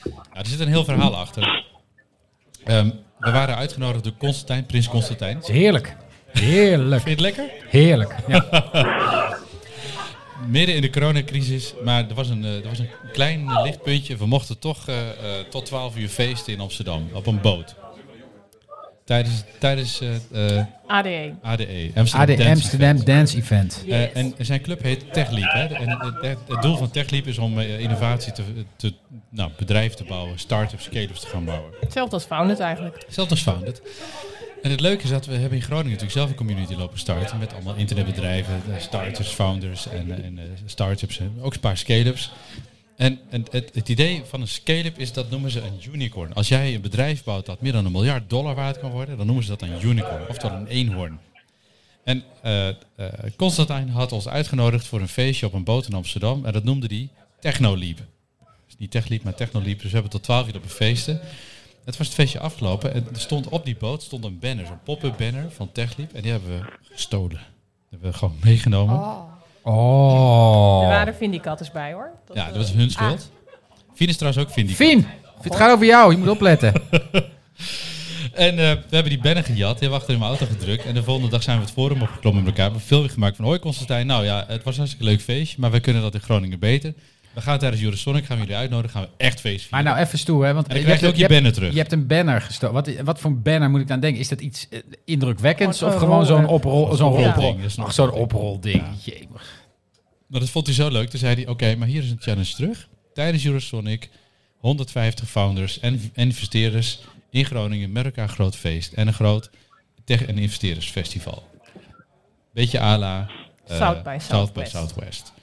Speaker 4: Ja, er zit een heel verhaal achter. Ehm, we waren uitgenodigd door Constantijn, prins Constantijn. Vind
Speaker 1: Het is heerlijk. Heerlijk.
Speaker 4: je het lekker?
Speaker 1: Heerlijk. Ja.
Speaker 4: Midden in de coronacrisis, maar er was een, eh, er was een klein eh, lichtpuntje. We mochten toch eh, eh, tot 12 uur feesten in Amsterdam, op een boot. Tijdens, tijdens eh, eh,
Speaker 7: AD1.
Speaker 4: ADE, Amsterdam
Speaker 1: AD
Speaker 4: Dance
Speaker 1: E, Amsterdam
Speaker 4: Event.
Speaker 1: Dance Event.
Speaker 4: Eh, en zijn club heet TechLeap. Hè? En het, het- het doel van TechLeap is om eh, innovatie te, te nou, bedrijf te bouwen, start-ups, scale-ups te gaan bouwen.
Speaker 7: Hetzelfde als Founded eigenlijk.
Speaker 4: Zelfs als Founded. En het leuke is dat we hebben in Groningen natuurlijk zelf een community lopen starten. Met allemaal internetbedrijven, eh, starters, founders en, eh, en eh, start-ups. En ook een paar scale-ups. En, en het, het idee van een scale-up is, dat noemen ze een unicorn. Als jij een bedrijf bouwt dat meer dan een miljard dollar waard kan worden, dan noemen ze dat een unicorn. Oftewel een eenhoorn. En eh, eh, Constantijn had ons uitgenodigd voor een feestje op een boot in Amsterdam. En dat noemde hij Technoliep. Dus niet Techliep, maar Technoliep. Dus we hebben tot 12 uur op een feesten. Het was het feestje afgelopen en er stond op die boot stond een banner, zo'n pop-up banner van TechLeap. En die hebben we gestolen. Die hebben we gewoon meegenomen.
Speaker 7: Er
Speaker 1: Oh.
Speaker 7: waren Vindikatters bij, hoor. Dat,
Speaker 4: ja, dat was hun schuld. Fien is trouwens ook Vindicat.
Speaker 1: Fien, het gaat over jou. Je moet opletten.
Speaker 4: En eh, we hebben die banner gejat, die hebben we achter in mijn auto gedrukt. En de volgende dag zijn we het forum opgeklommen met elkaar. We hebben veel gemaakt van, hoi Constantijn, nou ja, het was een hartstikke leuk feestje, maar wij kunnen dat in Groningen beter. We gaan tijdens Eurosonic, gaan we jullie uitnodigen, gaan we echt feest
Speaker 1: Maar
Speaker 4: vieren.
Speaker 1: nou even stoer, hè? Want
Speaker 4: En dan krijg je ook je banner terug.
Speaker 1: Je hebt een banner gestoken. Wat, wat voor banner moet ik aan denken? Is dat iets eh, indrukwekkends
Speaker 7: Gewoon
Speaker 1: of
Speaker 7: een
Speaker 1: gewoon
Speaker 7: roller.
Speaker 1: zo'n oprol, zo'n
Speaker 4: Ja.
Speaker 1: rolding?
Speaker 4: Ja.
Speaker 1: Ach, zo'n oprolding. Jemig.
Speaker 4: Maar dat vond hij zo leuk. Toen zei hij, oké, maar hier is een challenge terug. Tijdens Eurosonic, 150 founders en en investeerders in Groningen met elkaar een groot feest. En een groot tech- en investeerdersfestival. Beetje à la eh,
Speaker 7: South by
Speaker 4: South by
Speaker 7: Southwest.
Speaker 4: Southwest.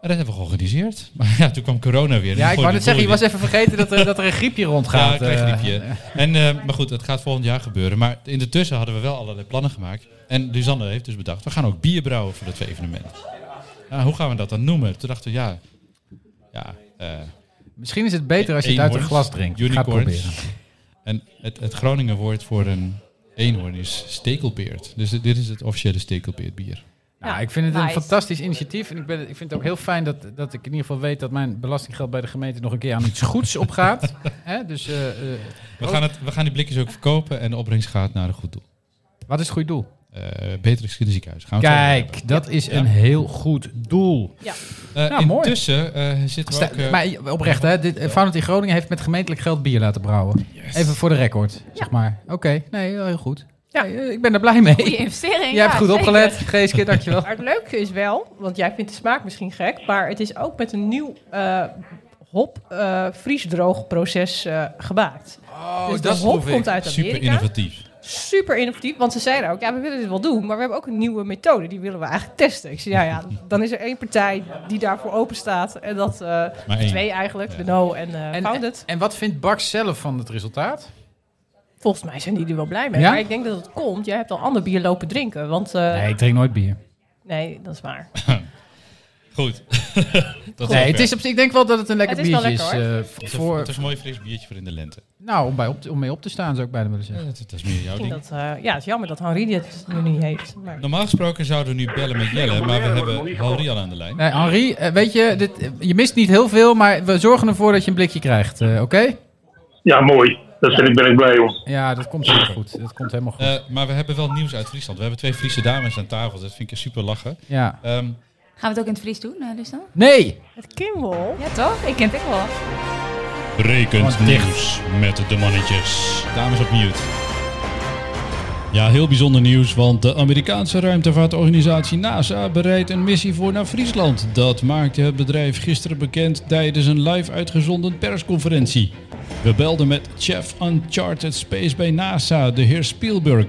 Speaker 4: En dat hebben we georganiseerd. Maar ja, toen kwam corona weer.
Speaker 1: Ja, ik wou net zeggen, je was even vergeten dat er, dat er een griepje
Speaker 4: Ja, ik
Speaker 1: rondgaat.
Speaker 4: kreeg een
Speaker 1: eh.
Speaker 4: griepje. En, eh, maar goed, het gaat volgend jaar gebeuren. Maar intussen hadden we wel allerlei plannen gemaakt. En Lisanne heeft dus bedacht, we gaan ook bier brouwen voor dat evenement. Nou, hoe gaan we dat dan noemen? Toen dachten we, ja... ja eh,
Speaker 1: Misschien is het beter als je het uit een
Speaker 4: eenhoorns,
Speaker 1: glas drinkt. Ga het
Speaker 4: Unicorns.
Speaker 1: proberen.
Speaker 4: En het, het Groningen woord voor een eenhoorn is stekelbeert. Dus dit, dit is het officiële stekelbeertbier.
Speaker 1: Nou,
Speaker 6: Ja,
Speaker 1: ik vind het een
Speaker 6: nice.
Speaker 1: fantastisch initiatief. En ik, ben, ik vind het ook heel fijn dat, dat ik in ieder geval weet dat mijn belastinggeld bij de gemeente nog een keer aan iets goeds opgaat. Hè, dus eh, eh,
Speaker 4: We
Speaker 1: Oh.
Speaker 4: gaan, het, we gaan die blikjes ook verkopen en de opbrengst gaat naar een goed doel.
Speaker 1: wat is het goede doel?
Speaker 4: Eh betere kinderziekenhuis. Gaan we het over hebben.
Speaker 1: Kijk, dat is een heel goed doel.
Speaker 4: Eh,
Speaker 1: nou, mooi.
Speaker 4: intussen eh, zitten we
Speaker 1: Sta-
Speaker 4: ook... eh,
Speaker 1: maar oprecht, hè? Dit, eh, Founded in Groningen heeft met gemeentelijk geld bier laten brouwen. Even voor de record, zeg maar. Oké, nee, wel heel goed. Ja, eh, ik ben er blij mee.
Speaker 6: Goede investering.
Speaker 1: Jij hebt
Speaker 6: ja,
Speaker 1: goed
Speaker 6: zeker.
Speaker 1: opgelet. Geeske, dankjewel.
Speaker 7: Maar het leuke is wel, want jij vindt de smaak misschien gek, maar het is ook met een nieuw eh, hop eh vriesdroog proces eh, gemaakt.
Speaker 1: Oh,
Speaker 7: dus de hop komt uit Amerika.
Speaker 4: Super innovatief.
Speaker 7: super innovatief. Want ze zeiden ook, ja, we willen dit wel doen, maar we hebben ook een nieuwe methode. Die willen we eigenlijk testen. Ik zei, ja, ja, dan is er één partij die daarvoor open staat. En dat, eh,
Speaker 4: één.
Speaker 7: twee eigenlijk,
Speaker 4: Ja.
Speaker 7: de No en, eh
Speaker 1: en,
Speaker 7: Founded.
Speaker 1: en wat vindt Bax zelf van het resultaat?
Speaker 7: Volgens mij zijn die er wel blij mee.
Speaker 1: Ja?
Speaker 7: Maar ik denk dat het komt. Jij hebt al ander bier lopen drinken, want... eh, nee.
Speaker 1: ik drink nooit bier.
Speaker 7: dat is
Speaker 4: Oh,
Speaker 7: waar.
Speaker 4: Goed. Dat
Speaker 1: Nee, het is op zich, ik denk wel dat het een lekker
Speaker 7: Het is wel
Speaker 1: biertje is.
Speaker 7: lekker,
Speaker 1: eh,
Speaker 4: Het is,
Speaker 1: voor,
Speaker 4: het is een mooi fris biertje voor in de lente.
Speaker 1: nou, om, bij op, te- om mee op te staan zou ik bijna willen zeggen.
Speaker 4: Dat, is meer jouw
Speaker 7: Ik denk
Speaker 4: ding.
Speaker 7: dat, eh, ja, het is jammer dat Henri dit nu niet heeft. Maar...
Speaker 4: Normaal gesproken zouden we nu bellen met Jelle, maar we hebben Henri al aan de
Speaker 7: Mm.
Speaker 4: lijn.
Speaker 1: Nee, Henri, eh, weet je, dit, eh, je mist niet heel veel, maar we zorgen ervoor dat je een blikje krijgt, eh, oké?
Speaker 5: Ja, mooi. Dat vind ik, ben ik blij om.
Speaker 1: Ja, dat komt helemaal goed. Dat komt helemaal goed.
Speaker 4: Eh, maar we hebben wel nieuws uit Friesland. We hebben twee Friese dames aan tafel. Dat vind ik super lachen.
Speaker 1: ja.
Speaker 4: Ehm,
Speaker 6: Gaan we het ook in het Fries doen, eh, Lisan?
Speaker 1: Nee!
Speaker 7: Het Kimball.
Speaker 6: Ja, toch? Ik ken het ook wel.
Speaker 8: Rekent
Speaker 1: Want dicht.
Speaker 8: nieuws met de mannetjes.
Speaker 4: dames op mute.
Speaker 8: Ja, heel bijzonder nieuws, want de Amerikaanse ruimtevaartorganisatie NASA bereidt een missie voor naar Friesland. Dat maakte het bedrijf gisteren bekend tijdens een live uitgezonden persconferentie. We belden met chef Uncharted Space bij NASA, de heer Spielberg.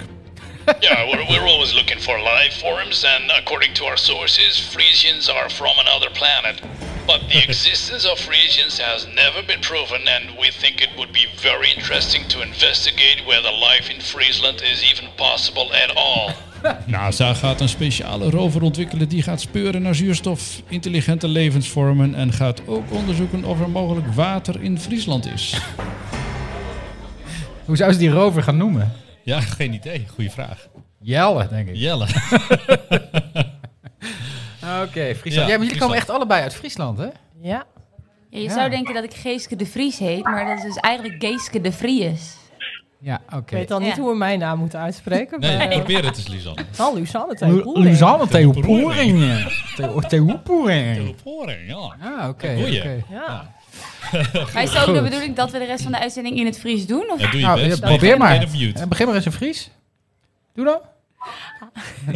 Speaker 9: Yeah, we're, we're always looking for live forms, and according to our sources, Frisians are from another planet. But the existence of Frisians has never been proven, and we think it would be very interesting to investigate whether life in Friesland is even possible at all.
Speaker 8: NASA gaat een speciale rover ontwikkelen die gaat speuren naar zuurstof, intelligente levensvormen en gaat ook onderzoeken of er mogelijk water in Friesland is.
Speaker 1: Hoe zou ze die rover gaan noemen?
Speaker 4: Ja, geen idee. Goeie vraag.
Speaker 1: Jelle, denk ik.
Speaker 4: Jelle.
Speaker 1: Oké, Friesland. Ja, maar
Speaker 4: Ja,
Speaker 1: jullie
Speaker 4: Friesland.
Speaker 1: komen echt allebei uit Friesland, hè?
Speaker 7: Ja.
Speaker 6: Ja, je
Speaker 1: Ja.
Speaker 6: zou denken dat ik Geeske de Vries heet, maar dat is dus eigenlijk Geeske de Vries.
Speaker 1: Ja, oké.
Speaker 7: Ik weet al niet
Speaker 6: Ja.
Speaker 7: hoe we mijn naam moeten uitspreken.
Speaker 4: Nee,
Speaker 7: maar, eh,
Speaker 4: probeer het eens, Lisanne.
Speaker 7: Al Luzanne
Speaker 1: Lu-
Speaker 7: tegen
Speaker 1: Luzanne tegen Poeringen. Tegen- Tegen Poeringen.
Speaker 4: Teleporing, ja.
Speaker 1: Ah, oké.
Speaker 4: Dat doe je.
Speaker 1: oké.
Speaker 7: Ja.
Speaker 6: Maar is het ook de
Speaker 1: Goed.
Speaker 6: bedoeling dat we de rest van de uitzending in het Fries doen? Of?
Speaker 4: Ja, doe je
Speaker 1: Nou,
Speaker 4: best.
Speaker 1: ja, probeer maar.
Speaker 4: Interviewd.
Speaker 1: Eh, Begin maar eens in Fries. Doe dan.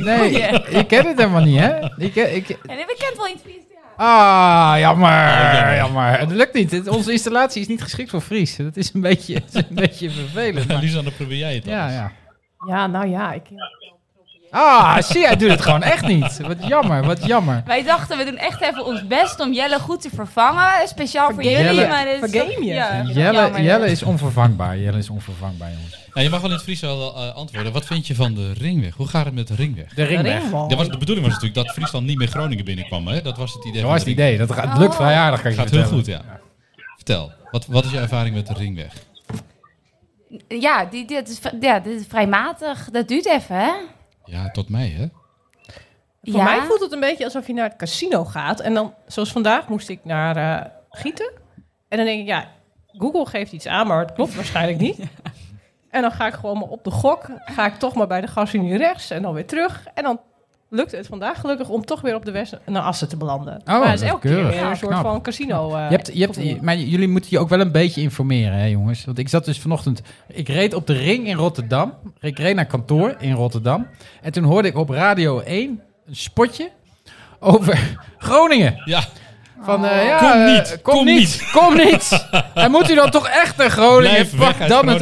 Speaker 1: Nee,
Speaker 6: Ja.
Speaker 1: je kent het helemaal niet, hè? Ik, ik,
Speaker 6: En we kent wel in het Fries. ja.
Speaker 1: ah,
Speaker 4: Oh,
Speaker 1: jammer, jammer. Het lukt niet. Het- Onze installatie is niet geschikt voor Fries. Dat is een beetje, dat is een beetje vervelend. maar-
Speaker 4: Lisanne, probeer jij het
Speaker 1: ja,
Speaker 4: anders.
Speaker 1: ja.
Speaker 7: ja, nou ja. Ik,
Speaker 1: Ah, zie, hij doet het gewoon echt niet. Wat jammer, wat jammer.
Speaker 6: Wij dachten, we doen echt even ons best om Jelle goed te vervangen. Speciaal voor
Speaker 1: Vergame
Speaker 6: jullie.
Speaker 1: je.
Speaker 6: Maar dit is
Speaker 7: Vergame
Speaker 6: toch-
Speaker 7: je.
Speaker 6: ja.
Speaker 1: Jelle,
Speaker 6: Jammer,
Speaker 1: Jelle
Speaker 6: ja.
Speaker 1: is onvervangbaar. Jelle is onvervangbaar, jongens.
Speaker 4: Nou, je mag wel in het Fries wel eh, antwoorden. Wat vind je van de ringweg? Hoe gaat het met de ringweg?
Speaker 1: De ringweg.
Speaker 7: Ringwal.
Speaker 4: Ja, was, de bedoeling was natuurlijk dat Friesland niet meer Groningen binnenkwam. Hè? Dat was het idee.
Speaker 1: Dat
Speaker 4: van
Speaker 1: was
Speaker 4: de
Speaker 1: het
Speaker 4: ringweg.
Speaker 1: idee. Dat gaat, het
Speaker 6: Oh.
Speaker 1: lukt vrij aardig, kan ik je
Speaker 4: Gaat heel
Speaker 1: vertellen.
Speaker 4: goed, ja. Vertel, wat, wat is je ervaring met de ringweg?
Speaker 6: Ja, die, dit, is, vri- ja, dit is vrij matig. Dat duurt even, hè?
Speaker 4: Ja, tot mij, hè?
Speaker 7: Voor
Speaker 6: ja.
Speaker 7: mij voelt het een beetje alsof je naar het casino gaat. En dan, zoals vandaag, moest ik naar eh, Gieten. En dan denk ik, ja, Google geeft iets aan, maar het klopt waarschijnlijk niet. En dan ga ik gewoon maar op de gok. Ga ik toch maar bij de gasunie rechts en dan weer terug. En dan lukt het vandaag gelukkig om toch weer op de west naar Assen te belanden. maar
Speaker 1: Oh, dat
Speaker 7: het is
Speaker 1: is
Speaker 7: elke
Speaker 1: keurig.
Speaker 7: keer weer een soort
Speaker 1: Knap.
Speaker 7: van casino. eh,
Speaker 1: Je hebt, je hebt,
Speaker 7: opnieuw.
Speaker 1: je- maar jullie moeten je ook wel een beetje informeren, hè, jongens. Want ik zat dus vanochtend... Ik reed op de ring in Rotterdam. Ik reed naar kantoor in Rotterdam. En toen hoorde ik op Radio 1 een spotje over Groningen.
Speaker 4: Ja,
Speaker 1: Van, eh, ja,
Speaker 4: Kom
Speaker 1: eh,
Speaker 4: niet,
Speaker 1: kom,
Speaker 4: kom
Speaker 1: niet,
Speaker 4: niet.
Speaker 1: kom niet. en moet u dan toch echt naar Groningen?
Speaker 4: Blijf weg
Speaker 1: Pak
Speaker 4: uit
Speaker 1: dan het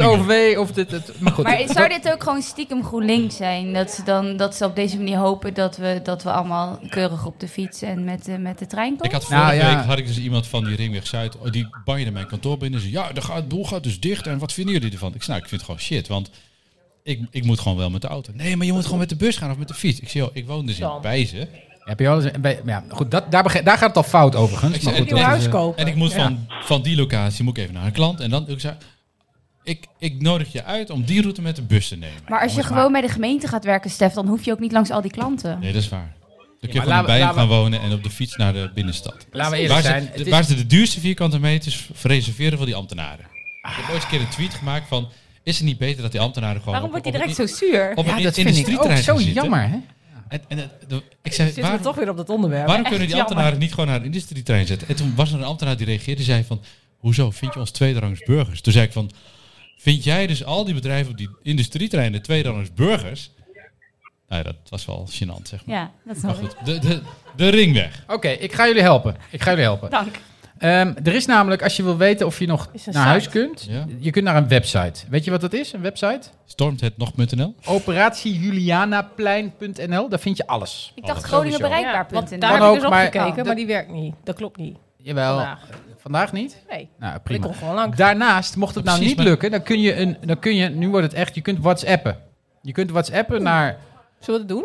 Speaker 1: OV
Speaker 4: Groningen.
Speaker 1: of dit... Het, maar goed.
Speaker 6: Maar zou dit ook gewoon stiekem GroenLinks zijn? Dat ze, dan, dat ze op deze manier hopen dat we, dat we allemaal keurig op de fiets en met, de- met de trein
Speaker 4: ik
Speaker 6: komen?
Speaker 4: had vorige
Speaker 1: Nou, ja.
Speaker 4: week had ik dus iemand van die ringweg Zuid, oh, die banjerde mijn kantoor binnen. Ze, ja, de gaat, boel gaat dus dicht en wat vinden jullie ervan? Ik, zei, nou, ik vind het gewoon shit, want ik, ik moet gewoon wel met de auto. Nee, maar je moet gewoon met de bus gaan of met de fiets. Ik zei, joh, ik woon dus in
Speaker 7: Dan.
Speaker 4: Bijzen
Speaker 1: Heb je wel eens... een- bij- Ja, goed, dat, daar, bege- daar gaat het al fout overigens.
Speaker 4: Ik
Speaker 1: Maar
Speaker 4: zei-
Speaker 1: goed,
Speaker 7: nieuw
Speaker 1: dat is,
Speaker 7: huis
Speaker 1: eh,
Speaker 7: kopen.
Speaker 4: en ik moet van, van die locatie moet ik even naar een klant. En dan, ik zei, ik, ik nodig je uit om die route met de bus te nemen.
Speaker 6: Maar als je gewoon bij de gemeente gaat werken, Stef, dan hoef je ook niet langs al die klanten.
Speaker 4: Nee, dat is waar. Dan kun je
Speaker 1: maar
Speaker 4: gewoon
Speaker 1: laten we-
Speaker 4: bij hem
Speaker 1: laten
Speaker 4: gaan
Speaker 1: we-
Speaker 4: wonen en op de fiets naar de binnenstad.
Speaker 1: Laten we
Speaker 4: waar
Speaker 1: eerlijk
Speaker 4: ze-
Speaker 1: zijn.
Speaker 4: de-
Speaker 1: het is-
Speaker 4: waar ze de duurste vierkante meters v- reserveren voor die ambtenaren.
Speaker 1: Ah.
Speaker 4: Ik heb ooit een keer een tweet gemaakt van... Is het niet beter dat die ambtenaren gewoon...
Speaker 6: Waarom wordt hij direct zo
Speaker 4: op,
Speaker 6: zuur?
Speaker 4: op een
Speaker 1: Ja,
Speaker 4: in-
Speaker 1: Ah, dat vind ik ook
Speaker 4: industrieterrein
Speaker 1: zo
Speaker 4: gaan zitten?
Speaker 1: jammer, hè?
Speaker 4: En, en, het- de- ik zei,
Speaker 7: Zitten
Speaker 4: waarom,
Speaker 7: we toch weer op dat onderwerp.
Speaker 4: waarom
Speaker 7: Echt
Speaker 4: kunnen die
Speaker 7: jammer.
Speaker 4: ambtenaren niet gewoon naar een industrietrein zetten? En toen was er een ambtenaar die reageerde en zei van... Hoezo, vind je ons tweederangs burgers? Toen zei ik van... Vind jij dus al die bedrijven op die industrietreinen tweederangs burgers? Nou ja, dat was wel gênant, zeg maar.
Speaker 6: Ja, dat
Speaker 4: Maar
Speaker 6: snap ik.
Speaker 4: goed, de, de, de ringweg.
Speaker 1: Oké, ik ga jullie helpen. Ik ga jullie helpen.
Speaker 6: Dank.
Speaker 1: Ehm, er is namelijk, als je wil weten of je nog naar
Speaker 7: Nou. Is een
Speaker 1: huis
Speaker 7: site.
Speaker 1: kunt,
Speaker 4: Ja.
Speaker 1: je kunt naar een website. Weet je wat dat is, een website?
Speaker 4: Stormthetnog.nl?
Speaker 1: Operatiejulianaplein.nl, daar vind je alles.
Speaker 6: Ik
Speaker 4: Oh,
Speaker 6: dacht
Speaker 1: sowieso.
Speaker 7: want
Speaker 6: GroningenBereikbaar.nl.
Speaker 7: daar
Speaker 1: Dan
Speaker 7: heb ik dus
Speaker 1: ook,
Speaker 7: op
Speaker 1: maar-
Speaker 7: gekeken, maar
Speaker 1: Dat-
Speaker 7: die werkt niet. Dat klopt niet.
Speaker 1: Jawel, vandaag,
Speaker 7: Vandaag.
Speaker 1: niet?
Speaker 7: Nee,
Speaker 1: Nou,
Speaker 7: ik
Speaker 1: prima.
Speaker 7: kom gewoon lang.
Speaker 1: Daarnaast, mocht het
Speaker 4: Ja,
Speaker 1: nou
Speaker 4: precies,
Speaker 1: niet
Speaker 4: maar-
Speaker 1: lukken, dan kun je, een, dan kun je, nu wordt het echt, je kunt whatsappen. Je kunt whatsappen naar
Speaker 7: Zullen we dat doen?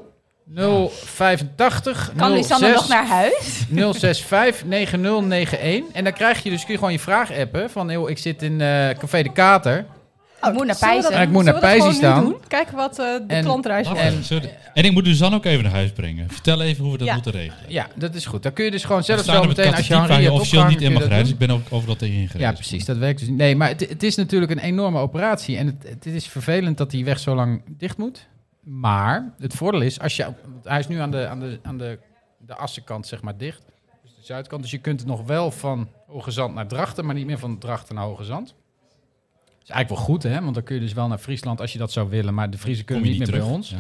Speaker 1: 085
Speaker 6: dus Kan Lisanne
Speaker 1: 06
Speaker 6: nog naar huis?
Speaker 1: 065-9091. En dan krijg je dus kun je gewoon je vraag appen van, joh, ik zit in eh, Café de Kater.
Speaker 6: Ik moet naar
Speaker 7: Oh, Zullen we dat-
Speaker 1: Ja,
Speaker 6: Pijzen.
Speaker 1: ik moet naar
Speaker 7: zullen we dat
Speaker 1: Pijsie
Speaker 7: gewoon nu
Speaker 1: staan.
Speaker 7: doen? Kijken wat eh, de
Speaker 1: En-
Speaker 7: klantreis
Speaker 4: En,
Speaker 7: wordt.
Speaker 1: En-
Speaker 4: en ik moet Suzanne ook even naar huis brengen. Vertel even hoe we dat
Speaker 7: Ja.
Speaker 4: moeten regelen.
Speaker 1: Ja, dat is goed. Dan kun je dus gewoon
Speaker 4: We
Speaker 1: zelf
Speaker 4: staan
Speaker 1: zo
Speaker 4: er met
Speaker 1: meteen als je
Speaker 4: kathetiek
Speaker 1: Henri
Speaker 4: waar
Speaker 1: hebt
Speaker 4: je officieel
Speaker 1: opgehangen,
Speaker 4: niet in mag
Speaker 1: kun je dat
Speaker 4: rijden. Dus ik
Speaker 1: doen.
Speaker 4: ben ook overal tegen ingereden.
Speaker 1: Ja, precies. Dat werkt dus niet. Nee, maar het, het is natuurlijk een enorme operatie. En het, het is vervelend dat die weg zo lang dicht moet. Maar het voordeel is, als je, want hij is nu aan de, aan de, aan de, de assenkant zeg maar dicht. Dus de zuidkant. Dus je kunt nog wel van Hoge Zand naar Drachten, maar niet meer van Drachten naar Hoge Zand. is eigenlijk wel goed, hè? Want dan kun je dus wel naar Friesland als je dat zou willen. Maar de Friese
Speaker 4: Kom
Speaker 1: kunnen
Speaker 4: je
Speaker 1: niet meer
Speaker 4: terug.
Speaker 1: bij ons.
Speaker 4: Ja.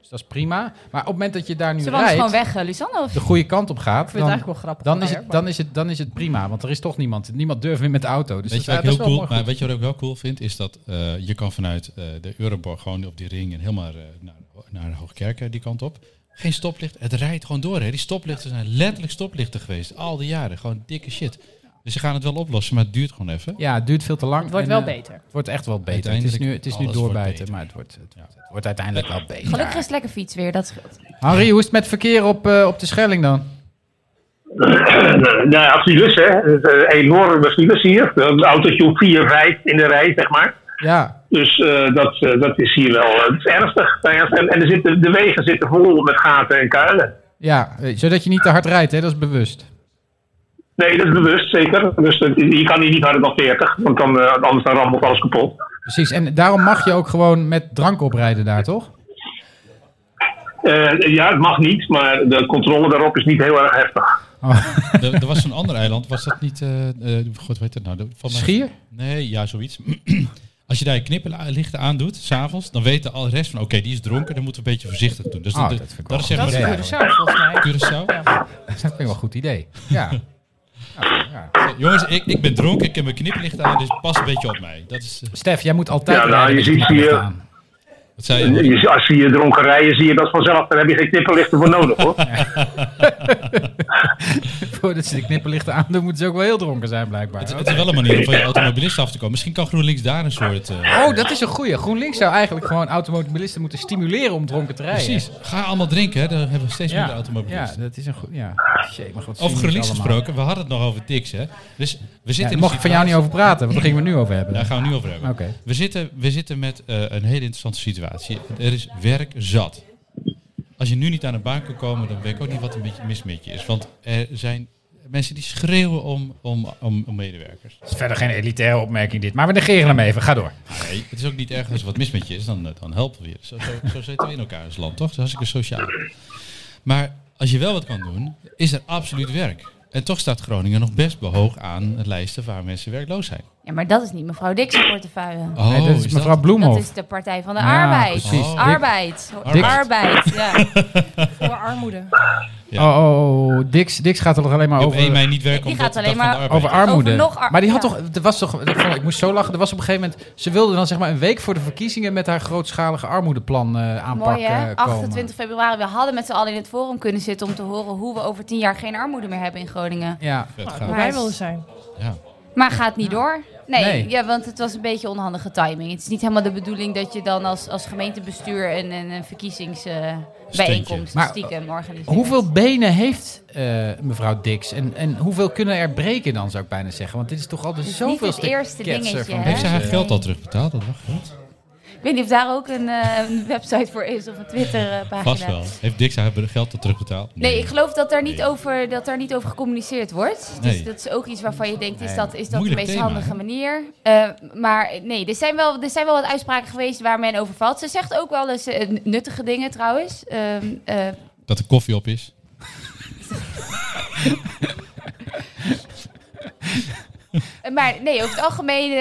Speaker 1: Dus dat is prima. Maar op het moment dat je daar nu
Speaker 6: Ze wandelen gewoon
Speaker 1: rijdt,
Speaker 6: weg, eh, Lisanne. Of...
Speaker 1: de goede kant op gaat,
Speaker 7: vind het
Speaker 1: dan,
Speaker 7: eigenlijk wel grappig.
Speaker 1: dan, is
Speaker 7: hoor,
Speaker 1: het,
Speaker 7: maar-
Speaker 1: dan, is het, dan is het prima. Want er is toch niemand. Niemand durft meer met de auto. Dus
Speaker 8: Weet je
Speaker 1: dat,
Speaker 8: wat
Speaker 1: is- dat
Speaker 8: ik
Speaker 1: is
Speaker 8: heel
Speaker 1: wel
Speaker 8: cool,
Speaker 1: mooi
Speaker 8: maar
Speaker 1: goed.
Speaker 8: weet je wat ik wel cool vind? Is dat eh, je kan vanuit eh, de Euroborg gewoon op die ring en helemaal eh, naar, naar Hoogkerken eh, die kant op. Geen stoplicht. Het rijdt gewoon door. Hè. Die stoplichten zijn letterlijk stoplichten geweest. Al die jaren. Gewoon dikke shit. Dus ze gaan het wel oplossen, maar het duurt gewoon even.
Speaker 1: Ja, het duurt veel te lang.
Speaker 7: Het wordt
Speaker 1: en,
Speaker 7: wel
Speaker 1: eh,
Speaker 7: beter.
Speaker 1: Het wordt echt wel beter. Het is nu, het is nu
Speaker 8: Uiteindelijk, alles wordt
Speaker 1: doorbijten,
Speaker 8: beter.
Speaker 1: maar het wordt, het, het wordt uiteindelijk wel beter.
Speaker 6: Gelukkig is het lekker fiets weer, dat scheelt.
Speaker 1: Harry, hoe is het met verkeer op, eh, op de Schelling dan?
Speaker 5: nou ja, files hè. Eh, Enorme files hier. Een autootje op vier rijdt in de rij, zeg maar.
Speaker 1: Ja,
Speaker 5: Dus eh, dat, eh, dat is hier wel eh, het is ernstig. Nou ja, En, en er zitten, de wegen zitten vol met gaten en kuilen.
Speaker 1: ja, eh, zodat je niet te hard rijdt, hè? dat is bewust.
Speaker 5: Nee, dat is bewust, zeker. Dus eh, je kan hier niet harder dan 40, want dan, eh, anders dan rammelt alles kapot.
Speaker 1: Precies, en daarom mag je ook gewoon met drank oprijden daar, toch?
Speaker 5: Eh, ja, het mag niet, maar de controle daarop is niet heel erg heftig.
Speaker 4: Er, er was zo'n ander eiland, was dat niet... eh eh, God, weet het nou? de- Van mij-
Speaker 1: Schier?
Speaker 4: Nee, ja, zoiets. Als je daar je knippenlichten aandoet, s'avonds, dan weet de al- rest van... Oké, die is dronken, dan moeten we een beetje voorzichtig doen. Dus
Speaker 1: Ah,
Speaker 4: dat,
Speaker 1: dat vind ik
Speaker 4: dat is zeg
Speaker 7: Dat
Speaker 4: maar
Speaker 7: is
Speaker 1: Ja, ja.
Speaker 7: voor de zaak, volgens mij.
Speaker 4: Curaçao.
Speaker 1: Dat vind ik wel een goed idee. Ja.
Speaker 4: Jongens, ik, ik ben dronken, ik heb mijn knippenlichten aan, dus pas een beetje op mij. Dat is... eh,
Speaker 1: Stef, jij moet altijd
Speaker 5: Ja, nou,
Speaker 1: rijden
Speaker 5: je
Speaker 1: met
Speaker 5: ziet
Speaker 1: knipperlicht
Speaker 5: hier-
Speaker 1: aan.
Speaker 4: wat zei je?
Speaker 5: Je, zie- als je hier dronken rijden, zie je dat vanzelf. Dan heb je geen knipperlichten voor nodig, hoor.
Speaker 1: Voordat ze de knipperlichten aandoen, moeten ze ook wel heel dronken zijn, blijkbaar.
Speaker 4: Het, het is wel een manier om van je automobilist af te komen. Misschien kan GroenLinks daar een soort... eh,
Speaker 1: Oh, dat is een goeie. GroenLinks zou eigenlijk gewoon automobilisten moeten stimuleren om dronken te rijden.
Speaker 4: precies. Ga allemaal drinken, hè. dan hebben we steeds
Speaker 1: Ja,
Speaker 4: minder automobilisten.
Speaker 1: ja, dat is een goed. Ja. Shit, maar goed,
Speaker 4: Over GroenLinks
Speaker 1: GroenLinks
Speaker 4: gesproken, we hadden het nog over Dix, hè. Dus we zitten
Speaker 1: Ja,
Speaker 4: in
Speaker 1: daar
Speaker 4: een
Speaker 1: mocht ik van jou niet
Speaker 4: situatie-
Speaker 1: over praten, want daar gingen we het nu over hebben.
Speaker 4: Daar gaan we nu over hebben.
Speaker 1: Oké.
Speaker 4: We, zitten, we zitten met eh, een hele interessante situatie. Er is werk zat. Als je nu niet aan de baan kan komen, dan weet ik ook niet wat een beetje mis met je is. Want er zijn mensen die schreeuwen om, om, om, om medewerkers.
Speaker 1: Het is verder geen elitaire opmerking dit, maar we negeren hem even. Ga door.
Speaker 4: Nee, het is ook niet erg als er wat mis met je is, dan, eh, dan helpen we je. Zo, zo, zo zitten we in elkaar als land, toch? Dat is hartstikke sociaal. Maar als je wel wat kan doen, is er absoluut werk. En toch staat Groningen nog best behoog aan het lijsten waar mensen werkloos zijn.
Speaker 6: Ja, maar dat is niet mevrouw Dix' portefeuille.
Speaker 4: Oh,
Speaker 1: nee, dat is, mevrouw
Speaker 6: Dat
Speaker 1: Bloemhoff.
Speaker 6: is de Partij van de
Speaker 1: Ja,
Speaker 6: Arbeid.
Speaker 1: precies.
Speaker 4: Oh.
Speaker 6: Arbeid.
Speaker 4: Dick-
Speaker 6: Arbeid, ja.
Speaker 7: Voor armoede.
Speaker 4: Ja.
Speaker 1: Oh, oh, oh, Dix, Dix gaat er toch alleen maar
Speaker 4: Op één
Speaker 1: over,
Speaker 4: mei niet werken
Speaker 6: Die
Speaker 4: omdat
Speaker 6: gaat
Speaker 4: de
Speaker 6: alleen
Speaker 4: Dag van de
Speaker 6: maar
Speaker 1: over
Speaker 4: Arbeid-
Speaker 1: armoede.
Speaker 6: Over nog ar-
Speaker 1: maar die had
Speaker 6: ja.
Speaker 1: toch, er was toch, dat vond ik ik moest zo lachen, er was op een gegeven moment, ze wilde dan zeg maar een week voor de verkiezingen met haar grootschalige armoedeplan eh aanpak
Speaker 6: Mooi
Speaker 1: eh,
Speaker 6: hè?
Speaker 1: komen.
Speaker 6: 28 februari. We hadden met z'n allen in het forum kunnen zitten om te horen hoe we over 10 jaar geen armoede meer hebben in Groningen.
Speaker 1: Ja,
Speaker 4: Vet gaaf.
Speaker 7: Waar wij willen zijn.
Speaker 4: Ja.
Speaker 6: Maar gaat niet door. Nee,
Speaker 1: Nee.
Speaker 6: Ja, want het was een beetje onhandige timing. Het is niet helemaal de bedoeling dat je dan als, als gemeentebestuur een, een, een verkiezingsbijeenkomst
Speaker 1: Maar,
Speaker 6: stiekem organiseert.
Speaker 1: hoeveel benen heeft eh, mevrouw Dix en, en hoeveel kunnen er breken dan, zou ik bijna zeggen? Want dit is toch altijd
Speaker 6: is niet
Speaker 1: zoveel
Speaker 6: het eerste dingetje, hè?
Speaker 4: Heeft zij haar
Speaker 1: deze-
Speaker 4: geld al terugbetaald? Dat mag niet.
Speaker 6: Ik weet niet of daar ook een, eh, een website voor is of een Twitter-pagina.
Speaker 4: Vast wel. Heeft Dix haar geld al terugbetaald?
Speaker 6: Nee, ik geloof dat daar niet,
Speaker 4: Nee.
Speaker 6: over, dat daar niet over gecommuniceerd wordt. Dus
Speaker 4: Nee.
Speaker 6: dat is ook iets waarvan je denkt, is dat, is dat de
Speaker 4: Moeilijk
Speaker 6: meest
Speaker 4: thema,
Speaker 6: handige
Speaker 4: hè?
Speaker 6: manier? Eh, maar nee, er zijn, wel, er zijn wel wat uitspraken geweest waar men over valt. Ze zegt ook wel eens eh, nuttige dingen trouwens. Ehm, eh,
Speaker 4: Dat er koffie op is.
Speaker 6: maar nee, over het algemeen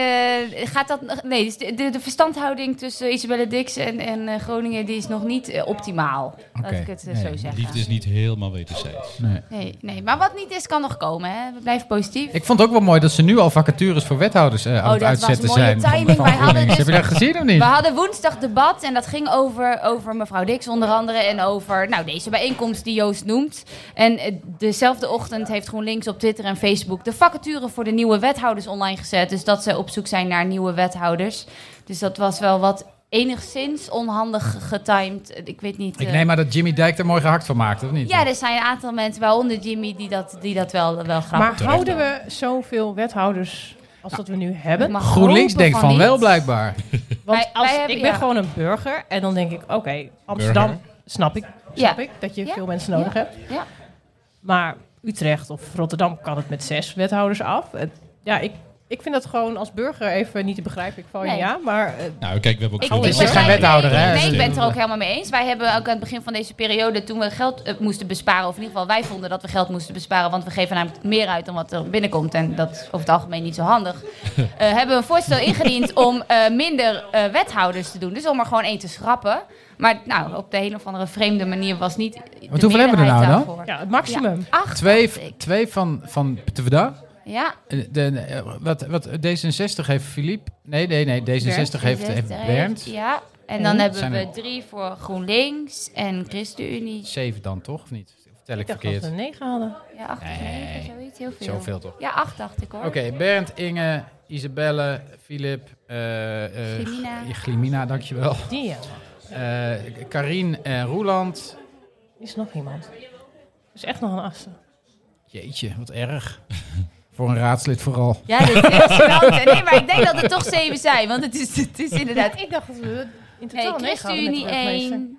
Speaker 6: eh, gaat dat... Nee, dus de, de, de verstandhouding tussen Isabelle Dix en, en eh, Groningen... die is nog niet eh, optimaal, laat
Speaker 1: Oké,
Speaker 6: ik het eh,
Speaker 1: nee,
Speaker 6: zo zeggen.
Speaker 4: Liefde is niet helemaal wederzijds.
Speaker 6: Nee, nee, maar wat niet is, kan nog komen. Hè? We blijven positief.
Speaker 1: Ik vond het ook wel mooi dat ze nu al vacatures voor wethouders eh, aan het
Speaker 6: Oh, dat was
Speaker 1: uitzetten
Speaker 6: mooie
Speaker 1: zijn.
Speaker 6: timing. Wij hadden
Speaker 1: Groningen.
Speaker 6: dus-
Speaker 1: Heb je dat gezien of
Speaker 6: We
Speaker 1: niet?
Speaker 6: hadden woensdag debat en dat ging over, over mevrouw Dix onder andere en over nou, deze bijeenkomst die Joost noemt. En eh, dezelfde ochtend heeft GroenLinks op Twitter en Facebook de vacature voor de nieuwe wethouders online gezet. Dus dat ze op zoek zijn naar nieuwe wethouders. Dus dat was wel wat enigszins onhandig getimed. Ik weet niet.
Speaker 1: Ik
Speaker 6: eh,
Speaker 1: neem maar dat Jimmy Dijk er mooi gehakt van maakt, of niet?
Speaker 6: ja, er zijn een aantal mensen, waaronder Jimmy, die dat, die dat wel, wel grappig
Speaker 7: Maar houden we zoveel wethouders als dat we nu
Speaker 6: Ik
Speaker 7: hebben?
Speaker 6: mag
Speaker 1: GroenLinks
Speaker 6: hopen
Speaker 1: denkt van, wel,
Speaker 6: niet.
Speaker 1: blijkbaar.
Speaker 7: Want
Speaker 6: Wij-
Speaker 7: als,
Speaker 6: wij hebben-
Speaker 7: ik ben
Speaker 6: ja.
Speaker 7: gewoon een burger en dan denk ik, oké, Amsterdam, snap ik, snap ik dat je
Speaker 6: Ja.
Speaker 7: veel mensen nodig
Speaker 6: Ja.
Speaker 7: hebt.
Speaker 6: Ja.
Speaker 7: Maar Utrecht of Rotterdam kan het met zes wethouders af. En ja, ik Ik vind dat gewoon als burger even niet te begrijpen. Ik val je
Speaker 6: Nee.
Speaker 7: ja, maar eh,
Speaker 4: Nou, kijk, we hebben ook
Speaker 6: Ik-
Speaker 4: veel
Speaker 6: ik
Speaker 1: is geen
Speaker 4: mensen-
Speaker 6: begrijp-
Speaker 1: wethouder, hè?
Speaker 6: Nee, ik ben het
Speaker 1: Dus-
Speaker 6: er ook helemaal mee eens. Wij hebben ook aan het begin van deze periode, toen we geld eh, moesten besparen, of in ieder geval wij vonden dat we geld moesten besparen, want we geven namelijk meer uit dan wat er binnenkomt. En dat is over het algemeen niet zo handig. eh, hebben we een voorstel ingediend om eh, minder eh, wethouders te doen. Dus om er gewoon één te schrappen. Maar nou, op de een of andere vreemde manier was niet. de
Speaker 1: Wat hoeveel hebben we er nou
Speaker 6: meerderheid
Speaker 1: dan?
Speaker 6: daarvoor.
Speaker 7: ja, het maximum.
Speaker 6: Ja, acht.
Speaker 1: Twee,
Speaker 6: dacht ik.
Speaker 1: twee van, van PvdA.
Speaker 6: Ja,
Speaker 1: Eh, De, eh, wat, wat D66 heeft Filip. Nee, nee, nee. D66 heeft, heeft
Speaker 6: Bernd.
Speaker 1: Bernd. Hm?
Speaker 6: Ja, en dan hebben
Speaker 1: Zijn
Speaker 6: we
Speaker 1: er-
Speaker 6: drie voor GroenLinks en ChristenUnie.
Speaker 1: Zeven dan, toch? Of niet? Of tel ik
Speaker 7: Ik dacht dat
Speaker 1: verkeerd?
Speaker 7: we een 9 hadden.
Speaker 6: Ja, acht of
Speaker 1: Nee,
Speaker 6: negen, zoiets. Heel veel.
Speaker 1: Zoveel toch?
Speaker 6: Ja, acht dacht ik hoor.
Speaker 1: Oké, Bernd, Inge, Isabelle, Filip, eh eh
Speaker 6: Glimina.
Speaker 1: G- Glimina, dankjewel.
Speaker 7: Die ja.
Speaker 1: Eh Karin en Roeland.
Speaker 7: Is nog iemand. Is echt nog een asse.
Speaker 1: Jeetje, wat erg. Voor een raadslid vooral.
Speaker 6: Ja, dit is echt gênant. Nee, maar ik denk dat het toch zeven zijn, want het is, het is inderdaad...
Speaker 7: Ik dacht dat we in
Speaker 6: Hey,
Speaker 7: totaal negen hadden met
Speaker 6: ChristenUnie
Speaker 7: de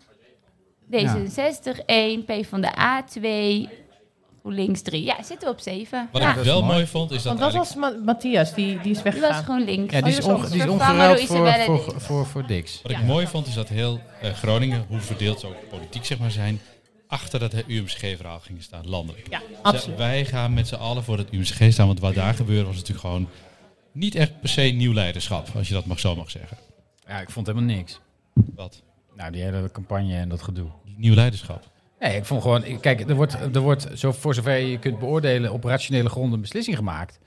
Speaker 7: burgemeester.
Speaker 6: 1, D66 1, PvdA 2, GroenLinks 3. Ja, zitten we op 7.
Speaker 4: Wat
Speaker 6: ja,
Speaker 4: ik
Speaker 6: dat
Speaker 4: wel
Speaker 1: mooi.
Speaker 4: mooi vond, is dat
Speaker 7: Want dat
Speaker 4: eigenlijk-
Speaker 7: was Ma- Matthias, die, die is
Speaker 6: was
Speaker 7: weggegaan.
Speaker 6: GroenLinks.
Speaker 1: Ja, die is, onge- die is
Speaker 6: Vervangen
Speaker 1: ongeruild
Speaker 6: door
Speaker 1: voor,
Speaker 6: Isabelle
Speaker 1: voor, voor, voor Dix.
Speaker 4: Wat ik mooi vond is dat heel eh, Groningen, hoe verdeeld ze ook politiek zeg maar zijn, achter dat UMCG-verhaal gingen staan, landelijk.
Speaker 7: Ja,
Speaker 4: Ze-
Speaker 7: absoluut.
Speaker 4: Wij gaan met z'n allen voor het UMCG staan, want wat daar gebeurde was natuurlijk gewoon niet echt per se nieuw leiderschap, als je dat mag zo mag zeggen.
Speaker 1: Ja, ik vond helemaal niks.
Speaker 4: Wat?
Speaker 1: Nou, die hele campagne en dat gedoe.
Speaker 4: Nieuw leiderschap.
Speaker 1: Nee, ik vond gewoon... Kijk, er wordt, er wordt zo, voor zover je kunt beoordelen... op rationele gronden een beslissing gemaakt.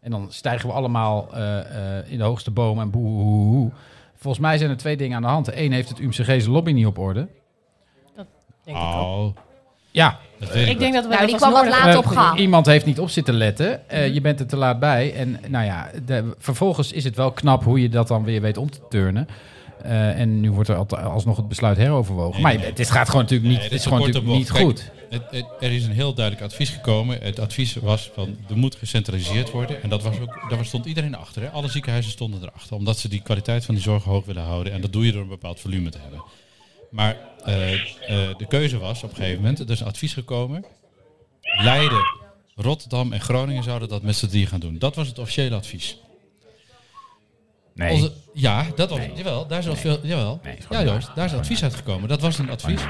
Speaker 1: En dan stijgen we allemaal eh, eh, in de hoogste boom en boehoehoe. Volgens mij zijn er twee dingen aan de hand. Eén heeft het UMCG zijn lobby niet op orde.
Speaker 7: Denk ik ook.
Speaker 4: Oh,
Speaker 1: ja,
Speaker 4: dat weet ik
Speaker 7: Ik denk dat we
Speaker 6: Nou,
Speaker 7: dat
Speaker 6: die
Speaker 7: als
Speaker 6: kwam wat
Speaker 7: nodig-
Speaker 6: laat
Speaker 1: Eh,
Speaker 6: op gang.
Speaker 1: Iemand heeft niet op zitten letten. Eh, je bent er te laat bij. En nou ja, de- vervolgens is het wel knap hoe je dat dan weer weet om te turnen. Eh, en nu wordt er alta- alsnog het besluit heroverwogen. maar je- het is, gaat gewoon natuurlijk niet,
Speaker 4: Nee,
Speaker 1: het
Speaker 4: dit
Speaker 1: is gewoon
Speaker 4: een korte
Speaker 1: natuurlijk niet
Speaker 4: bocht.
Speaker 1: goed.
Speaker 4: Kijk, het- het- er is een heel duidelijk advies gekomen. Het advies was van er moet gecentraliseerd worden. En dat was ook, daar stond iedereen achter. Hè? Alle ziekenhuizen stonden erachter. Omdat ze die kwaliteit van die zorg hoog willen houden. En dat doe je door een bepaald volume te hebben. Maar eh, eh, de keuze was op een gegeven moment, er is een advies gekomen. Leiden, Rotterdam en Groningen zouden dat met z'n drie gaan doen. Dat was het officiële advies.
Speaker 1: Nee.
Speaker 4: Onze- ja, dat was, jawel, daar is al veel, jawel. ja, Joost, daar is advies uitgekomen. Dat was een advies.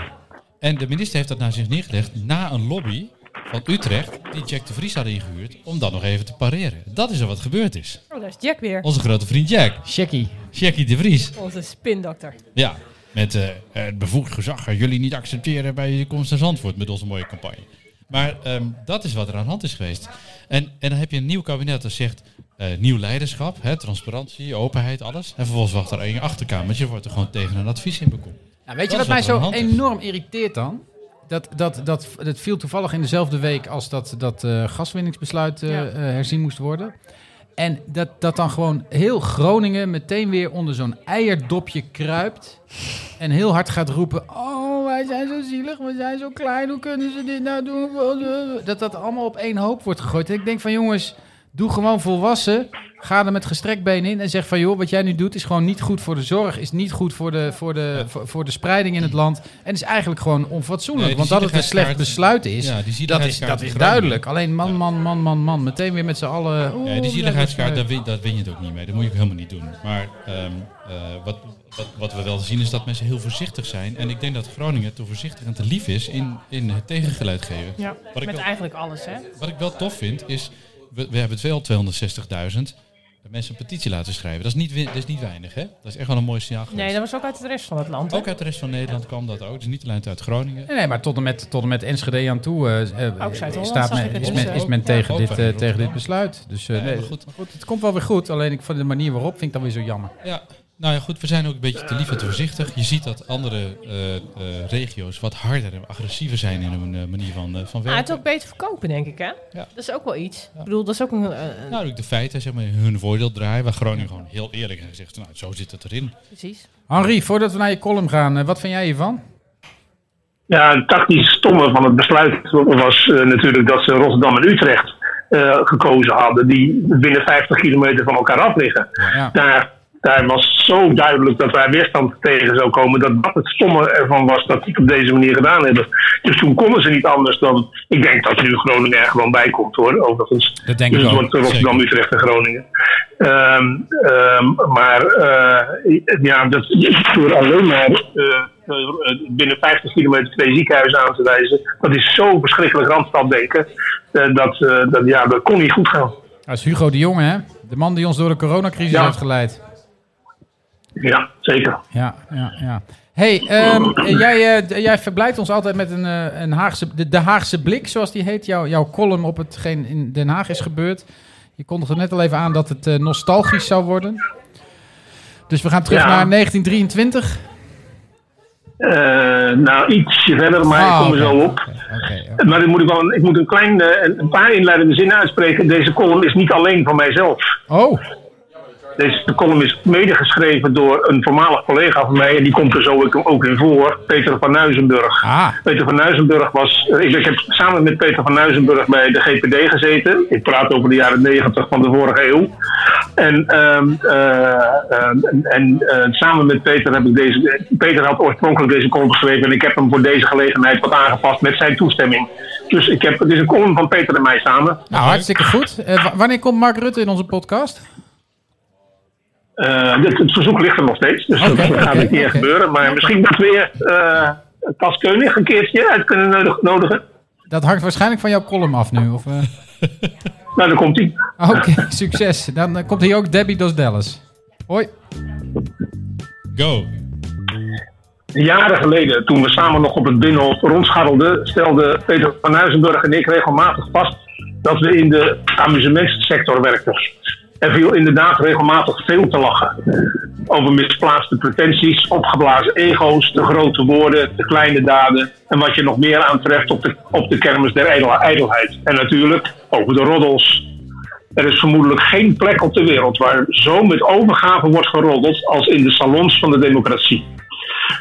Speaker 4: En de minister heeft dat naar zich neergelegd na een lobby van Utrecht, die Jack de Vries hadden ingehuurd, om dat nog even te pareren. Dat is al wat gebeurd is.
Speaker 7: Oh, daar is Jack weer.
Speaker 4: Onze grote vriend Jack,
Speaker 1: Checkie.
Speaker 4: Jackie de Vries.
Speaker 7: Onze spindokter.
Speaker 4: Ja, met eh, het bevoegd gezag gaan jullie niet accepteren bij je komst naar Zandvoort met onze mooie campagne. Maar ehm, dat is wat er aan de hand is geweest. En, en dan heb je een nieuw kabinet dat zegt eh, nieuw leiderschap, hè, transparantie, openheid, alles. En vervolgens wacht er één achterkamertje, wordt er gewoon tegen een advies in bekomen.
Speaker 1: Nou, weet je
Speaker 4: Dat
Speaker 1: wat
Speaker 4: is
Speaker 1: mij
Speaker 4: wat er
Speaker 1: zo
Speaker 4: aan de hand is.
Speaker 1: enorm irriteert dan? Dat, dat, dat, dat viel toevallig in dezelfde week als dat, dat eh, gaswinningsbesluit eh,
Speaker 7: Ja.
Speaker 1: eh, herzien moest worden. En dat, dat dan gewoon heel Groningen meteen weer onder zo'n eierdopje kruipt. En heel hard gaat roepen: Oh, wij zijn zo zielig, we zijn zo klein, hoe kunnen ze dit nou doen? Dat dat allemaal op één hoop wordt gegooid. En ik denk van jongens, doe gewoon volwassen. Ga er met gestrekt been in en zeg van joh, wat jij nu doet is gewoon niet goed voor de zorg, is niet goed voor de, voor de, voor, voor de spreiding in het land. En is eigenlijk gewoon onfatsoenlijk.
Speaker 4: Nee, die
Speaker 1: want dat het een slecht
Speaker 4: zieligheidskaart-
Speaker 1: besluit is,
Speaker 4: Ja, die
Speaker 1: dat is,
Speaker 4: zieligheidskaart
Speaker 1: dat
Speaker 4: in
Speaker 1: is
Speaker 4: Groningen.
Speaker 1: duidelijk. Alleen man, man, man, man, man. Meteen weer met z'n allen. oeh,
Speaker 4: Ja, die
Speaker 1: dat
Speaker 4: zieligheidskaart,
Speaker 1: is- eh,
Speaker 4: daar win, dat win je het ook niet mee. Dat moet je ook helemaal niet doen. Maar ehm, eh, wat, wat, wat we wel zien is dat mensen heel voorzichtig zijn. En ik denk dat Groningen te voorzichtig en te lief is in, in het tegengeluid geven.
Speaker 7: Ja,
Speaker 4: Wat ik
Speaker 7: met
Speaker 4: wel-
Speaker 7: eigenlijk alles, hè?
Speaker 4: Wat ik wel tof vind is, we, we hebben het wel 260.000 mensen een petitie laten schrijven. Dat is niet, win- dat is niet weinig, hè? Dat is echt wel een mooi signaal geweest.
Speaker 7: Nee, dat was ook uit de rest van het land. hè?
Speaker 4: Ook uit de rest van Nederland kwam dat ook. Dus niet alleen uit Groningen.
Speaker 1: Nee, nee, maar tot en met, tot en met Enschede aan toe eh, eh,
Speaker 7: Ook Zuid-Holland
Speaker 1: staat
Speaker 7: zag
Speaker 1: men-
Speaker 7: ik het
Speaker 1: is,
Speaker 7: dus
Speaker 1: men, is
Speaker 4: ook.
Speaker 1: men
Speaker 4: Ja,
Speaker 1: tegen,
Speaker 4: ook
Speaker 1: dit,
Speaker 4: bij
Speaker 1: eh, tegen dit
Speaker 4: Rotterdam.
Speaker 1: besluit. Dus eh,
Speaker 4: Ja,
Speaker 1: nee,
Speaker 4: maar goed.
Speaker 1: maar goed, het komt wel weer goed. Alleen ik van de manier waarop vind ik dat weer zo jammer.
Speaker 4: Ja, nou ja, goed. We zijn ook een beetje te lief en te voorzichtig. Je ziet dat andere eh, eh, regio's wat harder en agressiever zijn in hun eh, manier van, eh, van
Speaker 7: Maar Ah, het
Speaker 4: werken.
Speaker 7: is ook beter verkopen, denk ik, hè? Dat is ook wel iets. Ik bedoel, dat is ook een... eh, een-
Speaker 4: Nou, ook de feiten zeg maar, in hun voordeel draaien. Waar Groningen gewoon heel eerlijk en gezegd, nou, zo zit het erin.
Speaker 7: precies.
Speaker 1: Henri, voordat we naar je column gaan, eh, wat vind jij hiervan?
Speaker 5: Ja, het tactisch stomme van het besluit was eh, natuurlijk dat ze Rotterdam en Utrecht eh, gekozen hadden, die binnen 50 kilometer van elkaar af liggen.
Speaker 1: Ja.
Speaker 5: Daar Hij was zo duidelijk dat wij weerstand tegen zou komen. Dat dat het stomme ervan was dat ze het op deze manier gedaan hebben. Dus toen konden ze niet anders dan. Ik denk dat nu Groningen er gewoon bij komt hoor, overigens.
Speaker 1: Dat denk
Speaker 5: dus
Speaker 1: ik
Speaker 5: het
Speaker 1: ook,
Speaker 5: wordt Rotterdam, Utrecht en Groningen. Ehm, ehm, maar eh, ja, dat, door alleen maar eh, eh, binnen 50 kilometer twee ziekenhuizen aan te wijzen. Dat is zo verschrikkelijk randstaddenken. denken dat, eh, dat, ja, dat kon niet goed gaan.
Speaker 1: Dat is Hugo de Jonge, hè? De man die ons door de coronacrisis
Speaker 5: Ja.
Speaker 1: heeft geleid.
Speaker 5: Ja, zeker.
Speaker 1: Ja, ja, ja. hey, ehm, jij, eh, d- jij verblijft ons altijd met een, eh, een Haagse, de, de Haagse blik, zoals die heet. Jouw, jouw column op hetgeen in Den Haag is gebeurd. Je kondigde net al even aan dat het eh, nostalgisch zou worden. Dus we gaan terug
Speaker 5: Ja.
Speaker 1: naar 1923.
Speaker 5: Eh, nou, ietsje verder, maar
Speaker 1: Ah,
Speaker 5: ik kom er
Speaker 1: oké,
Speaker 5: zo op.
Speaker 1: oké, oké, oké.
Speaker 5: Maar ik moet, ik, wel, een- ik moet een, klein, eh, een een paar inleidende zinnen uitspreken. Deze column is niet alleen van mijzelf.
Speaker 1: Oh,
Speaker 5: Deze column is medegeschreven door een voormalig collega van mij. En die komt er zo ook- ook in voor. Peter van Nuizenburg.
Speaker 1: ah.
Speaker 5: Peter van Nuizenburg was. eh, Ik, ik heb samen met Peter van Nuizenburg bij de GPD gezeten. Ik praat over de jaren 90 van de vorige eeuw. En, ehm, eh, ehm, en, en, eh, samen met Peter heb ik deze. Peter had oorspronkelijk deze column geschreven. En ik heb hem voor deze gelegenheid wat aangepast met zijn toestemming. Dus ik heb, het is een column van Peter en mij samen.
Speaker 1: Nou, hartstikke goed. Eh, wa- wanneer komt Mark Rutte in onze podcast?
Speaker 5: Eh, het, het verzoek ligt er nog steeds. Dus
Speaker 1: Oké,
Speaker 5: dat gaat
Speaker 1: oké,
Speaker 5: niet meer
Speaker 1: oké.
Speaker 5: gebeuren. Maar misschien dat we eh Cas Keunig een keertje uit kunnen nodig- nodigen.
Speaker 1: Dat hangt waarschijnlijk van jouw column af nu. Of, eh?
Speaker 5: Nou, daar komt hij.
Speaker 1: Oké, succes. Dan eh, komt hier ook Debbie Dos Dallas. Hoi.
Speaker 8: Go.
Speaker 5: Jaren geleden, toen we samen nog op het Binnenhof rondscharrelden, stelde Peter van Huizenburg en ik regelmatig vast dat we in de amusementssector werkten. Er viel inderdaad regelmatig veel te lachen. Over misplaatste pretenties, opgeblazen ego's, te grote woorden, te kleine daden en wat je nog meer aantreft op de, op de kermis der ijdel- ijdelheid. En natuurlijk over de roddels. Er is vermoedelijk geen plek op de wereld waar zo met overgave wordt geroddeld als in de salons van de democratie.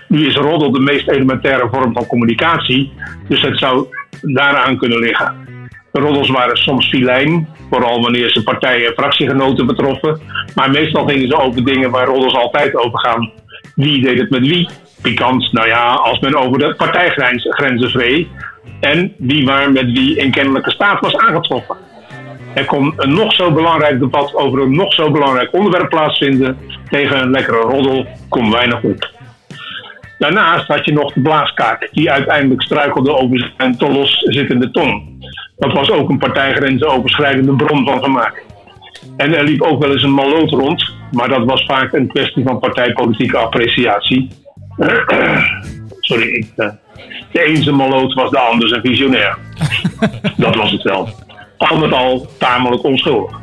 Speaker 5: Nu is roddel de meest elementaire vorm van communicatie, dus het zou daaraan kunnen liggen. De roddels waren soms filijn, vooral wanneer ze partijen en fractiegenoten betroffen, maar meestal gingen ze over dingen waar roddels altijd over gaan. Wie deed het met wie? Pikant, nou ja, als men over de partijgrenzen vree. En wie waar met wie in kennelijke staat was aangetroffen. Er kon een nog zo belangrijk debat over een nog zo belangrijk onderwerp plaatsvinden. Tegen een lekkere roddel kon weinig op. Daarnaast had je nog de blaaskaak, die uiteindelijk struikelde over zijn te los zittende tong. Dat was ook een partijgrenzenoverschrijdende bron van gemaakt. En er liep ook wel eens een malloot rond, maar dat was vaak een kwestie van partijpolitieke appreciatie. Sorry, ik, eh, de een zijn malloot was de ander zijn visionair. dat was het wel. Al met al tamelijk onschuldig.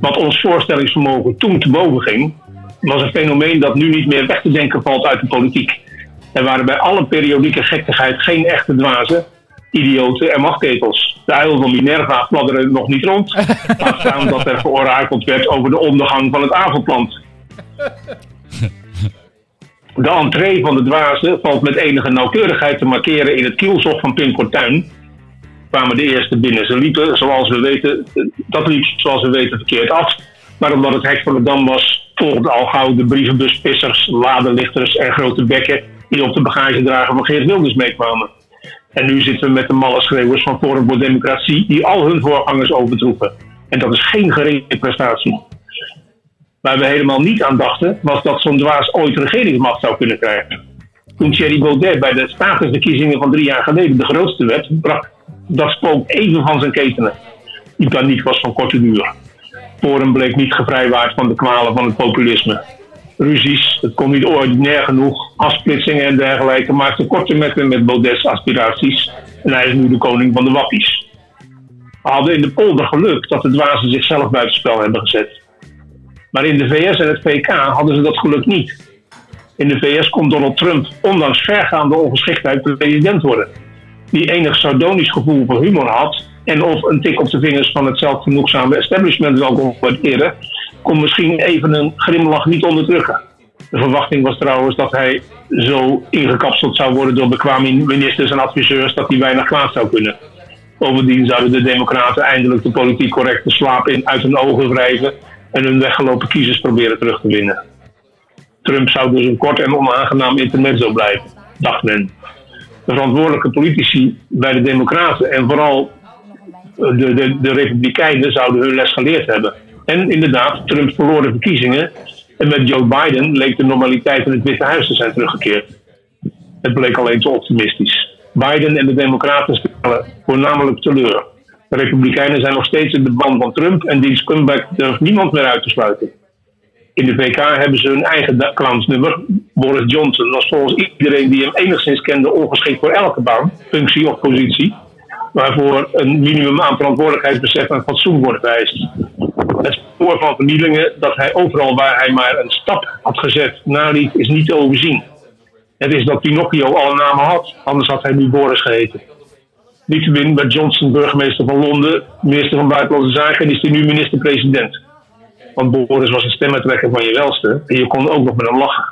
Speaker 5: Wat ons voorstellingsvermogen toen te boven ging, was een fenomeen dat nu niet meer weg te denken valt uit de politiek. Er waren bij alle periodieke gekkigheid geen echte dwazen, idioten en machtketels. De uil van Minerva fladderde nog niet rond, laat staan dat er georakeld werd over de ondergang van het avondland. De entree van de dwazen valt met enige nauwkeurigheid te markeren in het kielzog van Pim Fortuyn. Kwamen de eerste binnen. Ze liepen, zoals we weten, dat liep zoals we weten verkeerd af. Maar omdat het hek van de dam was, volgden al gauw de brievenbuspissers, ladelichters en grote bekken die op de bagagedrager van Geert Wilders meekwamen. En nu zitten we met de malle schreeuwers van Forum voor Democratie die al hun voorgangers overtroepen. En dat is geen geringe prestatie. Waar we helemaal niet aan dachten, was dat zo'n dwaas ooit regeringsmacht zou kunnen krijgen. Toen Thierry Baudet bij de statusverkiezingen van drie jaar geleden de grootste werd, brak dat spook even van zijn ketenen. Die paniek was van korte duur. Forum bleek niet gevrijwaard van de kwalen van het populisme. Ruzies, het kon niet ordinair genoeg, afsplitsingen en dergelijke maakten korte metten met Baudet's aspiraties. En hij is nu de koning van de wappies. We hadden in de polder geluk dat de dwazen zichzelf buitenspel hebben gezet. Maar in de VS en het VK hadden ze dat geluk niet. In de VS kon Donald Trump, ondanks vergaande ongeschiktheid, de president worden. Die enig sardonisch gevoel voor humor had en of een tik op de vingers van het zelfgenoegzame establishment wel kon waarderen, kon misschien even een grimlach niet onderdrukken. De verwachting was trouwens dat hij zo ingekapseld zou worden door bekwame ministers en adviseurs dat hij weinig kwaad zou kunnen. Bovendien zouden de Democraten eindelijk de politiek correcte slaap in uit hun ogen wrijven en hun weggelopen kiezers proberen terug te winnen. Trump zou dus een kort en onaangenaam intermezzo blijven, dacht men. De verantwoordelijke politici bij de Democraten en vooral eh, de, de, de Republikeinen zouden hun les geleerd hebben. En inderdaad, Trump verloor de verkiezingen en met Joe Biden leek de normaliteit in het Witte Huis te zijn teruggekeerd. Het bleek alleen te optimistisch. Biden en de Democraten stellen voornamelijk teleur. De Republikeinen zijn nog steeds in de band van Trump en diens comeback durft niemand meer uit te sluiten. In de VK hebben ze hun eigen da- clownsnummer. Boris Johnson was volgens iedereen die hem enigszins kende ongeschikt voor elke baan, functie of positie. Waarvoor een minimum aan verantwoordelijkheidsbesef en fatsoen wordt vereist. Het spoor van vernielingen dat hij overal waar hij maar een stap had gezet naliet, is niet te overzien. Het is dat Pinocchio al een naam had, anders had hij nu Boris geheten. Niettemin werd Johnson burgemeester van Londen, minister van Buitenlandse Zaken en is hij nu minister-president. Want Boris was een stemmetrekker van je welste en je kon ook nog met hem lachen.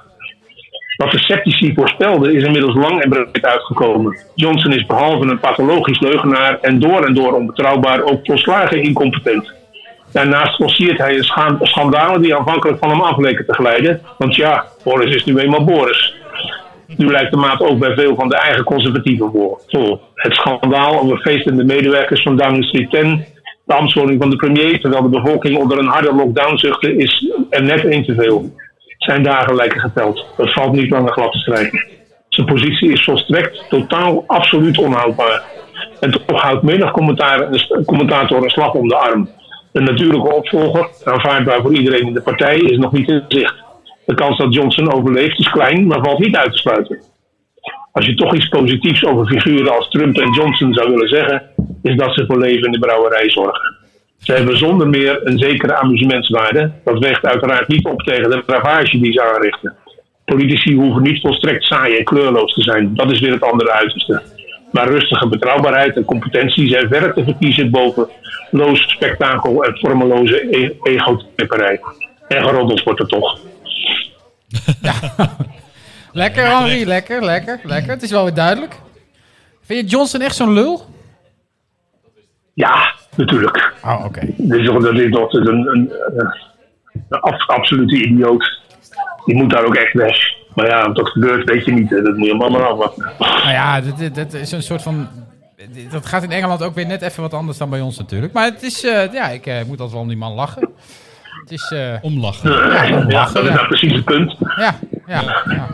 Speaker 5: Wat de sceptici voorspelden is inmiddels lang en breed uitgekomen. Johnson is behalve een pathologisch leugenaar en door en door onbetrouwbaar ook volslagen incompetent. Daarnaast forceert hij een scha- schandalen die aanvankelijk van hem af leken te glijden. Want ja, Boris is nu eenmaal Boris. Nu lijkt de maat ook bij veel van de eigen conservatieven voor- vol. Het schandaal over feestende medewerkers van Downing Street 10, de ambtswoning van de premier, terwijl de bevolking onder een harde lockdown zuchtte, is er net één te veel. Zijn dagen lijken geteld. Dat valt niet langer glad te strijken. Zijn positie is volstrekt, totaal, absoluut onhoudbaar. En toch houdt menig commentaar, een commentator een slag om de arm. De natuurlijke opvolger, aanvaardbaar voor iedereen in de partij, is nog niet in zicht. De kans dat Johnson overleeft is klein, maar valt niet uit te sluiten. Als je toch iets positiefs over figuren als Trump en Johnson zou willen zeggen, is dat ze voor leven in de brouwerij zorgen. Ze hebben zonder meer een zekere amusementswaarde. Dat weegt uiteraard niet op tegen de ravage die ze aanrichten. Politici hoeven niet volstrekt saai en kleurloos te zijn. Dat is weer het andere uiterste. Maar rustige betrouwbaarheid en competentie zijn verder te verkiezen boven loos spektakel en vormeloze e- ego-tipperij. En geroddeld wordt er toch.
Speaker 1: Lekker, Henri. Lekker, lekker, lekker. Het is wel weer duidelijk. Vind je Johnson echt zo'n lul?
Speaker 5: Ja, natuurlijk.
Speaker 1: Oh, oké.
Speaker 5: Dat is toch, dat is toch een, een, eh, een af- absolute idioot. Die moet daar ook echt weg. Maar ja, wat dat gebeurt weet je niet. hè. Dat moet je allemaal maar afwachten.
Speaker 1: Nou ja, dat, dat- dat is een soort van... Dat gaat in Engeland ook weer net even wat anders dan bij ons natuurlijk. Maar het is... eh, ja, ik eh, moet altijd wel om die man lachen. Het is... eh,
Speaker 4: Omlachen.
Speaker 5: Ja, dat is nou precies het punt.
Speaker 1: ja, ja, ja.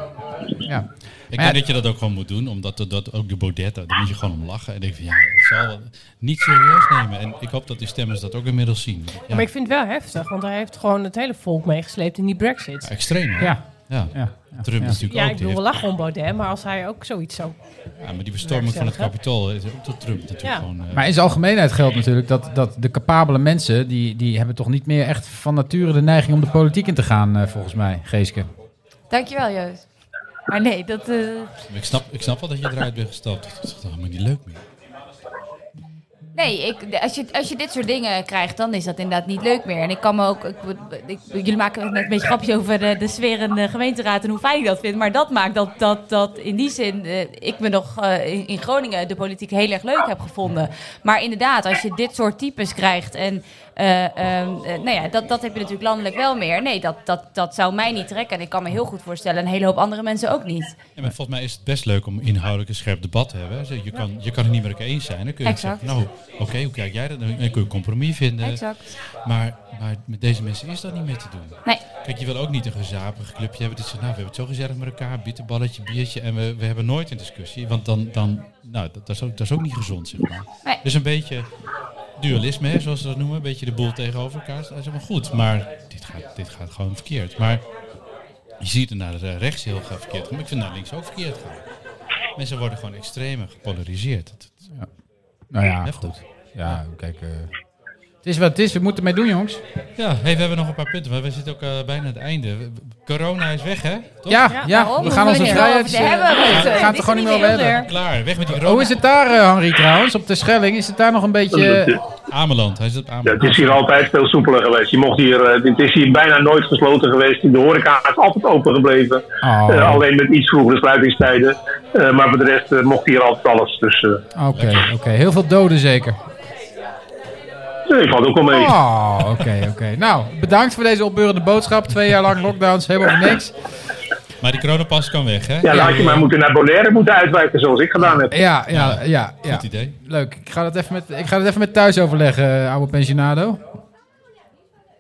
Speaker 1: ja.
Speaker 4: Ik
Speaker 1: Maar ja,
Speaker 4: denk dat je dat ook gewoon moet doen, omdat dat, dat ook de Baudetta, daar moet je gewoon om lachen. En denk van ja, het zal wel niet serieus nemen. En ik hoop dat die stemmers dat ook inmiddels zien. Ja,
Speaker 7: Maar ik vind het wel heftig, want hij heeft gewoon het hele volk meegesleept in die brexit.
Speaker 4: extreem. hè?
Speaker 1: Ja,
Speaker 4: Ja.
Speaker 1: ja, ja.
Speaker 4: Trump is natuurlijk
Speaker 7: Ja,
Speaker 4: ook.
Speaker 7: ik
Speaker 4: Die
Speaker 7: bedoel, we
Speaker 4: heeft,
Speaker 7: lachen om Baudet, maar als hij ook zoiets zou...
Speaker 4: ja, maar die bestorming van het kapitool is ook tot Trump natuurlijk
Speaker 7: Ja.
Speaker 4: gewoon. eh,
Speaker 1: Maar in zijn algemeenheid geldt natuurlijk dat, dat de capabele mensen... Die, die hebben toch niet meer echt van nature de neiging om de politiek in te gaan, eh, volgens mij, Geeske.
Speaker 6: Dankjewel, Joost. Maar nee, dat... eh,
Speaker 4: ik, snap, ik snap wel dat je eruit bent gestapt. Dat is toch helemaal niet leuk meer.
Speaker 6: Nee, ik, als, je, als je dit soort dingen krijgt, dan is dat inderdaad niet leuk meer. En ik kan me ook. Ik, ik- jullie maken net een beetje grapjes over de, de sfeer in de gemeenteraad en hoe fijn ik dat vind. Maar dat maakt dat, dat, dat in die zin eh, ik me nog eh, in, in Groningen de politiek heel erg leuk heb gevonden. Maar inderdaad, als je dit soort types krijgt en. eh, ehm, eh, nou ja, dat, dat heb je natuurlijk landelijk wel meer. Nee, dat, dat, dat zou mij niet trekken. En ik kan me heel goed voorstellen, een hele hoop andere mensen ook niet.
Speaker 4: Ja, maar volgens mij is het best leuk om inhoudelijk een scherp debat te hebben. Zo, Je kan, je kan het niet met elkaar eens zijn. Dan kun je
Speaker 6: Exact.
Speaker 4: zeggen, nou, oké, hoe kijk jij dat? Dan kun je een compromis vinden.
Speaker 6: Exact.
Speaker 4: Maar, maar met deze mensen is dat niet meer te doen.
Speaker 6: Nee,
Speaker 4: Kijk, je wil ook niet een gezapig clubje hebben. Dat zegt, nou, we hebben het zo gezellig met elkaar, bitterballetje, biertje. En we, we hebben nooit een discussie. Want dan, dan nou, dat, dat is ook, dat is ook niet gezond, zeg maar.
Speaker 6: Nee.
Speaker 4: Dus een beetje dualisme, hè, zoals ze dat noemen. Een beetje de boel tegenover elkaar. Dat is helemaal goed. Maar dit gaat, dit gaat gewoon verkeerd. Maar je ziet het naar eh, rechts heel graag verkeerd gaan. Maar ik vind het naar links ook verkeerd gaan. Mensen worden gewoon extreem en gepolariseerd. Dat is
Speaker 1: Nou ja,
Speaker 4: heftig.
Speaker 1: goed. Ja, kijk... eh, het is wat het is. We moeten ermee doen, jongens.
Speaker 4: Ja, hey, we hebben nog een paar punten, maar we zitten ook eh, bijna aan het einde. Corona is weg, hè? Toch?
Speaker 1: Ja, ja,
Speaker 6: Ja,
Speaker 1: we
Speaker 6: waarom?
Speaker 1: gaan
Speaker 6: Hoeven
Speaker 1: onze
Speaker 6: we het
Speaker 1: vrijheid...
Speaker 6: niet over te hebben,
Speaker 1: eh,
Speaker 6: want,
Speaker 1: we
Speaker 6: eh,
Speaker 1: gaan het
Speaker 6: dit
Speaker 1: er gewoon
Speaker 6: is
Speaker 1: niet meer over
Speaker 6: niet
Speaker 1: hebben.
Speaker 6: heel
Speaker 4: Klaar, weg met die corona.
Speaker 1: Hoe is het daar, eh, Henri, trouwens? Op de Schelling? Is het daar nog een beetje... eh,
Speaker 4: Ameland, hij zit op
Speaker 5: Ja,
Speaker 4: Ameland.
Speaker 5: het is hier altijd veel soepeler geweest. Je mocht hier, eh, het is hier bijna nooit gesloten geweest. De horeca is altijd open gebleven.
Speaker 1: Oh.
Speaker 5: Eh, alleen met iets vroegere sluitingstijden. Eh, maar voor de rest eh, mocht hier altijd alles. Dus eh,
Speaker 1: Oké, oké. Heel veel doden zeker.
Speaker 5: Nee, valt ook wel mee.
Speaker 1: Oh, oké, oké. Nou, bedankt voor deze opbeurende boodschap. Twee jaar lang lockdowns, helemaal voor niks.
Speaker 4: Maar die coronapas kan weg, hè?
Speaker 5: ja, dan had je maar moeten naar Bonaire moeten uitwijken zoals ik gedaan heb.
Speaker 1: Ja, ja, ja. ja.
Speaker 4: Goed idee.
Speaker 1: Leuk. Ik ga, dat even met, ik ga dat even met thuis overleggen, eh, oude pensionado.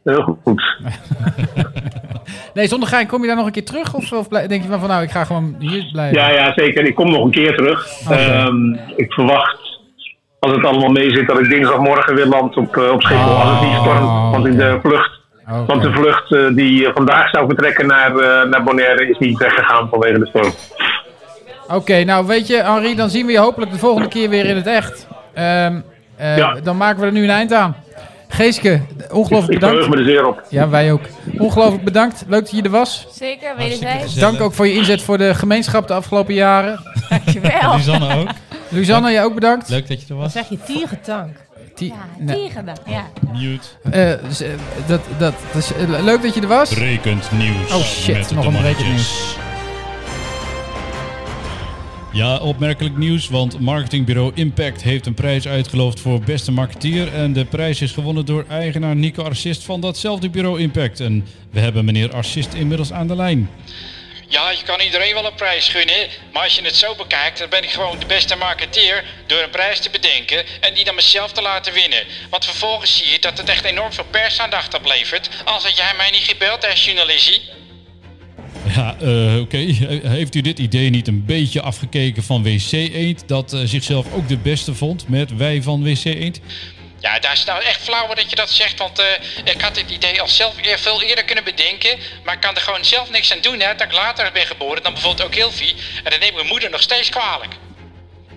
Speaker 5: Heel goed.
Speaker 1: Nee, zonder gein, kom je daar nog een keer terug? Of, of blij- denk je van, van, nou, ik ga gewoon hier blijven?
Speaker 5: Ja, ja, zeker. Ik kom nog een keer terug.
Speaker 1: Oh,
Speaker 5: Ehm, ik verwacht, als het allemaal mee zit, dat ik dinsdagmorgen weer land op, eh, op Schiphol. als het niet stormt, want in de vlucht...
Speaker 1: Ah, Oké.
Speaker 5: Want de vlucht eh, die eh, vandaag zou vertrekken naar, eh, naar Bonaire is niet weggegaan vanwege de storm.
Speaker 1: Oké, nou weet je, Henri, dan zien we je hopelijk de volgende keer weer in het echt. Ehm, eh,
Speaker 5: Ja.
Speaker 1: Dan maken we er nu een eind aan. Geeske, ongelooflijk
Speaker 5: Ik verheug
Speaker 1: bedankt.
Speaker 5: me er zeer op.
Speaker 1: Ja, wij ook. Ongelooflijk bedankt. Leuk dat je er was.
Speaker 6: Zeker, wederzijds.
Speaker 1: Dank ook voor je inzet voor de gemeenschap de afgelopen jaren.
Speaker 6: Dankjewel.
Speaker 10: Lisanne ook.
Speaker 1: Lisanne, jij ook bedankt.
Speaker 10: Leuk dat je er was.
Speaker 7: Zeg je tiergetank.
Speaker 1: Die-
Speaker 6: Ja,
Speaker 1: nee,
Speaker 6: tegen dan. Ja.
Speaker 4: Mute.
Speaker 1: eh, z- eh, dat, dat, dat is, eh, le- leuk dat je er was.
Speaker 4: Brekend nieuws.
Speaker 1: Oh, shit,
Speaker 4: met
Speaker 1: nog
Speaker 4: de
Speaker 1: een
Speaker 4: mannetjes.
Speaker 1: brekend
Speaker 4: Ja, opmerkelijk nieuws, want marketingbureau Impact heeft een prijs uitgeloofd voor beste marketeer. En de prijs is gewonnen door eigenaar Nico Arcist van datzelfde bureau Impact. En we hebben meneer Arcist inmiddels aan de lijn.
Speaker 9: Ja, je kan iedereen wel een prijs gunnen, maar als je het zo bekijkt, dan ben ik gewoon de beste marketeer door een prijs te bedenken en die dan mezelf te laten winnen. Want vervolgens zie je dat het echt enorm veel persaandacht oplevert, als had jij mij niet gebeld als journalistie.
Speaker 4: Ja, eh, oké. Heeft u dit idee niet een beetje afgekeken van WC Eend, dat eh, zichzelf ook de beste vond met wij van WC Eend?
Speaker 9: Ja, daar is nou echt flauw dat je dat zegt, want eh, ik had dit idee al zelf eer, veel eerder kunnen bedenken. Maar ik kan er gewoon zelf niks aan doen, hè, dat ik later ben geboren dan bijvoorbeeld ook Hilvi. En dat neemt mijn moeder nog steeds kwalijk.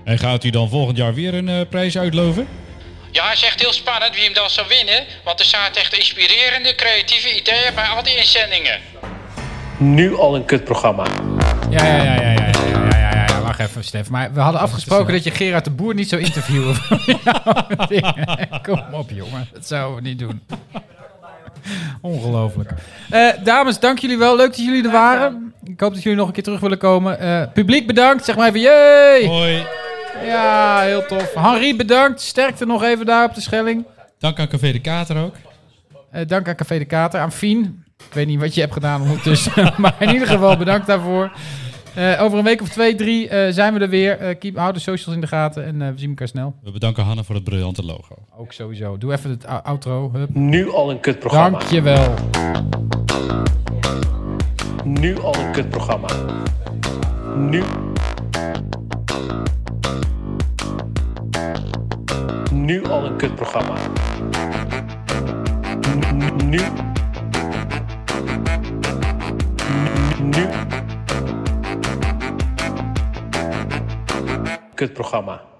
Speaker 4: En gaat u dan volgend jaar weer een eh, prijs uitloven?
Speaker 9: Ja, het is echt heel spannend wie hem dan zou winnen, want er zaten echt inspirerende, creatieve ideeën bij al die inzendingen.
Speaker 3: Nu al een kutprogramma.
Speaker 1: Ja, ja, ja, ja, ja, ja, ja, ja, ja, ja, wacht even, Stef. Maar we hadden afgesproken dat je Gerard de Boer niet zou interviewen. Kom op, jongen. Dat zouden we niet doen. Ongelooflijk. Eh, dames, dank jullie wel. Leuk dat jullie er waren. Ik hoop dat jullie nog een keer terug willen komen. Eh, publiek bedankt. Zeg maar even
Speaker 3: Oh.
Speaker 1: jee.
Speaker 4: Hoi.
Speaker 1: Ja, heel tof. Henri bedankt. Sterkte nog even daar op de Schelling.
Speaker 10: Dank aan Café de Kater ook.
Speaker 1: Eh, dank aan Café de Kater, aan Fien. Ik weet niet wat je hebt gedaan ondertussen, maar in ieder geval bedankt daarvoor. Eh, over een week of twee, drie eh, zijn we er weer. Eh, keep, hou de socials in de gaten en eh, we zien elkaar snel.
Speaker 4: We bedanken Hanna voor het briljante logo.
Speaker 1: Ook sowieso. Doe even het ou- outro. Hup.
Speaker 3: Nu al een kutprogramma.
Speaker 1: Dankjewel.
Speaker 3: Nu al een kutprogramma. Nu. Nu al een kutprogramma. Nu. Nu. Nu. Kutprogramma.